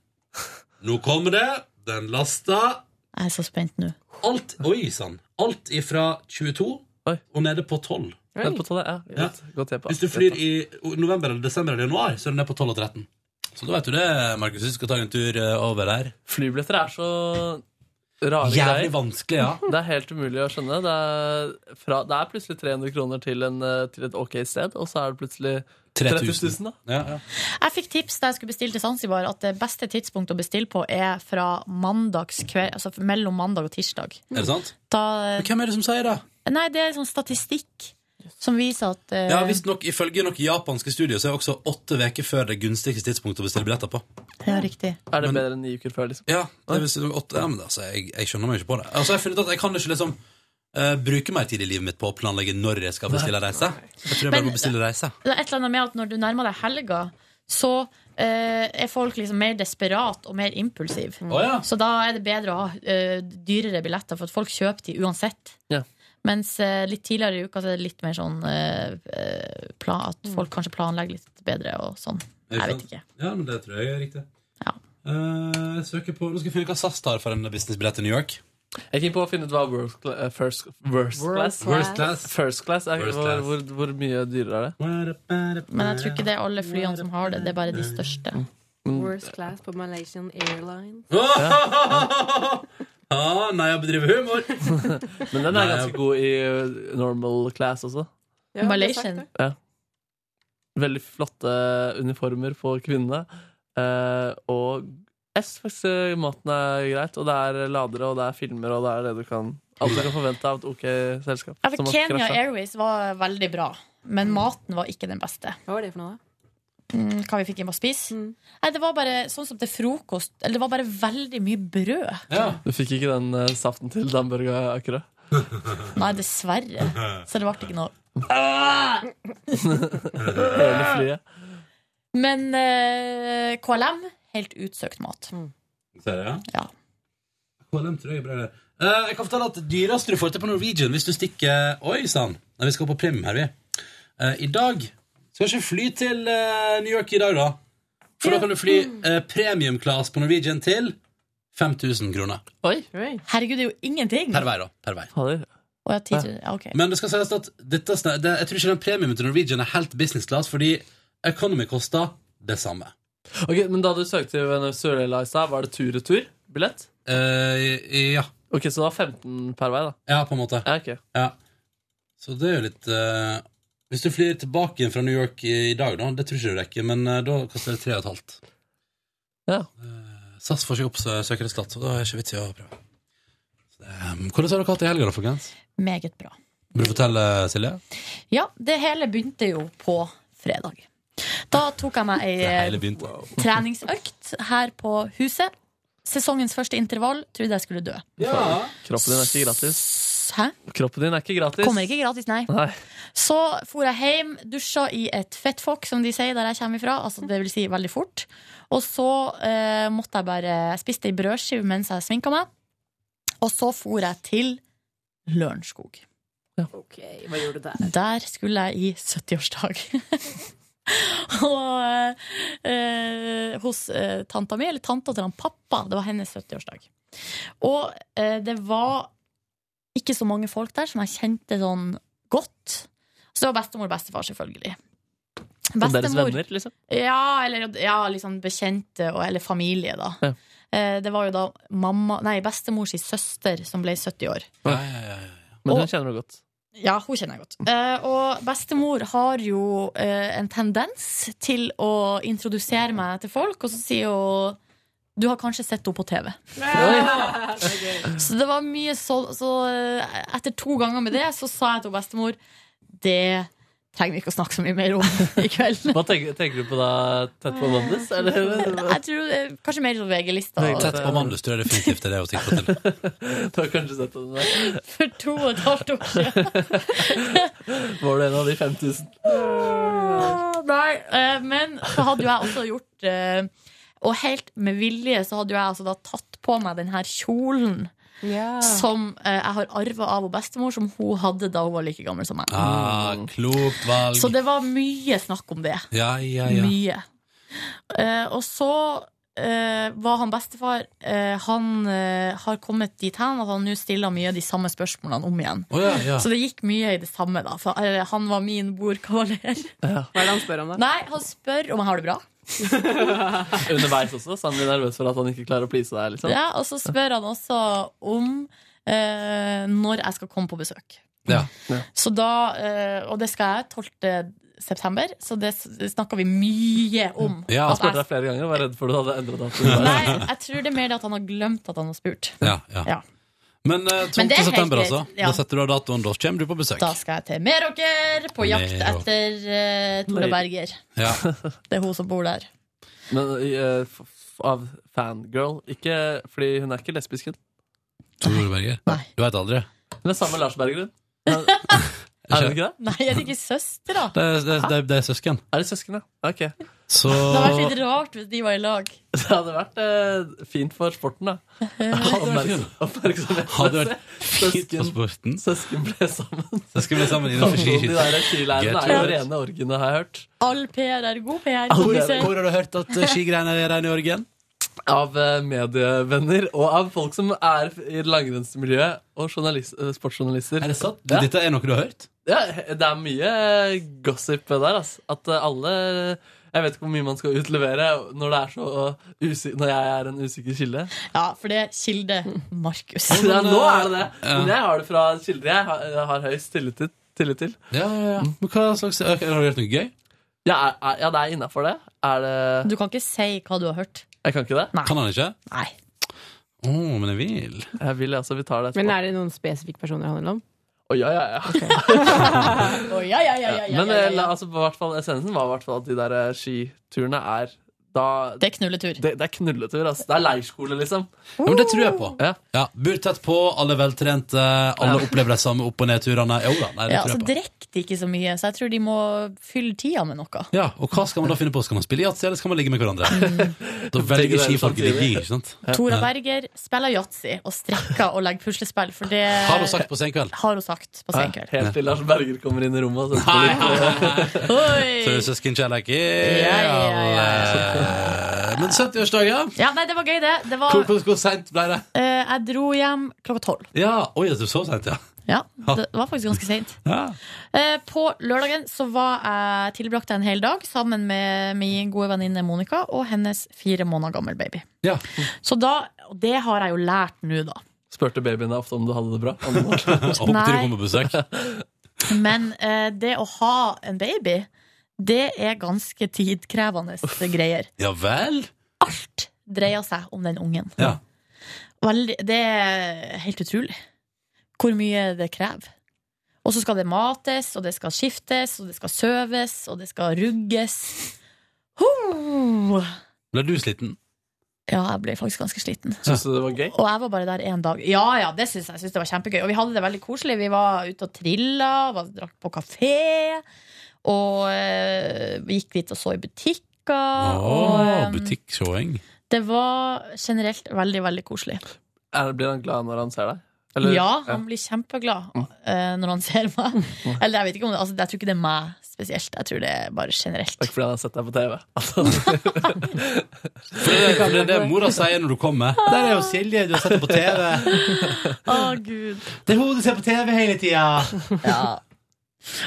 Speaker 1: Nå kommer det. Den lasta.
Speaker 2: Jeg er så spent nå.
Speaker 1: Alt Oi sann. Alt ifra 22 og nede på 12.
Speaker 8: Nede på 12, ja. Godt, godt jeppa.
Speaker 1: Hvis du flyr i november, eller desember eller januar, så er du nede på 12 og 13. Så da vet du det, Markus. Hvis du skal ta en tur eh, over der.
Speaker 8: Flybilletter er så rare
Speaker 1: Jævlig vanskelig, ja.
Speaker 8: Det er helt umulig å skjønne. Det er, fra, det er plutselig 300 kroner til, en, eh, til et ok sted, og så er det plutselig 30 000, da.
Speaker 1: Ja,
Speaker 2: Jeg fikk tips da jeg skulle bestille til Zanzibar, at det beste tidspunktet å bestille på er fra mandagskveld, altså mellom mandag og tirsdag.
Speaker 1: Er det sant?
Speaker 2: Da,
Speaker 1: Men hvem er det som sier det?
Speaker 2: Nei, det er sånn statistikk som viser at eh,
Speaker 1: Ja, visstnok ifølge noen japanske studier så er også åtte uker før det gunstigste tidspunktet å bestille billetter på.
Speaker 2: Ja, riktig.
Speaker 8: Er det bedre enn ni uker før, liksom?
Speaker 1: Ja, det vil si nok åtte ja, men altså, jeg, jeg skjønner meg ikke på det. Altså, jeg har funnet ut at jeg kan ikke liksom eh, bruke mer tid i livet mitt på å planlegge når jeg skal bestille reise. Jeg tror jeg bare
Speaker 2: Men-
Speaker 1: må bestille reise.
Speaker 2: Det er et eller annet med at når du nærmer deg helga, så eh, er folk liksom mer desperat og mer impulsiv.
Speaker 1: Å, ja.
Speaker 2: Så da er det bedre å ha eh, dyrere billetter, for at folk kjøper de uansett. Mens eh, litt tidligere i uka så er det litt mer sånn eh, eh, plan, at folk kanskje planlegger litt bedre og sånn. Jeg vet ikke.
Speaker 1: Ja, men det tror jeg er riktig. Eh, jeg søker på, nå skal jeg finne ut hva SAS tar for en businessbillett til New York.
Speaker 8: Jeg er keen på å finne ut hva world cla- eh, first, worst
Speaker 1: World
Speaker 8: class.
Speaker 1: Worst class.
Speaker 8: First class er,
Speaker 1: Worst
Speaker 8: hvor,
Speaker 1: class.
Speaker 8: hvor, hvor mye dyrere er det?
Speaker 2: Men jeg tror ikke det er alle flyene som har det. Det er bare de største.
Speaker 8: Mm.
Speaker 16: Worst class på Malaysian Airlines.
Speaker 1: Ah, nei, jeg bedriver humor!
Speaker 8: Men den er ganske god i eh, normal class også.
Speaker 16: Ja,
Speaker 2: Malaysian.
Speaker 8: Ja. Veldig flotte uniformer på kvinnene. Eh, og jeg synes faktisk eh, maten er greit, og det er ladere, og det er filmer, og det er det du kan Alt du kan forvente av et OK selskap.
Speaker 2: Ja, for
Speaker 8: som har
Speaker 2: Kenya
Speaker 8: krasjet. Mm.
Speaker 2: Airways var veldig bra, men maten var ikke den beste.
Speaker 16: Hva var det for noe,
Speaker 2: da? Mm, hva vi fikk hjem å spise?
Speaker 8: Mm.
Speaker 2: Nei, det var bare sånn som til frokost Eller det var bare veldig mye brød.
Speaker 8: Du fikk ikke den eh, saften til Damburga Akerø?
Speaker 2: Nei, dessverre. Så det ble ikke noe
Speaker 8: Hele flyet.
Speaker 2: Men eh, KLM, helt utsøkt mat.
Speaker 8: Mm.
Speaker 1: Ser jeg,
Speaker 2: ja.
Speaker 1: KLM tror jeg er bra der. Eh, jeg kan fortelle at det dyreste du får til på Norwegian hvis du stikker Oi sann! Nei, vi skal på Prim her, vi. Eh, I dag Skal ikke fly til eh, New York i dag, da. For da kan du fly uh, premium class på Norwegian til 5000 kroner.
Speaker 2: Herregud, det er jo ingenting!
Speaker 1: Per vei, da. Per vei.
Speaker 2: Å, ja, 10 000. Ja, ok.
Speaker 1: Men det skal sies at dette, sna- det, jeg tror ikke den premien til Norwegian er helt business class, fordi economy koster det samme.
Speaker 8: Ok, Men da du søkte i Venezuela i stad, var det tur-retur-billett?
Speaker 1: Eh, ja.
Speaker 8: Ok, Så det var 15 per vei, da?
Speaker 1: Ja, på en måte.
Speaker 8: Ja, ok.
Speaker 1: Ja. Så det er jo litt eh, Hvis du flyr tilbake igjen fra New York i i dag, da, det tror jeg ikke du rekker, men eh, da koster det tre og et halvt. Eh,
Speaker 8: Ja.
Speaker 1: SAS får ikke opp sø- søkerresultat, så da er det ikke vits i å prøve. Så, eh, hvordan har dere hatt det i helga, da, folkens?
Speaker 2: Meget bra.
Speaker 1: Vil du fortelle, Silje?
Speaker 2: Ja, det hele begynte jo på fredag. Da tok jeg meg ei
Speaker 1: Hele begynte.
Speaker 2: treningsøkt her på huset. Sesongens første intervall. Trodde jeg skulle dø.
Speaker 8: Ja. Kroppen din er ikke gratis.
Speaker 2: Hæ?
Speaker 8: Kroppen din er ikke gratis.
Speaker 2: Kommer ikke gratis, nei.
Speaker 8: Nei.
Speaker 2: Så for jeg hjem, dusja i et fettfokk, som de sier der jeg kommer ifra. Altså, det vil si veldig fort. Og så eh, måtte jeg bare Jeg spiste ei brødskive mens jeg sminka meg. Og så for jeg til Lørenskog.
Speaker 16: Ok, hva gjorde du der?
Speaker 2: Der skulle jeg i 70-årsdag. Og eh, hos eh, tanta mi, eller tanta til han pappa. Det var hennes 70-årsdag. Og eh, det var ikke så mange folk der som jeg kjente sånn godt. Så det var bestemor og bestefar, selvfølgelig.
Speaker 8: Som deres
Speaker 2: Bestemor-
Speaker 8: venner, liksom.
Speaker 2: Ja, eller ja, liksom bekjente og, eller familie, da.
Speaker 8: Ja.
Speaker 2: Eh, Det var jo da mamma, nei, bestemors søster som ble 70 år.
Speaker 8: Men
Speaker 2: Og-
Speaker 8: hun kjenner du godt.
Speaker 2: Ja, hun kjenner jeg godt. Eh, og bestemor har jo eh, en tendens til å introdusere meg til folk, og så sier hun du har kanskje sett henne på TV. Så det var mye så, så eh, etter to ganger med det, så sa jeg til bestemor det trenger vi ikke å snakke så mye mer om i kveld.
Speaker 8: Hva tenker, tenker du på da? Tett på Mandus?
Speaker 2: Jeg tror eh, Kanskje mer sånn VG-lista.
Speaker 1: Tett på Mandus tror jeg definitivt er det å tenke på til.
Speaker 8: Du har kanskje sett den der.
Speaker 2: For to og et halvt år siden.
Speaker 8: Var du en av de 5000?
Speaker 2: Nei, eh, men så hadde jo jeg også gjort eh, Og helt med vilje så hadde jo jeg altså da tatt på meg den her kjolen.
Speaker 1: Ah.
Speaker 2: Som eh, jeg har arva av hun bestemor, som hun hadde da hun var like gammel som meg.
Speaker 1: Ah, klokt valg.
Speaker 2: Så det var mye snakk om det.
Speaker 1: Ja, ja, ja.
Speaker 2: Mye. Eh, og så eh, var han bestefar eh, Han eh, har kommet dit hen at han nå stiller mye av de samme spørsmålene om igjen.
Speaker 1: Å, ja, ja.
Speaker 2: Så det gikk mye i det samme, da. For, eh, han var min bordkavaler.
Speaker 16: Hva er det han spør om, da?
Speaker 2: Nei, han spør om jeg har det bra.
Speaker 8: Underveis også, så han blir nervøs for at han ikke klarer å please deg. liksom
Speaker 2: Ja, og så spør han også om eh, når jeg skal komme på besøk.
Speaker 1: Ja.
Speaker 2: Så da, eh, og det skal jeg 12. september, så det snakka vi mye om.
Speaker 8: Ja, Han
Speaker 2: At
Speaker 8: spurte
Speaker 2: jeg,
Speaker 8: deg flere ganger og var redd for du hadde endret
Speaker 2: nei,
Speaker 8: datoen.
Speaker 2: jeg tror det er mer det at han har glemt at han har spurt.
Speaker 1: Ja, ja.
Speaker 2: Ja.
Speaker 1: Men eh, 12.
Speaker 2: Men det er helt
Speaker 1: september,
Speaker 2: greit,
Speaker 1: altså.
Speaker 2: ja.
Speaker 1: Da setter du av datoen. Da kommer du på besøk.
Speaker 2: Da skal jeg til Meråker på jakt
Speaker 1: Meråker.
Speaker 2: etter uh, Tora Berger.
Speaker 1: Ja.
Speaker 2: Det er hun som bor der.
Speaker 8: Men eh, f- f- av fangirl. Ikke, fordi hun er ikke lesbisk. hun.
Speaker 1: Tor Berger. Du veit aldri.
Speaker 8: Hun er sammen med Lars Berger, hun. Er hun ikke det?
Speaker 2: Nei, er det ikke søster, da?
Speaker 1: Det, er- det, er- det, er- det er søsken.
Speaker 8: Er det søsken, ja? Ok.
Speaker 1: Så
Speaker 2: Det hadde vært litt rart hvis de var i lag.
Speaker 8: Det hadde vært eh, fint for sporten, da. Oppmerksom-
Speaker 1: Hadde
Speaker 8: Oppmerksomhetsmessig.
Speaker 1: vært fint på sporten.
Speaker 8: Søsken ble sammen.
Speaker 1: Søsken ble sammen innenfor skiskyting.
Speaker 8: De der skilærerne er jo
Speaker 1: Get it.
Speaker 8: rene orgiene, har jeg hørt.
Speaker 2: All PR er god PR.
Speaker 1: Hvor,
Speaker 2: kompiser.
Speaker 1: hvor har du hørt at eh, skigreiene er rene i orgen?
Speaker 8: Av eh, medievenner og av folk som er i langrennsmiljøet, og journalist, eh, sportsjournalister.
Speaker 1: Er det sant?
Speaker 8: Ja.
Speaker 1: Dette er noe du har hørt?
Speaker 8: Ja, det er mye eh, gossip der, ass. At eh, alle Jeg vet ikke hvor mye man skal utlevere når, det er så usik når jeg er en usikker kilde.
Speaker 2: Ja, for det er kilde Markus.
Speaker 8: Ja, nå er det det.
Speaker 1: eh, Ja.
Speaker 8: Men jeg har det fra kilder jeg har, jeg har høyst tillit til. Tillit til.
Speaker 1: Ja, ja, ja. Mm, Men hva slags ok, Har du gjort noe gøy?
Speaker 8: Ja, er, er, ja det er innafor det. Er det
Speaker 2: Du kan ikke si hva du har hørt.
Speaker 8: Jeg kan ikke det?
Speaker 1: Kan han ikke?
Speaker 2: Nei.
Speaker 1: Å, men jeg vil.
Speaker 8: Jeg vil, altså. Vi tar det
Speaker 16: Men
Speaker 8: etterpå.
Speaker 16: er det noen spesifikke personer det handler om?
Speaker 8: Å, ja, ja, ja.
Speaker 2: Å, ja, ja, ja, ja, ja,
Speaker 8: Men
Speaker 2: ja, ja,
Speaker 8: eh,
Speaker 2: ja.
Speaker 8: altså, på hvert fall, essensen var i hvert fall at de der eh, skiturene er da,
Speaker 2: Det er knulletur.
Speaker 8: Det, det er knulletur, altså. Det er leirskole, liksom.
Speaker 1: Ja, men det tror jeg på. Ja, Bor tett på, alle er veltrente, alle opplever de samme opp- og nedturene. Jo da, nei, det
Speaker 2: Ja,
Speaker 1: tror
Speaker 2: altså, så
Speaker 1: jeg på.
Speaker 2: drikker de ikke så mye, så jeg tror de må fylle tida med noe.
Speaker 1: Ja, Og hva skal man da finne på? Skal man spille yatzy, eller skal man ligge med hverandre? Da
Speaker 8: Begge
Speaker 1: velger
Speaker 8: deler
Speaker 1: skifolket
Speaker 8: samtidig.
Speaker 1: ligging, ikke sant?
Speaker 2: Tora
Speaker 1: Ja.
Speaker 2: Berger spiller yatzy og strekker og legger puslespill, for det
Speaker 1: Har hun sagt på senkveld?
Speaker 2: Har hun sagt på senkveld.
Speaker 8: Helt til Lars Berger kommer inn i rommet og setter
Speaker 1: Nei, nei,
Speaker 2: Oi.
Speaker 1: Så er det søskenkjærlighet
Speaker 2: Ja,
Speaker 1: alle. Men 70-årsdagen?
Speaker 2: Ja, nei, det var gøy, det. det var,
Speaker 1: Hvor, hvor, hvor seint ble det?
Speaker 2: eh, jeg dro hjem klokka tolv.
Speaker 1: Ja, Oi, det er så seint, ja.
Speaker 2: Ja, det var faktisk ganske seint.
Speaker 1: ja.
Speaker 2: Eh, På lørdagen så var jeg tilbrakte jeg en hel dag sammen med min gode venninne Monica og hennes fire måneder gammel baby.
Speaker 1: Ja.
Speaker 2: Så da, og det har jeg jo lært nå, da.
Speaker 8: Spurte babyen deg ofte om du hadde det bra? Om du var-
Speaker 1: Håper
Speaker 2: Nei.
Speaker 1: du kommer på besøk.
Speaker 2: Men eh, det å ha en baby, det er ganske tidkrevende greier.
Speaker 1: Ja vel?
Speaker 2: Dreier seg om den ungen.
Speaker 1: Ja.
Speaker 2: Veldig, det er helt utrolig hvor mye det krever. Og så skal det mates, og det skal skiftes, og det skal søves, og det skal rugges. Ho!
Speaker 1: Ble du sliten?
Speaker 2: Ja, jeg ble faktisk ganske sliten.
Speaker 8: Syns du det var gøy?
Speaker 2: Og jeg var bare der én dag. Ja, ja, det syns jeg. Jeg synes det var kjempegøy. Og vi hadde det veldig koselig. Vi var ute og trilla, var, drakk på kafé. Og eh, vi gikk dit og så i butikker. og
Speaker 1: Åh,
Speaker 2: eh,
Speaker 1: butikksjåing.
Speaker 2: det var generelt veldig, veldig koselig.
Speaker 8: Er, blir han glad når han ser deg?
Speaker 2: ja, han blir kjempeglad eh, når han ser meg. Eller jeg vet ikke om det, altså, jeg tror ikke det er meg spesielt. Jeg tror det er bare generelt.
Speaker 8: Takk fordi han har sett deg på TV.
Speaker 1: For det, for det er det mora sier når du kommer. Der er jo Silje, du har sett henne på TV.
Speaker 2: Å, Gud.
Speaker 1: Det er hun du ser på TV hele tida.
Speaker 2: Ja.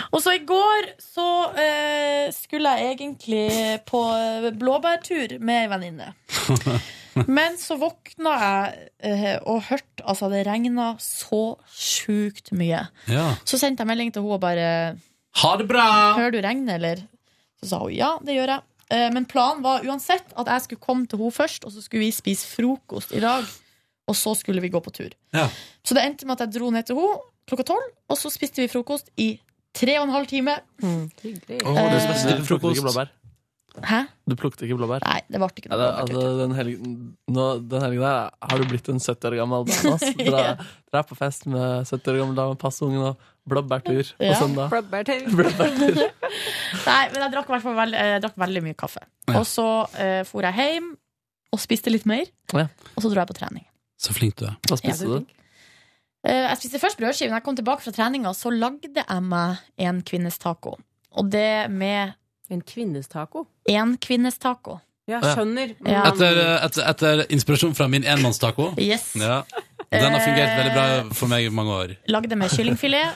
Speaker 2: Og så i går så eh, skulle jeg egentlig på eh, blåbærtur med ei venninne. Men så våkna jeg eh, og hørte Altså, det regna så sjukt mye.
Speaker 1: Ja.
Speaker 2: Så sendte jeg melding til henne og bare
Speaker 1: Ha det bra!
Speaker 2: Hører du regnet, eller? Så sa hun ja, det gjør jeg. Eh, Men planen var uansett at jeg skulle komme til henne først, og så skulle vi spise frokost i dag. Og så skulle vi gå på tur.
Speaker 1: Ja.
Speaker 2: Så det endte med at jeg dro ned til henne klokka tolv, og så spiste vi frokost i tre og en halv time. Eh,
Speaker 1: eh,
Speaker 8: Du plukket ikke blåbær?
Speaker 2: Hæ?
Speaker 8: Du plukket ikke blåbær?
Speaker 2: Nei, det ble ikke noe
Speaker 8: det, altså, den helgen, nå, den helgen der har du blitt en 70 år gammel dame. ass. Dere er- dere er på fest med 70 år gammel dame, pass ungen og blåbærtur på
Speaker 2: Ja.
Speaker 8: søndag.
Speaker 2: Nei, men jeg drakk, i hvert fall veld, eh, jeg drakk veldig mye kaffe.
Speaker 1: altså- Ja.
Speaker 2: Og så eh, for jeg hjem og spiste litt mer,
Speaker 8: Ja.
Speaker 2: og så dro jeg på trening.
Speaker 1: Så flink du er.
Speaker 8: Hva
Speaker 2: spiste Ja. du? Eh, Jeg spiste først brødskive. Når jeg kom tilbake fra treninga, så lagde jeg meg en kvinnes taco. Og det med
Speaker 16: En kvinnes taco?
Speaker 2: En kvinnes taco.
Speaker 16: Ja,
Speaker 1: Ja.
Speaker 16: skjønner.
Speaker 2: Ja.
Speaker 1: Etter, etter, etter inspirasjon fra min enmannstaco.
Speaker 2: Yes.
Speaker 1: Ja. Den har fungert veldig bra for meg i mange år.
Speaker 2: Lagde med kyllingfilet.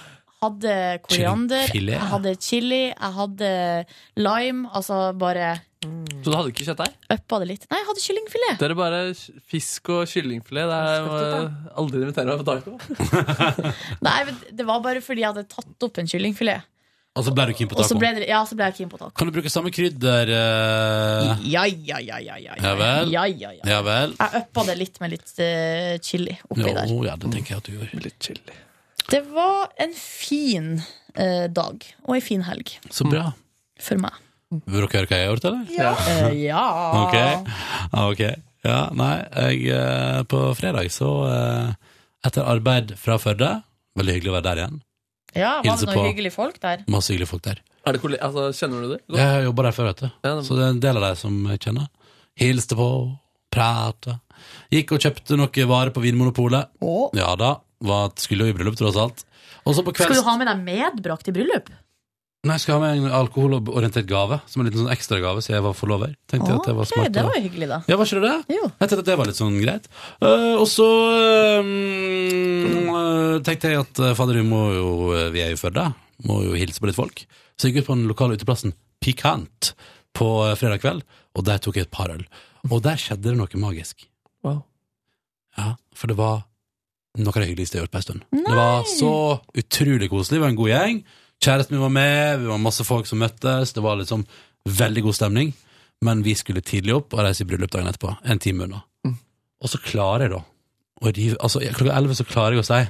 Speaker 2: Hadde koriander,
Speaker 1: Kyllingfilet, ja.
Speaker 2: jeg hadde chili, jeg hadde lime. Altså bare
Speaker 8: Så du hadde ikke kjøttdeig?
Speaker 2: uppa det litt. Nei, jeg hadde kyllingfilet.
Speaker 8: Dere bare fisk og kyllingfilet. Det er, eh,
Speaker 2: Fiskefritt,
Speaker 8: aldri inviterer meg på taco.
Speaker 2: Nei, men Det var bare fordi jeg hadde tatt opp en kyllingfilet.
Speaker 1: Eh, Og så ble du keen på
Speaker 2: Og så
Speaker 1: taco.
Speaker 2: ble, det, ja, så ble jeg keen på taco.
Speaker 1: Kan du bruke samme krydder? eh?
Speaker 2: Ja, ja, ja, ja, ja,
Speaker 1: Ja vel.
Speaker 2: Ja, ja, ja.
Speaker 1: Ja vel.
Speaker 2: Jeg uppa det litt med litt eh, chili oppi
Speaker 1: Jo,
Speaker 2: der.
Speaker 1: ja, det tenker jeg at du gjorde.
Speaker 8: Litt chili.
Speaker 2: Det var en fin eh, dag, og ei en fin helg
Speaker 1: Så bra.
Speaker 2: for meg.
Speaker 1: Vil dere høre hva jeg har gjort, eller?
Speaker 2: Eh, ja.
Speaker 1: Ok. Ja, ok. Ja, nei, jeg eh, På fredag så eh, Etter arbeid fra Førde Veldig hyggelig å være der igjen.
Speaker 2: ja var
Speaker 1: Hilse
Speaker 2: det
Speaker 1: på-
Speaker 2: noen hyggelige folk der?
Speaker 1: Masse hyggelige folk der.
Speaker 8: Er det kolle- altså, kjenner du det?
Speaker 1: Jeg har jobba der før, vet du. Så det er en del av deg som jeg kjenner. Hilste på, prata. Gikk og kjøpte noen varer på Vinmonopolet. Ja da. Var, skulle jo i bryllup, tross alt. Og så på
Speaker 2: Skal
Speaker 1: kvelds
Speaker 2: du ha med deg medbrakt i bryllup?
Speaker 1: Nei, jeg skal ha med en alkoholorientert gave, som en liten sånn ekstragave siden jeg var forlover. Tenkte jeg at det var
Speaker 2: Ok,
Speaker 1: smart.
Speaker 2: det
Speaker 1: å-
Speaker 2: var jo hyggelig, da.
Speaker 1: Ja, var ikke det det? Jeg tenkte at det var litt sånn greit. Eh, og så eh, eh, tenkte jeg at eh, fader, vi må jo, eh, vi er jo i Førde, må jo hilse på litt folk. Så jeg gikk ut på den lokale uteplassen Pikant på eh, fredag kveld, og der tok jeg et par øl. Og der skjedde det noe magisk.
Speaker 8: Wow.
Speaker 1: Ja, for det var noe av det hyggeligste jeg har gjort på en stund. Det var så utrolig koselig, det var en god gjeng. Kjæresten min var med, vi var masse folk som møttes, det var liksom veldig god stemning. Men vi skulle tidlig opp og reise i bryllup dagen etterpå, en time unna. Og så klarer jeg da å rive Altså, jeg- klokka 11 så klarer jeg å si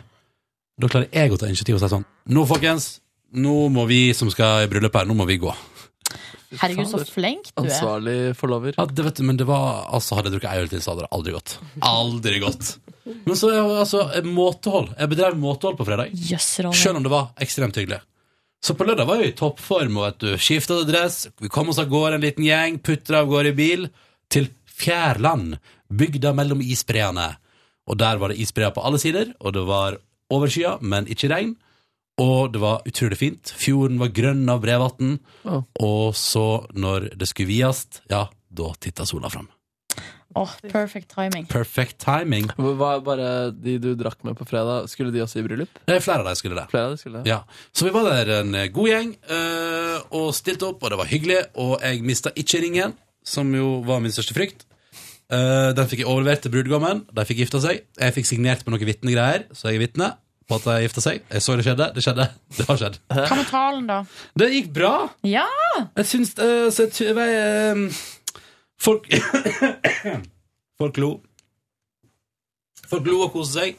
Speaker 1: Da klarer jeg å ta initiativ og si sånn Nå, folkens, nå må vi som skal i bryllup her, nå må vi gå.
Speaker 2: Herregud, så flink du er.
Speaker 1: Ansvarlig forlover. Ja, det vet du, men det var Altså, hadde jeg drukket ei øl til, så hadde det aldri gått. Aldri gått. Men så er jeg altså måtehold. Jeg bedrev måtehold på fredag.
Speaker 2: Jøsserolle.
Speaker 1: Selv om det var ekstremt hyggelig. Så på lørdag var vi i toppform, og vet du, skiftet adress, vi kom oss av gårde en liten gjeng, putter av gårde i bil, til Fjærland, bygda mellom isbreene. Og der var det isbreer på alle sider, og det var overskya, men ikke regn. Og det var utrolig fint. Fjorden var grønn av brevatn.
Speaker 8: Ja.
Speaker 1: Og så, når det skulle viast, ja, da titta sola fram.
Speaker 2: Åh, perfect timing.
Speaker 1: Perfect timing.
Speaker 8: Var bare de du drakk med på fredag, skulle de også i bryllup?
Speaker 1: Nei, flere av dem skulle det.
Speaker 8: Flere av de skulle det.
Speaker 1: Ja. Så vi var der en god gjeng eh, og stilte opp, og det var hyggelig. Og jeg mista ikke ringen, som jo var min største frykt. Eh, den fikk jeg overlevert til brudgommen. De fikk gifta seg. Jeg fikk signert på noen vitnegreier, så jeg er vitne på at de gifta seg. Jeg så det skjedde. Det skjedde. Det har skjedd.
Speaker 2: Hva med talen, da?
Speaker 1: Det gikk bra.
Speaker 2: Ja!
Speaker 1: Jeg syns eh, så jeg, tror jeg, eh, Folk Folk lo. Folk lo og koste seg.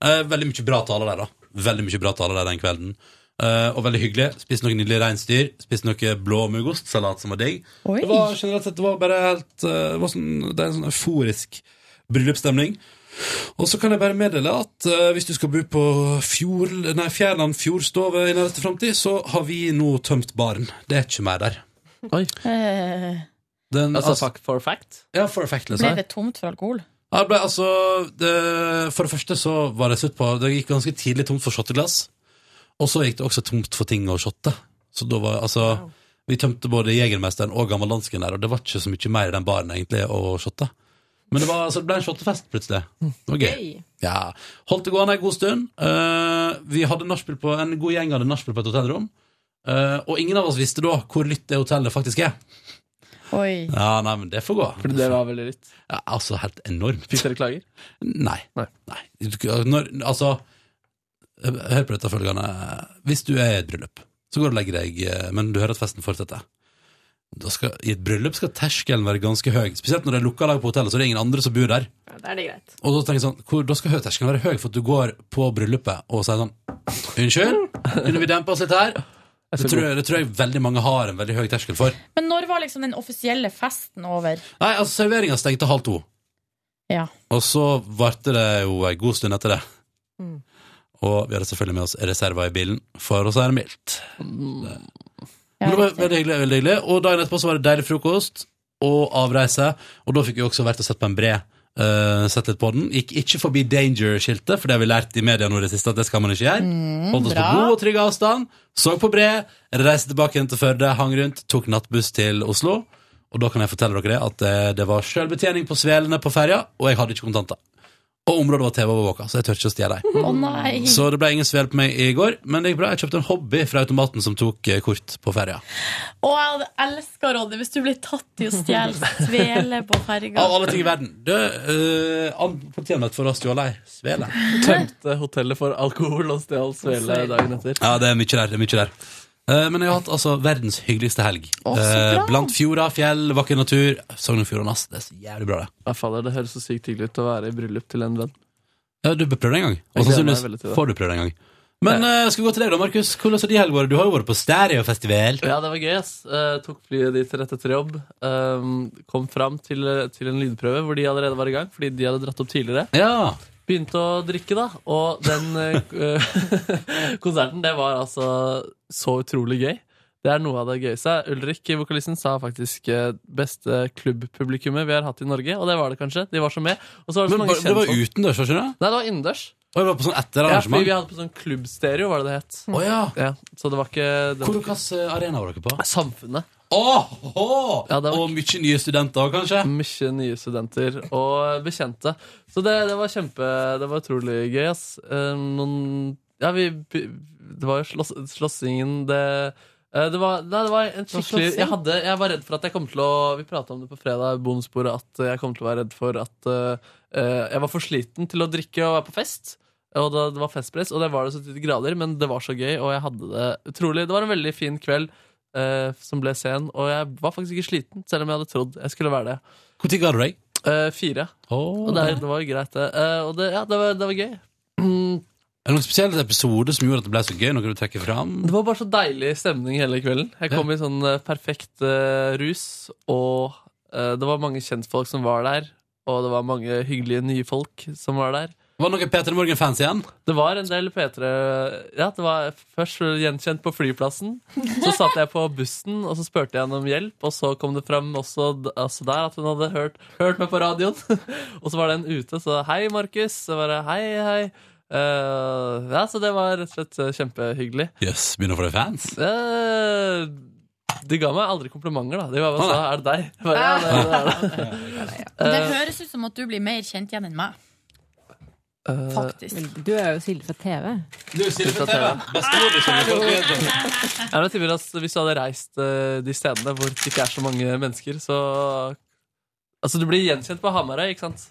Speaker 1: Eh, veldig mye bra taler der, da. Veldig mye bra taler der den kvelden. Eh, og veldig hyggelig. Spiste noe nydelig reinsdyr. Spiste noe blå muggostsalat som var digg.
Speaker 2: Oi.
Speaker 1: Det var generelt sett det var bare helt eh, det, var sånn, det er en sånn euforisk bryllupsstemning. Og så kan jeg bare meddele at eh, hvis du skal bo på fjord, nei, Fjærland Fjordstove i nærmeste framtid, så har vi nå tømt baren. Det er ikke mer der.
Speaker 2: Eh,
Speaker 1: Den,
Speaker 8: Altså, fuck for fact?
Speaker 1: Ja, for fact,
Speaker 2: ble
Speaker 1: liksom.
Speaker 2: det tomt for alkohol?
Speaker 1: Ja, det ble, altså, det, for det første så var det slutt på Det gikk ganske tidlig tomt for shotteglass. Og så gikk det også tomt for ting å shotte. Så da var altså Vi tømte både Jegermesteren og Gammeldansken der, og det var ikke så mye mer i den baren egentlig å shotte. Men det, var, altså, det ble en shottefest plutselig. Det var gøy. Ja. Holdt det gående en god stund. Eh, vi hadde nachspiel på En god gjeng hadde nachspiel på et hotellrom. Eh, og ingen av oss visste da hvor lytt det hotellet faktisk er.
Speaker 2: Oi.
Speaker 1: Ja, nei, men det får gå.
Speaker 8: Fordi det var veldig litt.
Speaker 1: Ja, altså, helt enormt.
Speaker 8: Fikk dere klager?
Speaker 1: Nei. Nei. Når, altså, hør på dette følgende. Hvis du er i et bryllup, så går du og legger deg, eh, men du hører at festen fortsetter. Da skal, I et bryllup skal terskelen være ganske høy. Spesielt når det er lukka lag på hotellet, så det er ingen andre som bor der.
Speaker 16: Ja, da er det greit.
Speaker 1: Og da tenker jeg sånn, hvor, da skal høy- terskelen være høy for at du går på bryllupet og sier sånn Unnskyld, kunne vi dempe oss litt her? Det tror, jeg, det tror jeg veldig mange har en veldig høy terskel for.
Speaker 2: Men når var liksom den offisielle festen over?
Speaker 1: Nei, altså, serveringa stengte halv to.
Speaker 2: Ja.
Speaker 1: Og så varte det jo en god stund etter det.
Speaker 2: Mm.
Speaker 1: Og vi hadde selvfølgelig med oss reserver i bilen, for å si det mildt. Det. Men det var veldig hyggelig, veldig hyggelig. Og dagen etterpå så var det deilig frokost og avreise. Og da fikk vi også vært og sett på en bre. eh, sett litt på den. Gikk ikke forbi danger-skiltet, for det har vi lært i media nå i det siste at det skal man ikke gjøre.
Speaker 9: Mm,
Speaker 1: Holdt oss
Speaker 9: bra.
Speaker 1: på god og trygg avstand, så på bre, reiste tilbake igjen til Førde, hang rundt, tok nattbuss til Oslo. Og da kan jeg fortelle dere det at eh, det var sjølbetjening på svelene på ferja, og jeg hadde ikke kontanter. Og området var TV-overvåka, så jeg tør ikke å stjele ei.
Speaker 2: Å nei.
Speaker 1: Så det ble ingen svel på meg i går, men det gikk bra. Jeg kjøpte en hobby fra automaten som tok eh, kort på ferja.
Speaker 2: Å, jeg hadde elska Ronny hvis du ble tatt i å stjele svele på ferga.
Speaker 1: Av alle ting i verden. Du, uh, politianmeldt for å ha stjålet ei svele.
Speaker 8: Tømte hotellet for alkohol og stjal svele dagen etter.
Speaker 1: Ja, det er mye der. Det er mye der. Eh, men jeg har hatt altså verdens hyggeligste helg.
Speaker 8: Å, så bra.
Speaker 1: Eh, blant fjorda, fjell, vakker natur. Sogn og Fjordane, ass. Det er så jævlig bra, det.
Speaker 8: Ja, fader, det høres så sykt hyggelig ut å være i bryllup til en venn.
Speaker 1: Ja, du bør prøve det en gang. Og
Speaker 8: Jeg gleder meg
Speaker 1: sannsynligvis
Speaker 8: veldig til det.
Speaker 1: får du prøve det en gang. Men eh, skal vi gå til deg da, Markus? Hvordan har de helgene vært? Du har jo vært på stereofestival.
Speaker 8: Ja, det var gøy, ass. Eh, tok flyet dit rett etter jobb. Ehm, kom fram til, til en lydprøve hvor de allerede var i gang, fordi de hadde dratt opp tidligere. Begynte å drikke, da. Og den eh, konserten, det var altså så utrolig gøy. Det er noe av det gøyeste. Ulrik, vokalisten, sa faktisk eh, beste klubbpublikummet vi har hatt i Norge, og det var det kanskje. De var så med. Og så var det så
Speaker 1: Men
Speaker 8: mange
Speaker 1: var- det var
Speaker 8: kjentfolk.
Speaker 1: utendørs, var ikke det?
Speaker 8: Nei, det var innendørs.
Speaker 1: Og det var på sånn etter
Speaker 8: Ja, fordi
Speaker 1: arrangement?
Speaker 8: vi hadde på sånn klubbstereo, var det det het.
Speaker 1: Å, ja.
Speaker 8: så det var ikke det var...
Speaker 1: Hvilken eh, arena var dere på?
Speaker 8: Samfunnet.
Speaker 1: Og mye nye studenter òg, kanskje?
Speaker 8: Mye nye studenter og bekjente. Så det, det var kjempe Det var utrolig gøy, ass. Eh, Noen Ja, vi Det var jo slåss, slåssingen det eh, det var, nei, det var en
Speaker 1: var
Speaker 8: skikkelig jeg,
Speaker 1: slåssing?
Speaker 8: hadde, jeg var redd for at jeg kom til å Vi prata om det på fredag, bonusbordet, at jeg kom til å være redd for at eh, eh, jeg var for sliten til å drikke og være på fest. Og da, det var festpress, og det var det så til de grader, men det var så gøy, og jeg hadde det utrolig. Det var en veldig fin kveld eh, som ble sen, og jeg var faktisk ikke sliten, selv om jeg hadde trodd jeg skulle være det.
Speaker 1: Når ga du deg?
Speaker 8: Eh, fire. Og det, det var jo greit, det. Eh, og det, ja, det, var, det var gøy. Mm,
Speaker 1: Er det noen spesiell episode som gjorde at det ble så gøy? Noe du trekker fram?
Speaker 8: Det var bare så deilig stemning hele kvelden. Jeg kom i sånn eh, perfekt eh, rus, og eh, det var mange kjentfolk som var der. Og det var mange hyggelige nye folk som var der.
Speaker 1: Var det noen Peter Morgan-fans igjen?
Speaker 8: Det var en del P3 Ja, det var først gjenkjent på flyplassen. Så satt jeg på bussen, og så spurte jeg henne om hjelp. Og så kom det fram også d- altså der at hun hadde hørt, hørt meg på radioen. og så var den ute, så hei, Markus. Så bare hei, hei. Eh, ja, så det var rett og slett eh, kjempehyggelig.
Speaker 1: Jøss, yes, begynner å få deg fans?
Speaker 8: Eh, de ga meg aldri komplimenter, da. De var bare sa 'er det deg?' Jeg Bare, ja, det, det er det.
Speaker 2: Men det
Speaker 8: Eh,
Speaker 2: høres ut som at du blir mer kjent igjen enn meg.
Speaker 8: eh,
Speaker 16: Faktisk. Du er jo Silje fra TV.
Speaker 1: Du, Silje
Speaker 8: fra TV. Ja, men jeg tipper at Hvis du hadde reist eh, de stedene hvor det ikke er så mange mennesker, så Altså, du blir gjenkjent på Hamarøy, ikke sant?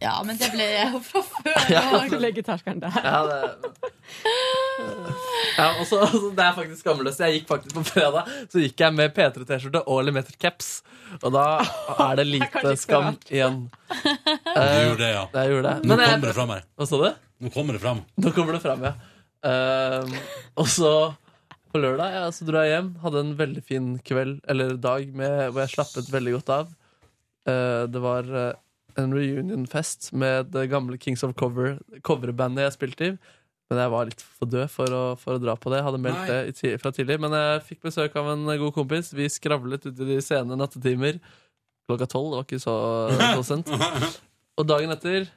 Speaker 2: Ja, men det ble jeg jo fra før.
Speaker 8: Ja.
Speaker 16: Du legger terskelen der.
Speaker 8: Ja, det ja, og så- altså, Det er faktisk skamløst. Jeg gikk faktisk på fredag Så gikk jeg med P3-T-skjorte og Lemeter-caps. Og da er det lite skam igjen.
Speaker 1: Du
Speaker 8: Eh,
Speaker 1: gjorde det, ja.
Speaker 8: Jeg gjorde det.
Speaker 1: Nå
Speaker 8: Men jeg-
Speaker 1: kommer det fram her.
Speaker 8: Hva sa du?
Speaker 1: Nå kommer det fram.
Speaker 8: Nå kommer det fram, ja. Ehm, og så på lørdag ja, så dro jeg hjem. Hadde en veldig fin kveld eller dag med, hvor jeg slappet veldig godt av. Eh, det var eh, en reunionfest med det gamle Kings of Cover, coverbandet jeg spilte i. Men jeg var litt for død for å, for å dra på det. Jeg hadde
Speaker 1: Nei.
Speaker 8: meldt det i ti- fra tidlig. Men jeg fikk besøk av en god kompis. Vi skravlet ute i de sene nattetimer. Klokka tolv. Det var ikke så, så sent. Og dagen etter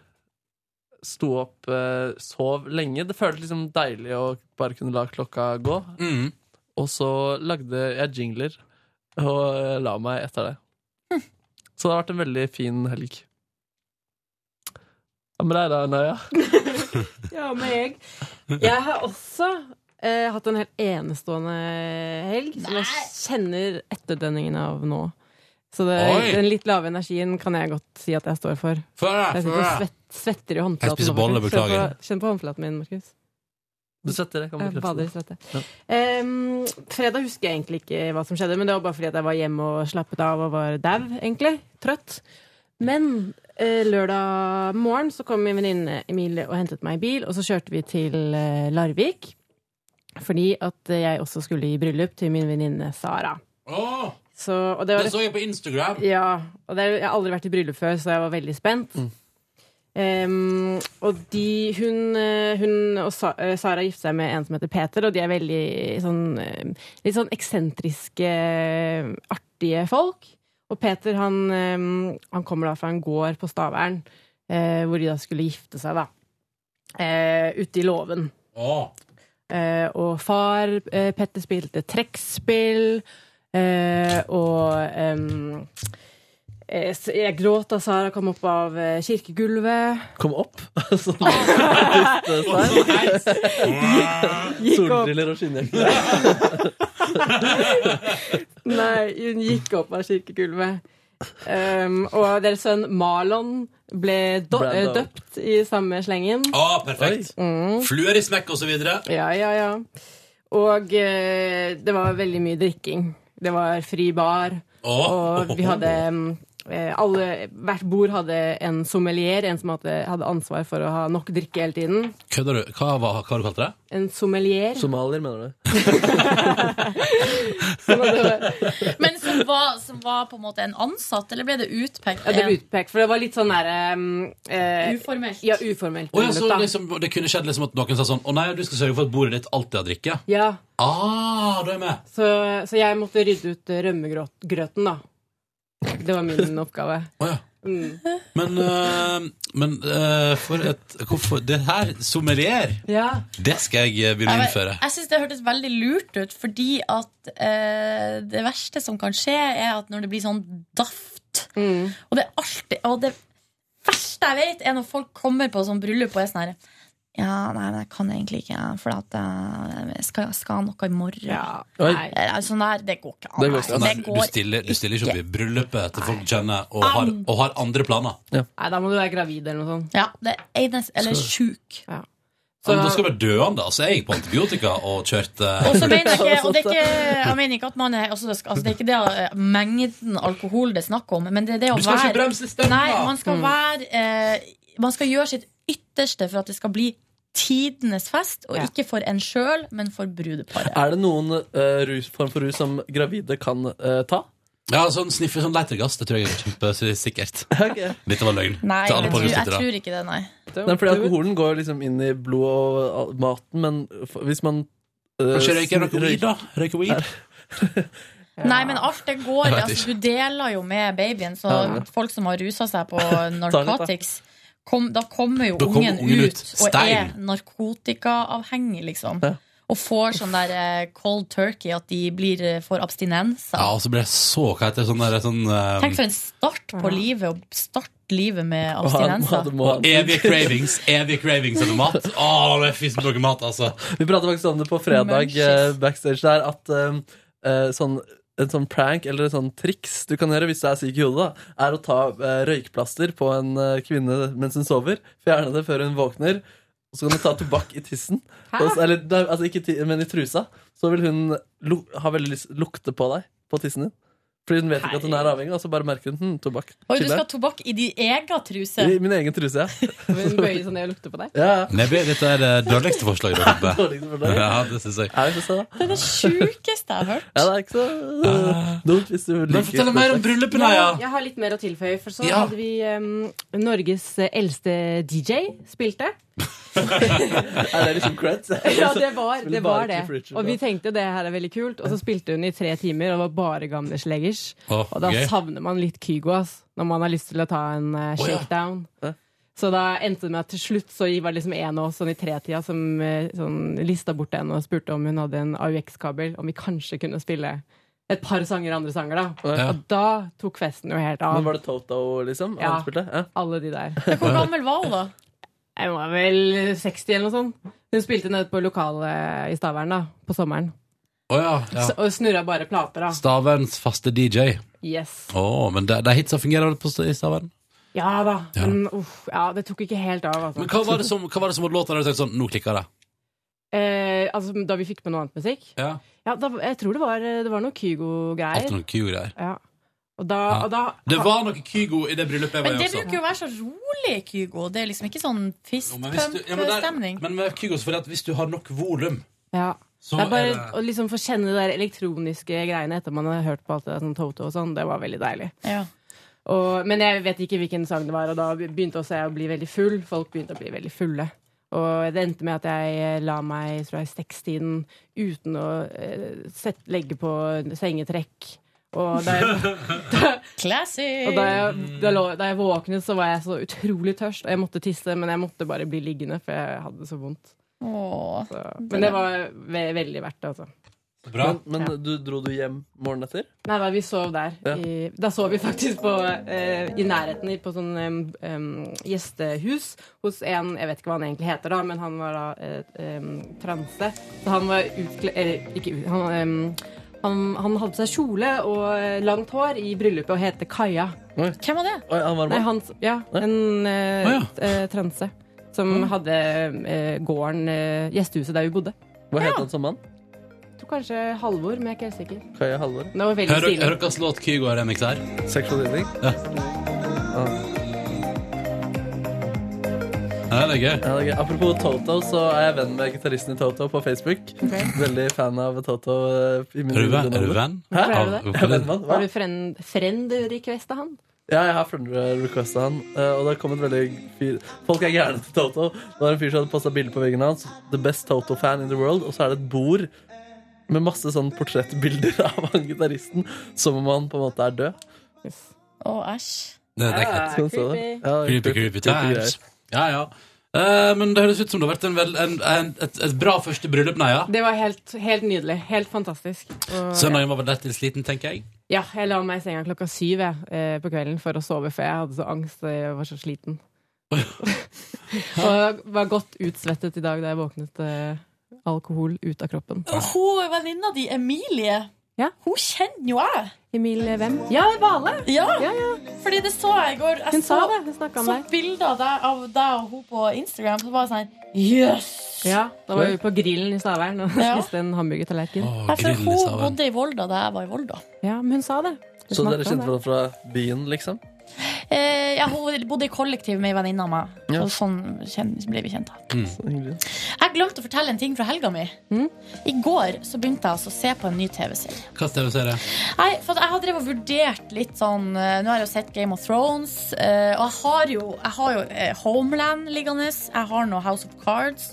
Speaker 8: sto opp, eh, sov lenge. Det føltes liksom deilig å bare kunne la klokka gå.
Speaker 1: Mm.
Speaker 8: Og så lagde jeg jingler og eh, la meg etter det.
Speaker 16: Hm.
Speaker 8: Så det har vært en veldig fin helg. Ja, men det er da nøya.
Speaker 16: Ja, men jeg Jeg har også eh, hatt en helt enestående helg som jeg kjenner etterdønningen av nå. Så det,
Speaker 1: Oi!
Speaker 16: den litt lave energien kan jeg godt si at jeg står for.
Speaker 1: Få høre,
Speaker 16: jeg
Speaker 1: få
Speaker 16: sitter og
Speaker 1: høre.
Speaker 16: svett, svetter i håndflaten.
Speaker 1: Jeg spiser
Speaker 16: nå,
Speaker 1: bolle,
Speaker 16: faktisk.
Speaker 1: beklager.
Speaker 16: Kjenn på, kjenn på håndflaten min, Markus.
Speaker 8: Du svetter, jeg kan
Speaker 16: Jeg Eh, bader i
Speaker 8: bekrefte
Speaker 16: svette. Em, fredag husker jeg egentlig ikke hva som skjedde, men det var bare fordi at jeg var hjemme og slappet av og var dau, egentlig. Trøtt. Men eh, lørdag morgen så kom min venninne Emilie og hentet meg i bil, og så kjørte vi til eh, Larvik. Fordi at eh, jeg også skulle i bryllup til min venninne Sara.
Speaker 1: Åh,
Speaker 16: Så, og det
Speaker 1: det
Speaker 16: var
Speaker 1: så jeg på Instagram.
Speaker 16: ja, og det, er- jeg har aldri vært i bryllup før, så jeg var veldig spent. Ehm, og de, hun, eh, hun og Sa eh, Sara gifter seg med en som heter Peter, og de er veldig sånn, eh, litt sånn eksentriske, eh, artige folk. Og Peter han, eh, han kommer da fra en gård på Stavern, eh, hvor de da skulle gifte seg, da. Eh, ute i låven. Eh, og far eh, Petter spilte trekkspill. Eh, og ehm, eh, s- jeg gråt da Sara kom opp av eh, kirkegulvet.
Speaker 8: Kom opp? Sånn
Speaker 16: Gikk opp.
Speaker 8: Solbriller og skinnjakke.
Speaker 16: Nei, hun gikk opp av kirkegulvet. Ehm, og deres sønn Marlon ble do eh,
Speaker 1: Brando.
Speaker 16: døpt i samme slengen.
Speaker 1: Ah, perfekt.
Speaker 16: Mm.
Speaker 1: Fluer i smekk og så videre.
Speaker 16: Ja, ja, ja. Og eh, det var veldig mye drikking. Det var fri bar.
Speaker 1: Åh.
Speaker 16: Og vi hadde mm, eh, alle, Hvert bord hadde en sommelier, en som hadde, hadde ansvar for å ha nok drikke hele tiden.
Speaker 1: Kødder du? Hva, var, hva har du kalt det?
Speaker 16: En sommelier.
Speaker 8: Somalier, mener du?
Speaker 2: Men som var, som var på en måte en ansatt, eller ble det utpekt?
Speaker 16: Ja, det ble
Speaker 2: en?
Speaker 16: utpekt, for det var litt sånn derre Uformelt. Ja, uformelt.
Speaker 1: Å ja, så
Speaker 16: bryllup, da.
Speaker 1: liksom, det kunne skjedd liksom at noen sa sånn Å nei, du skal sørge for at bordet ditt alltid har drikke.
Speaker 16: ja.
Speaker 1: Ah, da er jeg med.
Speaker 16: Så, så jeg måtte rydde ut eh, rømmegrøten, da. Det var min oppgave. Mm.
Speaker 1: Men, øh, men øh, for et Hvorfor Det her, sommelier,
Speaker 16: Ja.
Speaker 1: det skal jeg øh, begynne å innføre.
Speaker 2: Jeg syns det hørtes veldig lurt ut, fordi at eh, det verste som kan skje, er at når det blir sånn daft Og det er alltid Og det verste jeg vet, er når folk kommer på sånn bryllup og er sånn her ja, nei, det kan jeg egentlig ikke, for at eh, jeg skal, skal ha noe i morgen.
Speaker 1: Oi.
Speaker 2: Nei, det er sånn der, det går ikke an.
Speaker 1: Det går ikke an.
Speaker 2: Nei,
Speaker 1: Nei,
Speaker 2: det
Speaker 1: du,
Speaker 2: går
Speaker 1: stiller, du stiller ikke opp i bryllupet til folk kjenner og
Speaker 2: Au.
Speaker 1: har, og har andre planer.
Speaker 16: Nei, da må du være gravid eller noe sånt.
Speaker 2: Ja, det er eines, eller
Speaker 1: Skal-
Speaker 2: sjuk.
Speaker 1: Så, da skal du være døende. Altså, jeg gikk på antibiotika og eh, kjørte
Speaker 2: Og så mener jeg ikke, og det er ikke Jeg mener ikke at man er altså, det skal- altså, Det er ikke det eh, mengden alkohol det er snakk om, men det er det å
Speaker 1: Du skal
Speaker 2: være
Speaker 1: ikke bremse stemmen,
Speaker 2: Nei,
Speaker 1: da.
Speaker 2: man skal
Speaker 1: Mm.
Speaker 2: være eh, Man skal gjøre sitt ytterste for at det skal bli tidenes fest, og ikke for en sjøl, men for brudeparet.
Speaker 8: Er det noen eh, rus, form for rus som gravide kan eh, ta?
Speaker 1: Ja, sånn sniffe sånn leitergass, det tror jeg er kjempesikkert. Dette var løgn.
Speaker 2: Nei,
Speaker 1: til alle
Speaker 2: jeg tror, jeg
Speaker 1: pornosittere.
Speaker 2: tror ikke det, nei.
Speaker 8: Nei, fordi alkoholen går liksom inn i blodet og all- maten, men f- hvis man eh,
Speaker 1: Kanskje røyke noe
Speaker 8: snur-
Speaker 1: weed, da? Røyke weed?
Speaker 2: Nei, men alt det
Speaker 1: Jeg
Speaker 2: går
Speaker 1: vet
Speaker 2: altså,
Speaker 1: ikke.
Speaker 2: Du deler jo med babyen, så
Speaker 1: Ja, ja.
Speaker 2: folk som har rusa seg på
Speaker 1: da.
Speaker 2: narkotics kom, Da kommer jo
Speaker 1: Da kommer
Speaker 2: ungen,
Speaker 1: ungen ut
Speaker 2: ut, og er
Speaker 1: steil.
Speaker 2: narkotikaavhengig, liksom. Og får sånn der eh, cold turkey at de blir eh, får abstinenser.
Speaker 1: Ja, og så ble jeg så Hva heter det sånn der sånn eh,
Speaker 2: Tenk for en start på livet, å starte livet med
Speaker 1: og han-
Speaker 2: abstinenser.
Speaker 1: og Evige cravings. Evige cravings etter mat. Å, det er fisk som lager mat, altså.
Speaker 8: Vi pratet faktisk om det på fredag eh, backstage der, at eh, eh, sånn, en sånn prank eller et sånn triks du kan gjøre hvis du er syk i hodet, da, er å ta eh, røykplaster på en eh, kvinne mens hun sover, fjerne det før hun våkner, og så kan du ta tobakk i tissen.
Speaker 1: Hæ?
Speaker 8: Og så- Eller, nei, altså ikke ti, men i trusa. Så vil hun lu ha veldig lyst lukte på deg, på tissen din. Fordi hun vet ikke at hun er avhengig, og så bare merker hun hm,
Speaker 2: Oi,
Speaker 8: tobakk.
Speaker 2: du
Speaker 8: Chiller.
Speaker 2: skal ha tobakk i din egen truse.
Speaker 8: I min egen truse, ja.
Speaker 16: Men bøye sånn det og lukte på deg.
Speaker 8: ja.
Speaker 1: Nebby, dette er det dårligste forslaget du har kommet
Speaker 8: Dårligste
Speaker 1: med.
Speaker 8: forslaget?
Speaker 1: Ja, det synes jeg.
Speaker 2: Det er det sjukeste jeg har hørt.
Speaker 8: Ja, det er ikke så eh, dumt hvis du liker
Speaker 1: fortell mer om bryllupet, Naja.
Speaker 16: Jeg har litt mer å tilføye, for så
Speaker 8: Ja.
Speaker 16: hadde vi em, Norges eh, eldste DJ spilte.
Speaker 8: Er det liksom creds?
Speaker 16: Ja, det var det.
Speaker 8: Spiller
Speaker 16: Var
Speaker 8: bare
Speaker 16: det.
Speaker 8: Cliff Richard,
Speaker 16: Og vi
Speaker 8: da.
Speaker 16: tenkte det her er veldig kult, og så spilte hun i tre timer, og det var bare gamle sleggers.
Speaker 8: Å,
Speaker 16: Og da
Speaker 8: gøy.
Speaker 16: savner man litt Kygo, ass, når man har lyst til å ta en eh,
Speaker 8: Å, ja.
Speaker 16: shakedown. Så da endte det med at til slutt så var det liksom en av oss sånn i tretida som eh, sånn, lista bort en og spurte om hun hadde en AUX-kabel, om vi kanskje kunne spille et par sanger andre sanger, da.
Speaker 8: Ja.
Speaker 16: Og da tok festen jo helt av.
Speaker 8: Men var det Toto, liksom?
Speaker 16: Ja.
Speaker 8: Han spilte? Ja.
Speaker 16: Alle de der.
Speaker 2: Hvor gammel var hun, da?
Speaker 16: Jeg var vel 60 eller noe sånt. Hun spilte nede på lokalet i Stavern da, på sommeren.
Speaker 1: Å ja. ja.
Speaker 16: Så- Og snurra bare plater, da.
Speaker 1: Staverns faste DJ.
Speaker 16: Yes.
Speaker 1: Å, men de, de hitsa fungerer vel på st- i Stavern?
Speaker 16: Ja da.
Speaker 1: Ja.
Speaker 16: Men uff, ja, det tok ikke helt av, altså.
Speaker 1: Men hva var det som, hva var det som hadde låta der du tenkte sånn Nå klikker det.
Speaker 16: eh, altså, da vi fikk med noe annet musikk?
Speaker 1: Ja.
Speaker 16: Ja, da, jeg tror det var, det var noe
Speaker 1: Alt
Speaker 16: Kygo-greier.
Speaker 1: noen Kygo-greier.
Speaker 16: Ja. Og da,
Speaker 1: Ja.
Speaker 16: og da
Speaker 1: Det var noe Kygo i det bryllupet jeg var
Speaker 2: Men
Speaker 1: i
Speaker 2: det
Speaker 1: også.
Speaker 2: bruker jo å være så rolig, Kygo. Det er liksom ikke
Speaker 1: Jo,
Speaker 2: sånn
Speaker 1: men hvis du- ja, men der-
Speaker 2: fistpump-stemning.
Speaker 1: Men med Kygo så fordi at hvis du har nok volum
Speaker 16: Ja.
Speaker 1: Så
Speaker 16: det er bare
Speaker 1: er det-
Speaker 16: å liksom få kjenne de der elektroniske greiene etter man har hørt på alt det der sånn Toto og sånn. Det var veldig deilig. Og, men jeg vet ikke hvilken sang det var, og da begynte også jeg å bli veldig full. Folk begynte å bli veldig fulle. Og det endte med at jeg eh, la meg tror jeg, i sekstiden uten å eh, sette, legge på sengetrekk. Og da jeg,
Speaker 2: Classy!
Speaker 16: og da jeg, da, lå, da jeg våknet, så var jeg så utrolig tørst, og jeg måtte tisse, men jeg måtte bare bli liggende, for jeg hadde det så vondt.
Speaker 2: Åh.
Speaker 16: Så, men det var ve veldig verdt det, altså.
Speaker 8: Men, men
Speaker 16: Ja.
Speaker 8: du, dro du hjem morgenen etter?
Speaker 16: Nei, nei, vi sov der.
Speaker 8: Ja.
Speaker 16: I, da sov vi faktisk på, eh, i nærheten i- på sånn em, em, gjestehus hos en Jeg vet ikke hva han egentlig heter, da, men han var da eh, em, transe. Så han var utkledd Eller ikke ut- han, em, han, han hadde på seg kjole og eh, langt hår i bryllupet og heter Kaja.
Speaker 2: Hvem var det?
Speaker 8: Oi, han var
Speaker 16: Nei,
Speaker 8: med.
Speaker 16: han, ja, en eh, eh, transe som hadde eh, gården, eh, gjestehuset der vi bodde.
Speaker 8: Hva het han som mann?
Speaker 16: Jeg tror kanskje Halvor, men jeg er ikke helt sikker.
Speaker 8: Kaja Halvor?
Speaker 16: Det var veldig
Speaker 1: Hører
Speaker 16: stilig.
Speaker 1: hører dere låt Kygo er remix her?
Speaker 8: Sexual healing?
Speaker 1: Ja.
Speaker 8: Ah.
Speaker 1: Ja. Ja, det er gøy.
Speaker 8: Ja, det er gøy. Apropos Toto, så er jeg venn med gitaristen i Toto på Facebook. Veldig fan av Toto. eh, i min
Speaker 1: Er du venn-
Speaker 8: videregående
Speaker 1: er du
Speaker 8: alder.
Speaker 1: venn?
Speaker 8: Hæ?
Speaker 1: Hvorfor er du
Speaker 8: Jeg
Speaker 1: det?
Speaker 8: er venn med han. Hva?
Speaker 16: Var du friend, friend requesta han?
Speaker 8: Ja, jeg har friend-requesta han, eh, og det har kommet veldig fyr. Folk er gærne til Toto. Det var en fyr som hadde posta bilde på veggen hans. The best Toto-fan in the world. Og så er det et bord med masse sånn portrettbilder av han gitaristen som om han på en måte er død.
Speaker 2: Å, æsj.
Speaker 1: Det er ekkelt.
Speaker 8: Skal vi se det? Ja, det er
Speaker 1: Creepy, creepy times. Ja, ja. Eh, men det høres ut som det har vært en vel, en, en, et, et bra første bryllup, nei, ja.
Speaker 16: Det var helt, helt nydelig. Helt fantastisk. Og-
Speaker 1: Søndagen var vel lett til sliten, tenker jeg.
Speaker 16: Ja, jeg la meg i senga klokka syv jeg, eh, på kvelden for å sove, for jeg hadde så angst og jeg var så sliten. og jeg var godt utsvettet i dag da jeg våknet eh, alkohol ut av kroppen.
Speaker 2: Hun venninna di, Emilie, hun kjenner jo jeg. eh,
Speaker 16: Emilie hvem? Ja, Vale!
Speaker 2: Ja.
Speaker 16: Ja, ja.
Speaker 2: Fordi det så jeg i går. Jeg
Speaker 16: Hun
Speaker 2: så,
Speaker 16: sa det, hun snakket om
Speaker 2: så
Speaker 16: deg.
Speaker 2: bilder av deg, av deg og hun på Instagram. Så bare sånn Yes!
Speaker 16: Ja, da var vi på grillen i Stavern og
Speaker 2: Ja.
Speaker 16: spiste en hamburgertallerken.
Speaker 2: Nei, for hun bodde i Volda da jeg var i Volda.
Speaker 16: Ja, men hun sa det. Hun
Speaker 8: Så
Speaker 16: snakket om
Speaker 8: dere kjente
Speaker 16: det.
Speaker 8: hverandre fra byen, liksom?
Speaker 2: Eh, ja, hun bodde i kollektiv med ei venninne av meg.
Speaker 8: Ja.
Speaker 2: Så sånn kjen- ble vi kjent. da.
Speaker 8: Så hyggelig.
Speaker 2: Jeg glemte å fortelle en ting fra helga mi. I går så begynte jeg altså å se på en ny TV-serie.
Speaker 1: Hva slags TV-serie?
Speaker 2: Nei, for at jeg har drevet og vurdert litt sånn eh, Nå har jeg jo sett Game of Thrones eh, Og jeg har jo, jeg har jo eh, Homeland liggende Jeg har nå House of Cards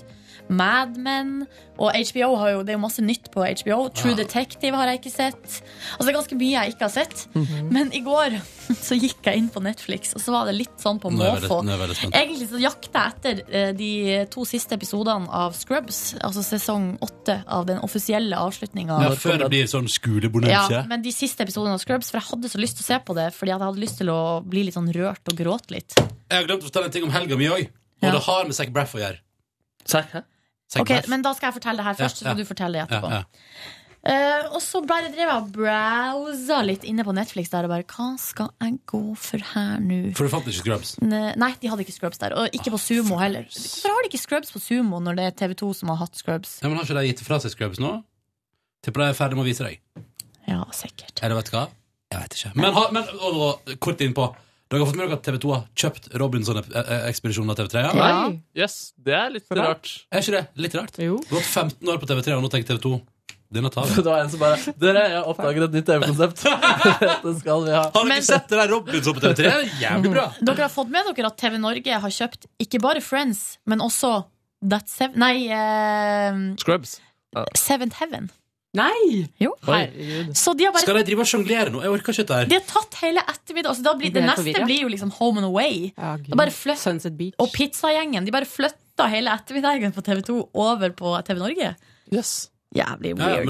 Speaker 2: Mad Men Og HBO har jo, det er jo masse nytt på HBO True Detective har jeg ikke sett Altså det er ganske mye jeg ikke har sett
Speaker 1: Mhm.
Speaker 2: Men i går så gikk jeg inn på Netflix Og så var det litt sånn på
Speaker 1: Nå er jeg
Speaker 2: måfå
Speaker 1: veldig- nå er jeg veldig spent.
Speaker 2: Egentlig så jakta jeg etter eh, de to siste episodene av Scrubs Altså sesong 8 av den offisielle avslutningen
Speaker 1: Ja, før det blir sånn skolebonanza.
Speaker 2: ja, men de siste episodene av Scrubs, for jeg hadde så lyst til å se på det, fordi jeg hadde lyst til å bli litt sånn rørt og gråte litt.
Speaker 1: Jeg har glemt å fortelle en ting om helga mi òg, og det har med Zac Braff å gjøre.
Speaker 8: Zac, hæ?
Speaker 2: Ok, Men da skal jeg fortelle det her først, så skal du fortelle det etterpå.
Speaker 1: Ja, ja.
Speaker 2: Eh, og så bare drev jeg og browsa litt inne på Netflix der og bare Hva skal jeg gå for her nå?
Speaker 1: For du fant ikke Scrubs?
Speaker 2: Ne- Nei, de hadde ikke Scrubs der. Og ikke på Sumo heller. Hvorfor har de ikke Scrubs på Sumo når det er TV2 som har hatt Scrubs?
Speaker 1: Ja, men Har ikke de gitt fra seg Scrubs nå? Tipper de er ferdig med å vise deg.
Speaker 2: Ja, sikkert.
Speaker 1: Eller vet du hva? Jeg vet ikke. Men, ha- men og, og, kort innpå. Dere har fått med dere at TV2 har kjøpt Robinson-ekspedisjonen av TV3? Ja?
Speaker 8: Nei. Yes, det er litt rart.
Speaker 1: Er ikke det litt rart? Gått 15 år på TV3, og nå tenker TV2 denne tar
Speaker 8: Det
Speaker 1: vi.
Speaker 8: var en som bare Dere, jeg har oppdaget et nytt TV-konsept. Dette skal vi ha.
Speaker 1: Har dere ikke sett det der Robinson på TV3? Det er jævlig bra.
Speaker 2: Dere har fått med dere at TV Norge har kjøpt ikke bare Friends, men også That's Seven Nei, eh,
Speaker 8: Scrubs.
Speaker 2: Seventh Heaven.
Speaker 16: Nei!
Speaker 2: Jo.
Speaker 1: Herregud.
Speaker 2: Så de har bare
Speaker 1: Skal de drive og sjonglere nå? Jeg orker ikke dette her.
Speaker 2: De har tatt hele ettermiddag. Altså, da blir,
Speaker 1: Jeg
Speaker 2: det
Speaker 1: ble helt
Speaker 2: neste
Speaker 1: forvirret.
Speaker 2: blir jo liksom Home and Away. Da bare flytt- og pizzagjengen. De bare flytta hele ettermiddagen på TV2 over på TV Norge. Jævlig
Speaker 1: Ja, ja,
Speaker 2: weird.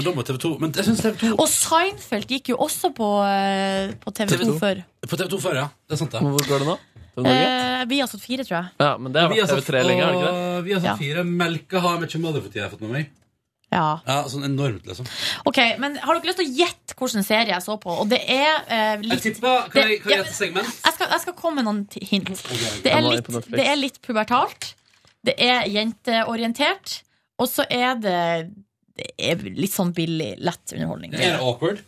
Speaker 1: men da må TV2 Men jeg synes TV2
Speaker 2: Og Seinfeld gikk jo også på, eh, på TV2, før.
Speaker 1: På TV2 før, ja. Det er sant, det.
Speaker 8: Hvor går det nå?
Speaker 2: Eh, vi har satt fire, tror jeg.
Speaker 8: Ja, men det har
Speaker 1: Vi
Speaker 8: vært
Speaker 1: har
Speaker 8: TV3 lenge, har det ikke det?
Speaker 1: fått- Vi har
Speaker 2: Ja.
Speaker 1: satt fire. Melka har vi ikke mother for tida, har jeg fått med meg.
Speaker 2: Ja.
Speaker 1: Ja, sånn enormt, liksom.
Speaker 2: Ok, men Har dere lyst til å gjette hvilken serie jeg så på? Og det er eh,
Speaker 1: Jeg
Speaker 2: litt
Speaker 1: tipper Kan jeg kan jeg
Speaker 2: det-
Speaker 1: gjette segment?
Speaker 2: jeg skal, jeg skal komme med noen t- hint. Det
Speaker 1: Jeg
Speaker 2: er,
Speaker 1: må inn
Speaker 2: litt,
Speaker 1: på Netflix.
Speaker 2: det er litt pubertalt. Det er jenteorientert. Og så er det, det er litt sånn billig, lett underholdning.
Speaker 1: Er det awkward?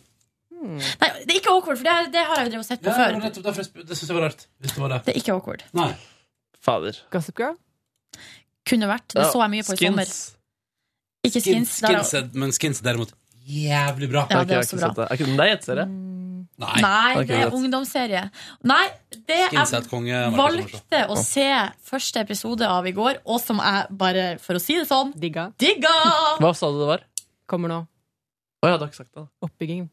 Speaker 2: Nei, det er ikke awkward, for det, er- det har jeg jo drevet og sett på
Speaker 1: Ja,
Speaker 2: før.
Speaker 1: men nettopp derfor jeg spør- det syns jeg var rart. Hvis det var det.
Speaker 2: Det er ikke awkward.
Speaker 1: Nei.
Speaker 8: Fader.
Speaker 16: Gossip Girl?
Speaker 2: Kunne vært. Det
Speaker 1: Ja,
Speaker 2: så jeg mye på i
Speaker 1: Skins.
Speaker 2: sommer. Ikke
Speaker 1: Skins,
Speaker 2: skins. der-
Speaker 1: skins er, men skins er derimot jævlig bra.
Speaker 2: Ja, det er også bra. Mm.
Speaker 8: Er ikke den der gjettserie?
Speaker 1: Nei.
Speaker 2: Nei,
Speaker 1: Ok,
Speaker 2: det er
Speaker 1: greit.
Speaker 2: ungdomsserie. Nei, det jeg
Speaker 1: Skins er et konge. Markus Hammersson.
Speaker 2: valgte å se første episode av i går, og som jeg bare, for å si det sånn,
Speaker 16: digga.
Speaker 8: Hva sa du det var?
Speaker 16: Kommer nå.
Speaker 8: Å ja, du har ikke sagt det.
Speaker 16: Oppbyggingen.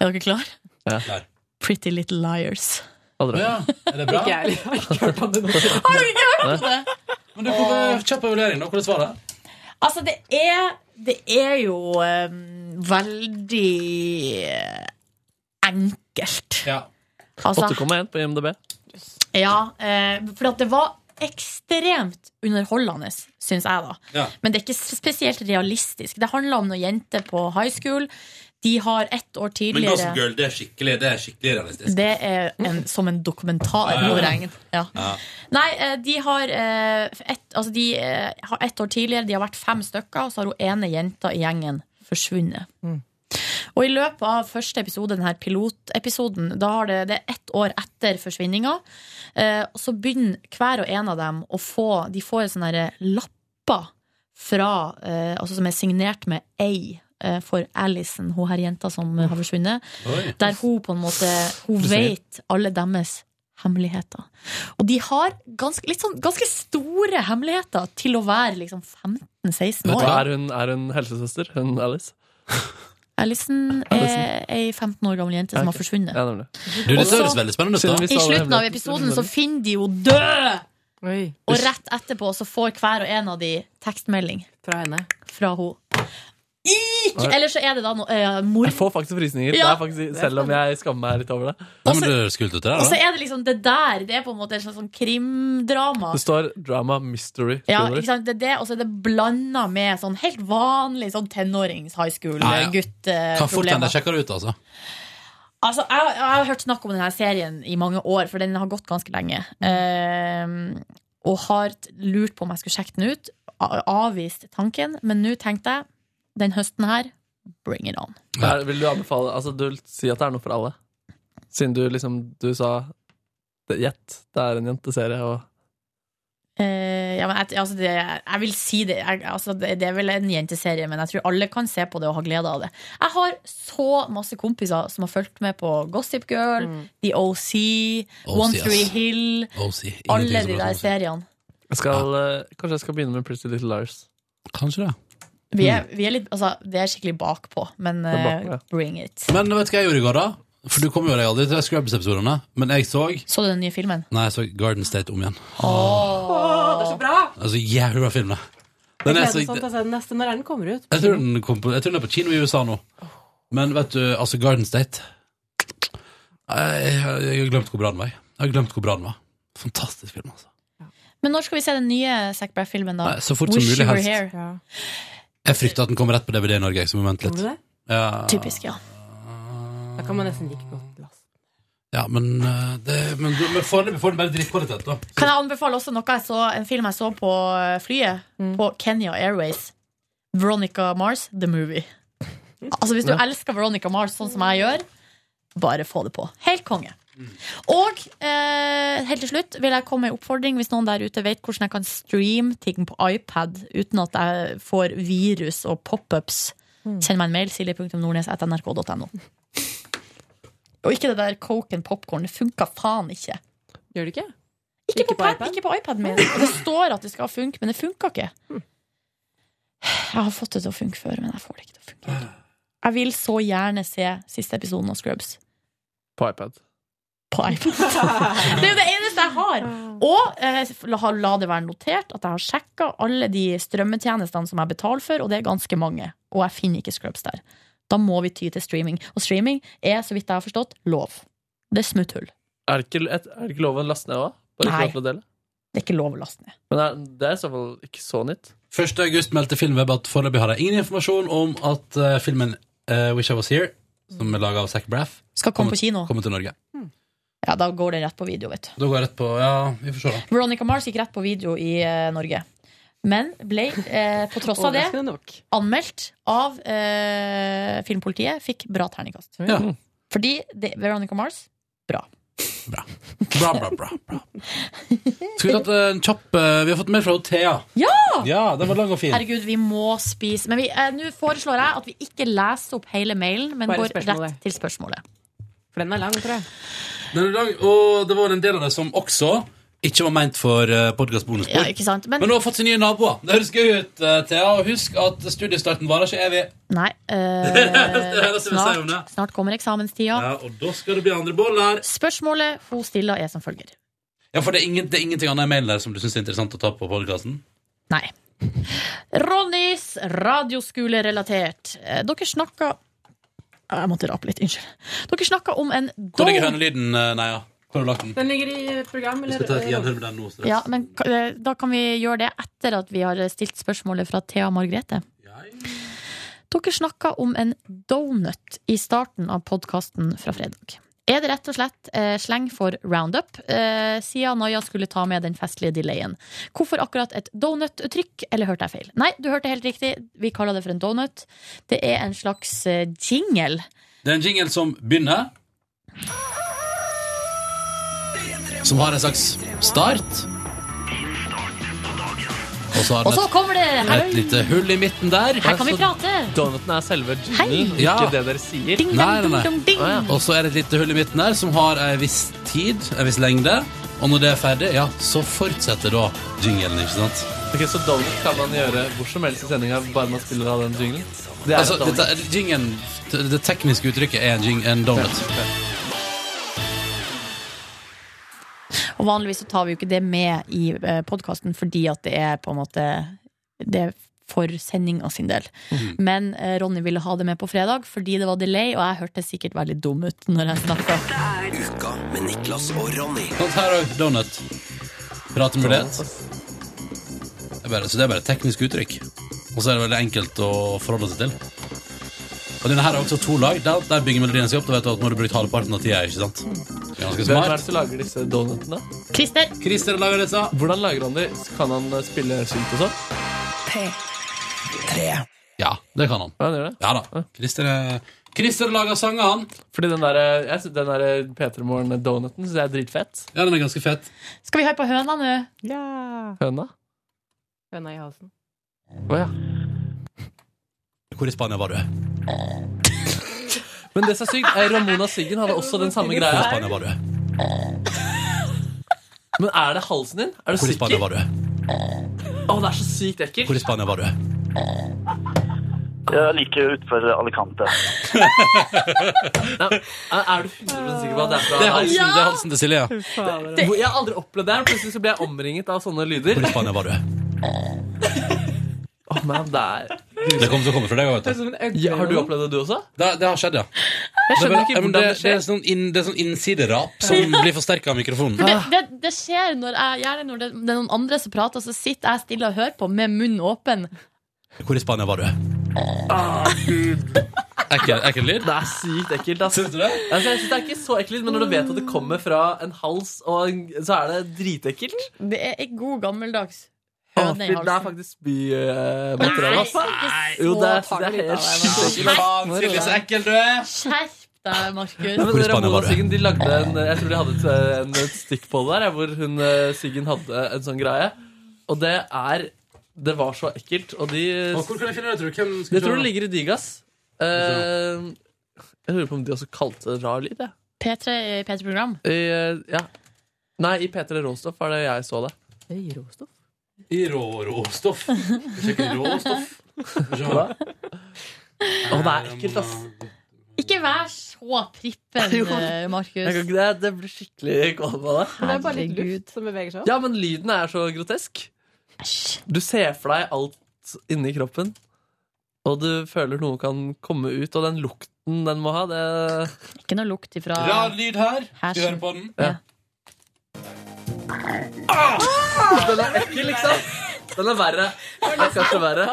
Speaker 2: Er dere klare?
Speaker 8: Ja.
Speaker 2: Pretty Little Liars.
Speaker 8: Aldri.
Speaker 1: Er det bra?
Speaker 2: Ikke jeg
Speaker 16: har ikke hørt om det
Speaker 2: nå. Har dere ikke hørt om det?
Speaker 1: Men du får kjapp evaluering, da. Hvordan var det?
Speaker 2: Altså, det er, det er jo ehm, veldig eh, enkelt.
Speaker 1: Ja.
Speaker 2: Altså-
Speaker 8: 8,1 på IMDb.
Speaker 2: Ja, eh, for at det var ekstremt underholdende, syns jeg, da.
Speaker 8: Ja.
Speaker 2: Men det er ikke spesielt realistisk. Det handler om noen jenter på high school. De har ett år
Speaker 1: Men Gossip
Speaker 2: tidligere
Speaker 1: Girl, det er skikkelig, det er skikkelig realistisk.
Speaker 2: Det er en, som en dokumentar.
Speaker 1: Ja, ja, ja.
Speaker 2: over egen- Ja.
Speaker 1: Ja.
Speaker 2: Nei, eh, de har eh, ett altså de, eh, har ett år tidligere, de har vært fem stykker, og så har hun ene jenta i gjengen forsvunnet. Og i løpet av første episode, denne pilotepisoden, da har det, det er ett år etter forsvinninga, eh, og så begynner hver og en av dem å få De får sånne her lapper fra, eh, altså som er signert med A eh, for Alison, hun her jenta som eh, har forsvunnet.
Speaker 14: Oi.
Speaker 2: Der hun på en måte Hun
Speaker 14: Interessant.
Speaker 2: vet alle deres hemmeligheter. Og de har ganske, litt sånn, ganske store hemmeligheter til å være liksom 15-16
Speaker 8: Vet du
Speaker 2: år.
Speaker 8: hva, Er hun, er hun helsesøster, hun Alice?
Speaker 2: Alison er ei 15 år gammel jente som har forsvunnet.
Speaker 8: Ja, nemlig.
Speaker 1: Du, dette
Speaker 2: Og så-
Speaker 1: høres veldig spennende ut, da.
Speaker 2: I slutten av episoden så finner de jo død! Og rett etterpå så får hver og en av de tekstmelding.
Speaker 16: Fra henne.
Speaker 2: Fra hun. Ikke, eller så er det da noe eh, mor...
Speaker 8: Jeg får faktisk frysninger,
Speaker 2: Ja.
Speaker 8: det er faktisk, selv om jeg skammer meg litt over det.
Speaker 1: Nei, men det høres kult ut, det
Speaker 2: Og så er det liksom det der. Det er på en måte et slags sånn krimdrama.
Speaker 8: Det står drama mystery.
Speaker 2: Ja,
Speaker 8: thriller.
Speaker 2: ikke sant? Det er det, og så er det blanda med sånn helt vanlig sånn tenårings high
Speaker 1: Nei, ja. Kan fort hende
Speaker 2: school-gutt-problemer.
Speaker 1: jeg sjekker det ut, altså.
Speaker 2: Altså, jeg, jeg har hørt snakk om denne serien i mange år, for den har gått ganske lenge. Ehm, og har t- lurt på om jeg skulle sjekke den ut. A- Avvist tanken, men nå tenkte jeg den høsten her bring it on.
Speaker 8: Det er- vil du anbefale Altså, du vil si at det er noe for alle? Siden du liksom Du sa det- Gjett, det er en jenteserie, og
Speaker 2: Eh, ja, men jeg, altså det, jeg vil si det, jeg, altså det Det er vel en jenteserie, men jeg tror alle kan se på det og ha glede av det. Jeg har så masse kompiser som har fulgt med på Gossip Girl, The OC,
Speaker 8: OC,
Speaker 2: One
Speaker 8: ass.
Speaker 2: Three Hill
Speaker 1: OC,
Speaker 2: Alle
Speaker 8: som
Speaker 2: de der
Speaker 8: heter
Speaker 1: sånn.
Speaker 8: OC.
Speaker 2: seriene.
Speaker 8: jeg skal, eh, Kanskje jeg skal begynne med Pretty Little Liars.
Speaker 1: Kanskje det.
Speaker 2: Vi er, vi er litt, altså, det er skikkelig bakpå, men
Speaker 1: Mm. Det er
Speaker 2: eh,
Speaker 1: bakpå, ja.
Speaker 2: bring it.
Speaker 1: Men vet du hva jeg gjorde i går, da? For du kom jo deg aldri til Scrubs-episodene. Men jeg så
Speaker 2: Så du den nye filmen?
Speaker 1: Nei, jeg så Garden State om igjen.
Speaker 16: Åh, det er så bra!
Speaker 1: Altså, jævlig bra film, det.
Speaker 16: Jeg
Speaker 1: Den
Speaker 16: gleder
Speaker 1: er så,
Speaker 16: meg sånn til å se den neste når er den kommer ut.
Speaker 1: jeg, tror den kom på, jeg tror den er på kino i USA nå. Men vet du, altså, Garden State Jeg, jeg, jeg har glemt hvor bra den var. jeg. Jeg har glemt hvor bra den var. Fantastisk film, altså.
Speaker 2: Men når skal vi se den nye Zac Braff-filmen, da?
Speaker 1: Nei, så fort som
Speaker 2: Wish
Speaker 1: mulig,
Speaker 2: You Were
Speaker 1: helst.
Speaker 2: Here.
Speaker 1: Jeg frykter at den kommer rett på DVD i Norge, så vi må vente litt.
Speaker 16: Kommer det?
Speaker 1: Ja,
Speaker 2: Typisk, ja.
Speaker 16: Da kan man nesten like godt la
Speaker 1: ja men, eh, det, men, du- men foreløpig får den bare drittkvalitet, da.
Speaker 2: Kan jeg anbefale også noe jeg så, en film jeg så på eh, flyet? På Kenya Airways. Veronica Mars, The Movie. Altså Hvis du
Speaker 14: Ja.
Speaker 2: elsker Veronica Mars sånn som jeg gjør, bare få det på. Helt konge. Og eh, helt til slutt vil jeg komme med en oppfordring hvis noen der ute vet hvordan jeg kan streame ting på iPad uten at jeg får virus og pop-ups. Send meg en mail silje.nordnes.nrk.no. Og ikke det der coke and popcorn. Det funka faen ikke.
Speaker 16: Gjør det ikke?
Speaker 2: Ikke, på, pad, ikke på iPaden min. Og det står at det skal funke, men det funka ikke. Jeg har fått det til å funke før, men jeg får det ikke til å funke. Jeg vil så gjerne se siste episoden av Scrubs
Speaker 8: På iPad.
Speaker 2: på iPad. Det er jo det eneste jeg har! Og eh, la, la det være notert at jeg har sjekka alle de strømmetjenestene som jeg betaler for, og det er ganske mange. Og jeg finner ikke Scrubs der. Da må vi ty til streaming. Og streaming er, så vidt jeg har forstått, lov. Det er smutthull.
Speaker 8: Er det ikke, et- er det ikke lov å laste ned òg? Bare ikke
Speaker 2: Nei.
Speaker 8: lov til å dele?
Speaker 2: Det er ikke lov å laste ned.
Speaker 8: Men er, det er i så fall ikke så nytt.
Speaker 1: 1. august meldte Filmweb at foreløpig har jeg ingen informasjon om at eh, filmen eh, Wish I Was Here, som er laga av Zac Braff,
Speaker 2: Skal komme på kino.
Speaker 1: kommer til Norge.
Speaker 2: Ja, da går den rett på video, vet du.
Speaker 1: Da går jeg rett på Ja, vi får se, da.
Speaker 2: Veronica Mars gikk rett på video i eh, Norge. Men ble, eh, på tross av det,
Speaker 16: Overraskende
Speaker 2: anmeldt av eh, filmpolitiet. Fikk bra terningkast.
Speaker 1: Ja.
Speaker 2: Fordi det, Veronica Mars bra.
Speaker 1: Bra, bra, bra. bra. Skal vi ta en kjapp eh, Vi har fått mer fra Thea.
Speaker 2: Ja!
Speaker 1: Ja, den var lang og fin.
Speaker 2: Herregud, vi må spise Men vi, eh, nå foreslår jeg at vi ikke leser opp hele mailen, men
Speaker 16: Bare
Speaker 2: går
Speaker 16: spørsmålet.
Speaker 2: rett til spørsmålet.
Speaker 16: For den er lang, tror jeg.
Speaker 1: Den er lang, og det var en del av det som også ikke var meint for uh, podkastbonusbord.
Speaker 2: Ja, ikke sant? Men-
Speaker 1: Men hun har fått seg nye naboer. Det høres gøy ut, eh, Thea. Og husk at studiestarten varer ikke evig.
Speaker 2: Nei.
Speaker 1: Det
Speaker 2: Eh,
Speaker 1: høres ut som jeg sier om
Speaker 2: snart,
Speaker 1: det.
Speaker 2: snart kommer eksamenstida.
Speaker 1: Ja, og da skal det bli andre boller.
Speaker 2: Spørsmålet hun stiller, er som følger.
Speaker 1: Ja, for det er, ingen, det er ingenting annet i mailen der som du syns er interessant å ta på podkasten?
Speaker 2: Nei. Ronnys radioskolerelatert. Eh, Dere snakka Jeg måtte rape litt, unnskyld. Dere snakka om en
Speaker 1: Hvor ligger
Speaker 2: dom
Speaker 1: hønelyden, eh, Neia? Hvor har du lagt den?
Speaker 16: Den ligger i program,
Speaker 1: Vi
Speaker 16: eller?
Speaker 1: skal ta et gjenhør med den nå straks.
Speaker 2: ja, men ka- eh, Da kan vi gjøre det etter at vi har stilt spørsmålet fra Thea Margrethe. Dere snakka om en donut i starten av podkasten fra fredag. er det rett og slett eh, sleng for roundup, eh, siden Naja skulle ta med den festlige delayen. Hvorfor akkurat et donut-uttrykk, eller hørte jeg feil? Nei, du hørte helt riktig, vi kaller det for en donut. Det er en slags eh, jingle.
Speaker 1: Det er en jingle som begynner Som har en slags start Og så har
Speaker 2: Og
Speaker 1: den
Speaker 2: så
Speaker 1: et,
Speaker 2: kommer det
Speaker 1: et lite hull i midten der
Speaker 2: Her kan vi prate!
Speaker 1: Donuten er selve
Speaker 2: jinglen, Hei. ikke det
Speaker 1: dere sier
Speaker 2: Ding, dong, dong, dong, ding.
Speaker 1: Og så er det et lite hull i midten der Som har en viss tid, en viss lengde Og når det er ferdig, ja, så fortsetter da jinglen, ikke sant?
Speaker 8: Ok, Så donut kan man gjøre hvor som helst i sendinga, bare man spiller av den jinglen? Det er
Speaker 1: Altså,
Speaker 8: et donut.
Speaker 1: dette, jingen, det tekniske uttrykket er en, jing, en donut
Speaker 2: Og vanligvis så tar vi jo ikke det med i eh, podkasten fordi at det er på en måte Det er for sendinga sin del.
Speaker 14: Mhm.
Speaker 2: Men eh, Ronny ville ha det med på fredag fordi det var delay, og jeg hørtes sikkert veldig dum ut når jeg snakka.
Speaker 5: Uka med Niklas og Ronny.
Speaker 1: Sånt her òg. Donut. Pratemulighet. Det er bare, så det er bare et teknisk uttrykk. Og så er det veldig enkelt å forholde seg til. Og denne her er også to lag. Der, der bygger melodien seg opp. Da vet du at nå har du brukt halvparten av tida. ikke sant? Det er Ganske
Speaker 8: Hvem er det
Speaker 1: smart.
Speaker 8: som lager disse donutene?
Speaker 2: Christer.
Speaker 1: Christer lager disse.
Speaker 8: Hvordan lager han de? Kan han eh, spille synt og sånn?
Speaker 1: Ja, det kan han.
Speaker 8: Ja, han gjør det.
Speaker 1: Ja da. Christer, er- Christer lager sanger, han.
Speaker 8: Fordi den der, eh, jeg synes den der P3 Morgen-donuten syns jeg er dritfett.
Speaker 1: Ja, den er ganske fett.
Speaker 2: Skal vi høre på høna nå?
Speaker 16: Ja.
Speaker 8: Høna?
Speaker 16: Høna i halsen.
Speaker 8: Å ja.
Speaker 1: Hvor i Spania var du?
Speaker 8: Men det som er sykt, er Ramona Siggen hadde også den samme
Speaker 1: Hvor i
Speaker 8: greia.
Speaker 1: Spania var du?
Speaker 8: Men er det halsen din? Er du
Speaker 1: Hvor i Spania
Speaker 8: sikker?
Speaker 1: var du?
Speaker 8: Å, det er så sykt ekkelt.
Speaker 1: Hvor i Spania var du?
Speaker 3: Jeg liker utenfor Alicante.
Speaker 8: Er er du 100 sikker på at det er fra
Speaker 1: Det er halsen, det er halsen til Silje, ja.
Speaker 8: Det- Hvor- Jeg har aldri opplevd det her. Plutselig så ble jeg omringet av sånne lyder. Hvor
Speaker 1: i Spania var du?
Speaker 8: Å, men det er
Speaker 1: Det kommer til å komme fra deg òg, vet du.
Speaker 8: ja, Har du opplevd det, du også?
Speaker 1: Det, det har skjedd, ja.
Speaker 8: Jeg skjønner
Speaker 1: bare-
Speaker 8: ikke
Speaker 1: ja, men
Speaker 8: hvordan
Speaker 1: det,
Speaker 8: det
Speaker 1: det
Speaker 8: skjer.
Speaker 1: er sånn, inn, det er sånn innsiderap som blir forsterka av mikrofonen.
Speaker 2: For det,
Speaker 8: Ah.
Speaker 2: det, det skjer når jeg, gjerne når det, det er noen andre som prater, så sitter jeg stille og hører på med munnen åpen.
Speaker 1: Hvor i Spania var du? Ekkel, ekkel lyd?
Speaker 8: Det er sykt ekkelt. Ass. Synes
Speaker 1: du det?
Speaker 8: Altså, jeg synes det er ikke så ekkelt, men når du vet at det kommer fra en hals, og en, så er det dritekkelt.
Speaker 2: Det er ei god gammeldags
Speaker 8: Å,
Speaker 2: høne i
Speaker 8: fy, Det er
Speaker 2: halsen.
Speaker 8: faktisk spymateriale.
Speaker 2: Nei,
Speaker 8: Jo,
Speaker 2: så
Speaker 8: det er, det er
Speaker 2: farlig, da,
Speaker 8: helt
Speaker 2: det
Speaker 8: sykt
Speaker 2: var-
Speaker 8: ekkelt.
Speaker 2: Faen, Silje, så
Speaker 1: ekkel du er!
Speaker 2: Skjerp deg, Markus.
Speaker 8: Nei, men Ramona Siggen de lagde en, Jeg tror de hadde et, en, et stikk på det der, ja, hvor hun, eh, Siggen hadde en sånn greie. Og det er Det var så ekkelt, og de
Speaker 1: Og hvor kan jeg finne det, tror du? Hvem skal
Speaker 8: Jeg tror
Speaker 1: kjøre?
Speaker 8: det ligger i Digas. Eh, jeg lurer på om de også kalte det rar lyd, jeg.
Speaker 2: P3 i P3-program.
Speaker 8: I, eh, ja. Nei, i P3 Råstoff var det jeg så det.
Speaker 16: I råstoff?
Speaker 1: I rå råstoff. Sjekker råstoff.
Speaker 8: Hva? Å, det er ekkelt, ass.
Speaker 2: Ikke vær så prippen,
Speaker 8: Jo.
Speaker 2: eh,
Speaker 8: Jeg kan
Speaker 2: Markus.
Speaker 8: ikke det, det blir skikkelig kvalm av det.
Speaker 16: Det er bare litt luft som beveger seg opp.
Speaker 8: Ja, men lyden er så grotesk. Du ser for deg alt inni kroppen, og du føler noe kan komme ut, og den lukten den må ha, det
Speaker 2: Ikke noe lukt ifra
Speaker 1: Um, Rar lyd her. Skal vi
Speaker 2: Hersen.
Speaker 1: høre på den?
Speaker 8: Ja. Den er ekkel, liksom. Den er verre. Den er kanskje verre.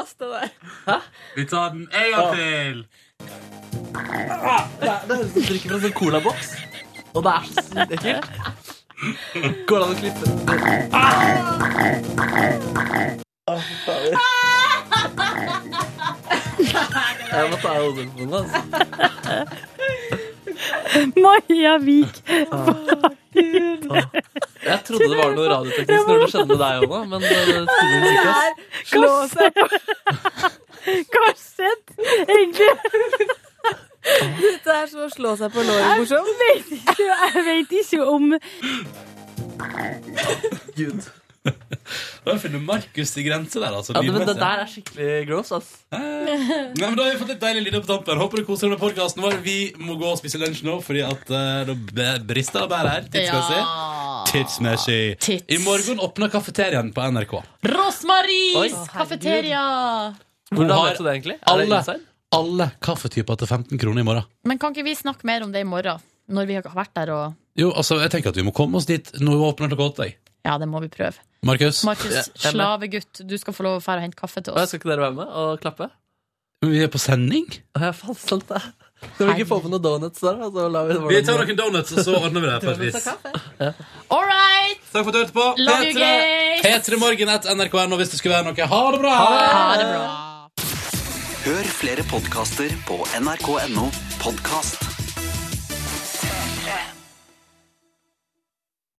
Speaker 1: Vi tar den en gang til.
Speaker 8: Det er- det høres ut som du drikker fra en sånn colaboks, og det er så sykt ekkelt. Går det an å klippe den? Å, Ah, fy faen. Jeg må ta av hodetelefonen, altså.
Speaker 14: Maja Vik.
Speaker 8: Jeg trodde det var noe radioteknisk når det skjedde med deg òg, men det tydeligvis ikke. ass.
Speaker 14: Slå seg Hva har skjedd, egentlig?
Speaker 17: Dette er så å slå seg på låret morsomt.
Speaker 14: Jeg vet ikke, jeg vet ikke om
Speaker 8: Gud.
Speaker 1: Da finner Markus til grense der, altså.
Speaker 8: Ja, men det
Speaker 1: lydmessig.
Speaker 8: der er skikkelig gross, ass.
Speaker 1: Nei, men Da har vi fått litt deilig lyd på tampen. Håper du koser deg med podkasten vår. Vi må gå og spise lunsj nå, fordi at eh, det b- brister det bare her. Tidsmessig. Tidsmessig. I morgen åpner kafeteriaen på NRK. Oi. Å,
Speaker 2: Rosmaris
Speaker 1: herregud.
Speaker 2: kafeteria!
Speaker 8: Hvordan vet du det egentlig? Er det
Speaker 1: Alle,
Speaker 8: inside?
Speaker 1: alle kaffetyper til 15 kroner i morgen.
Speaker 2: Men kan ikke vi snakke mer om det i morgen? Når vi har vært der og
Speaker 1: Jo, altså, jeg tenker at vi må komme oss dit når vi åpner klokka åtte. jeg.
Speaker 2: Ja, det må vi prøve.
Speaker 1: Markus? Ja,
Speaker 2: Markus,
Speaker 1: jeg er med.
Speaker 2: slavegutt, du skal få lov å fære og hente kaffe til
Speaker 8: Og jeg
Speaker 2: oss.
Speaker 8: skal ikke dere være med og klappe?
Speaker 1: Men Vi er på sending.
Speaker 8: Å, ja, faen, sant det. Kan vi ikke få på noen donuts der? og så lar vi,
Speaker 1: Vi tar noen donuts, og så ordner vi det på et vis.
Speaker 2: All right!
Speaker 1: Takk for at du hørte på.
Speaker 2: Love you guys.
Speaker 1: P3morgen at nrk.no hvis det skulle være noe. Ha det bra!
Speaker 2: Ha det bra.
Speaker 3: Hør flere podkaster på nrk.no podkast.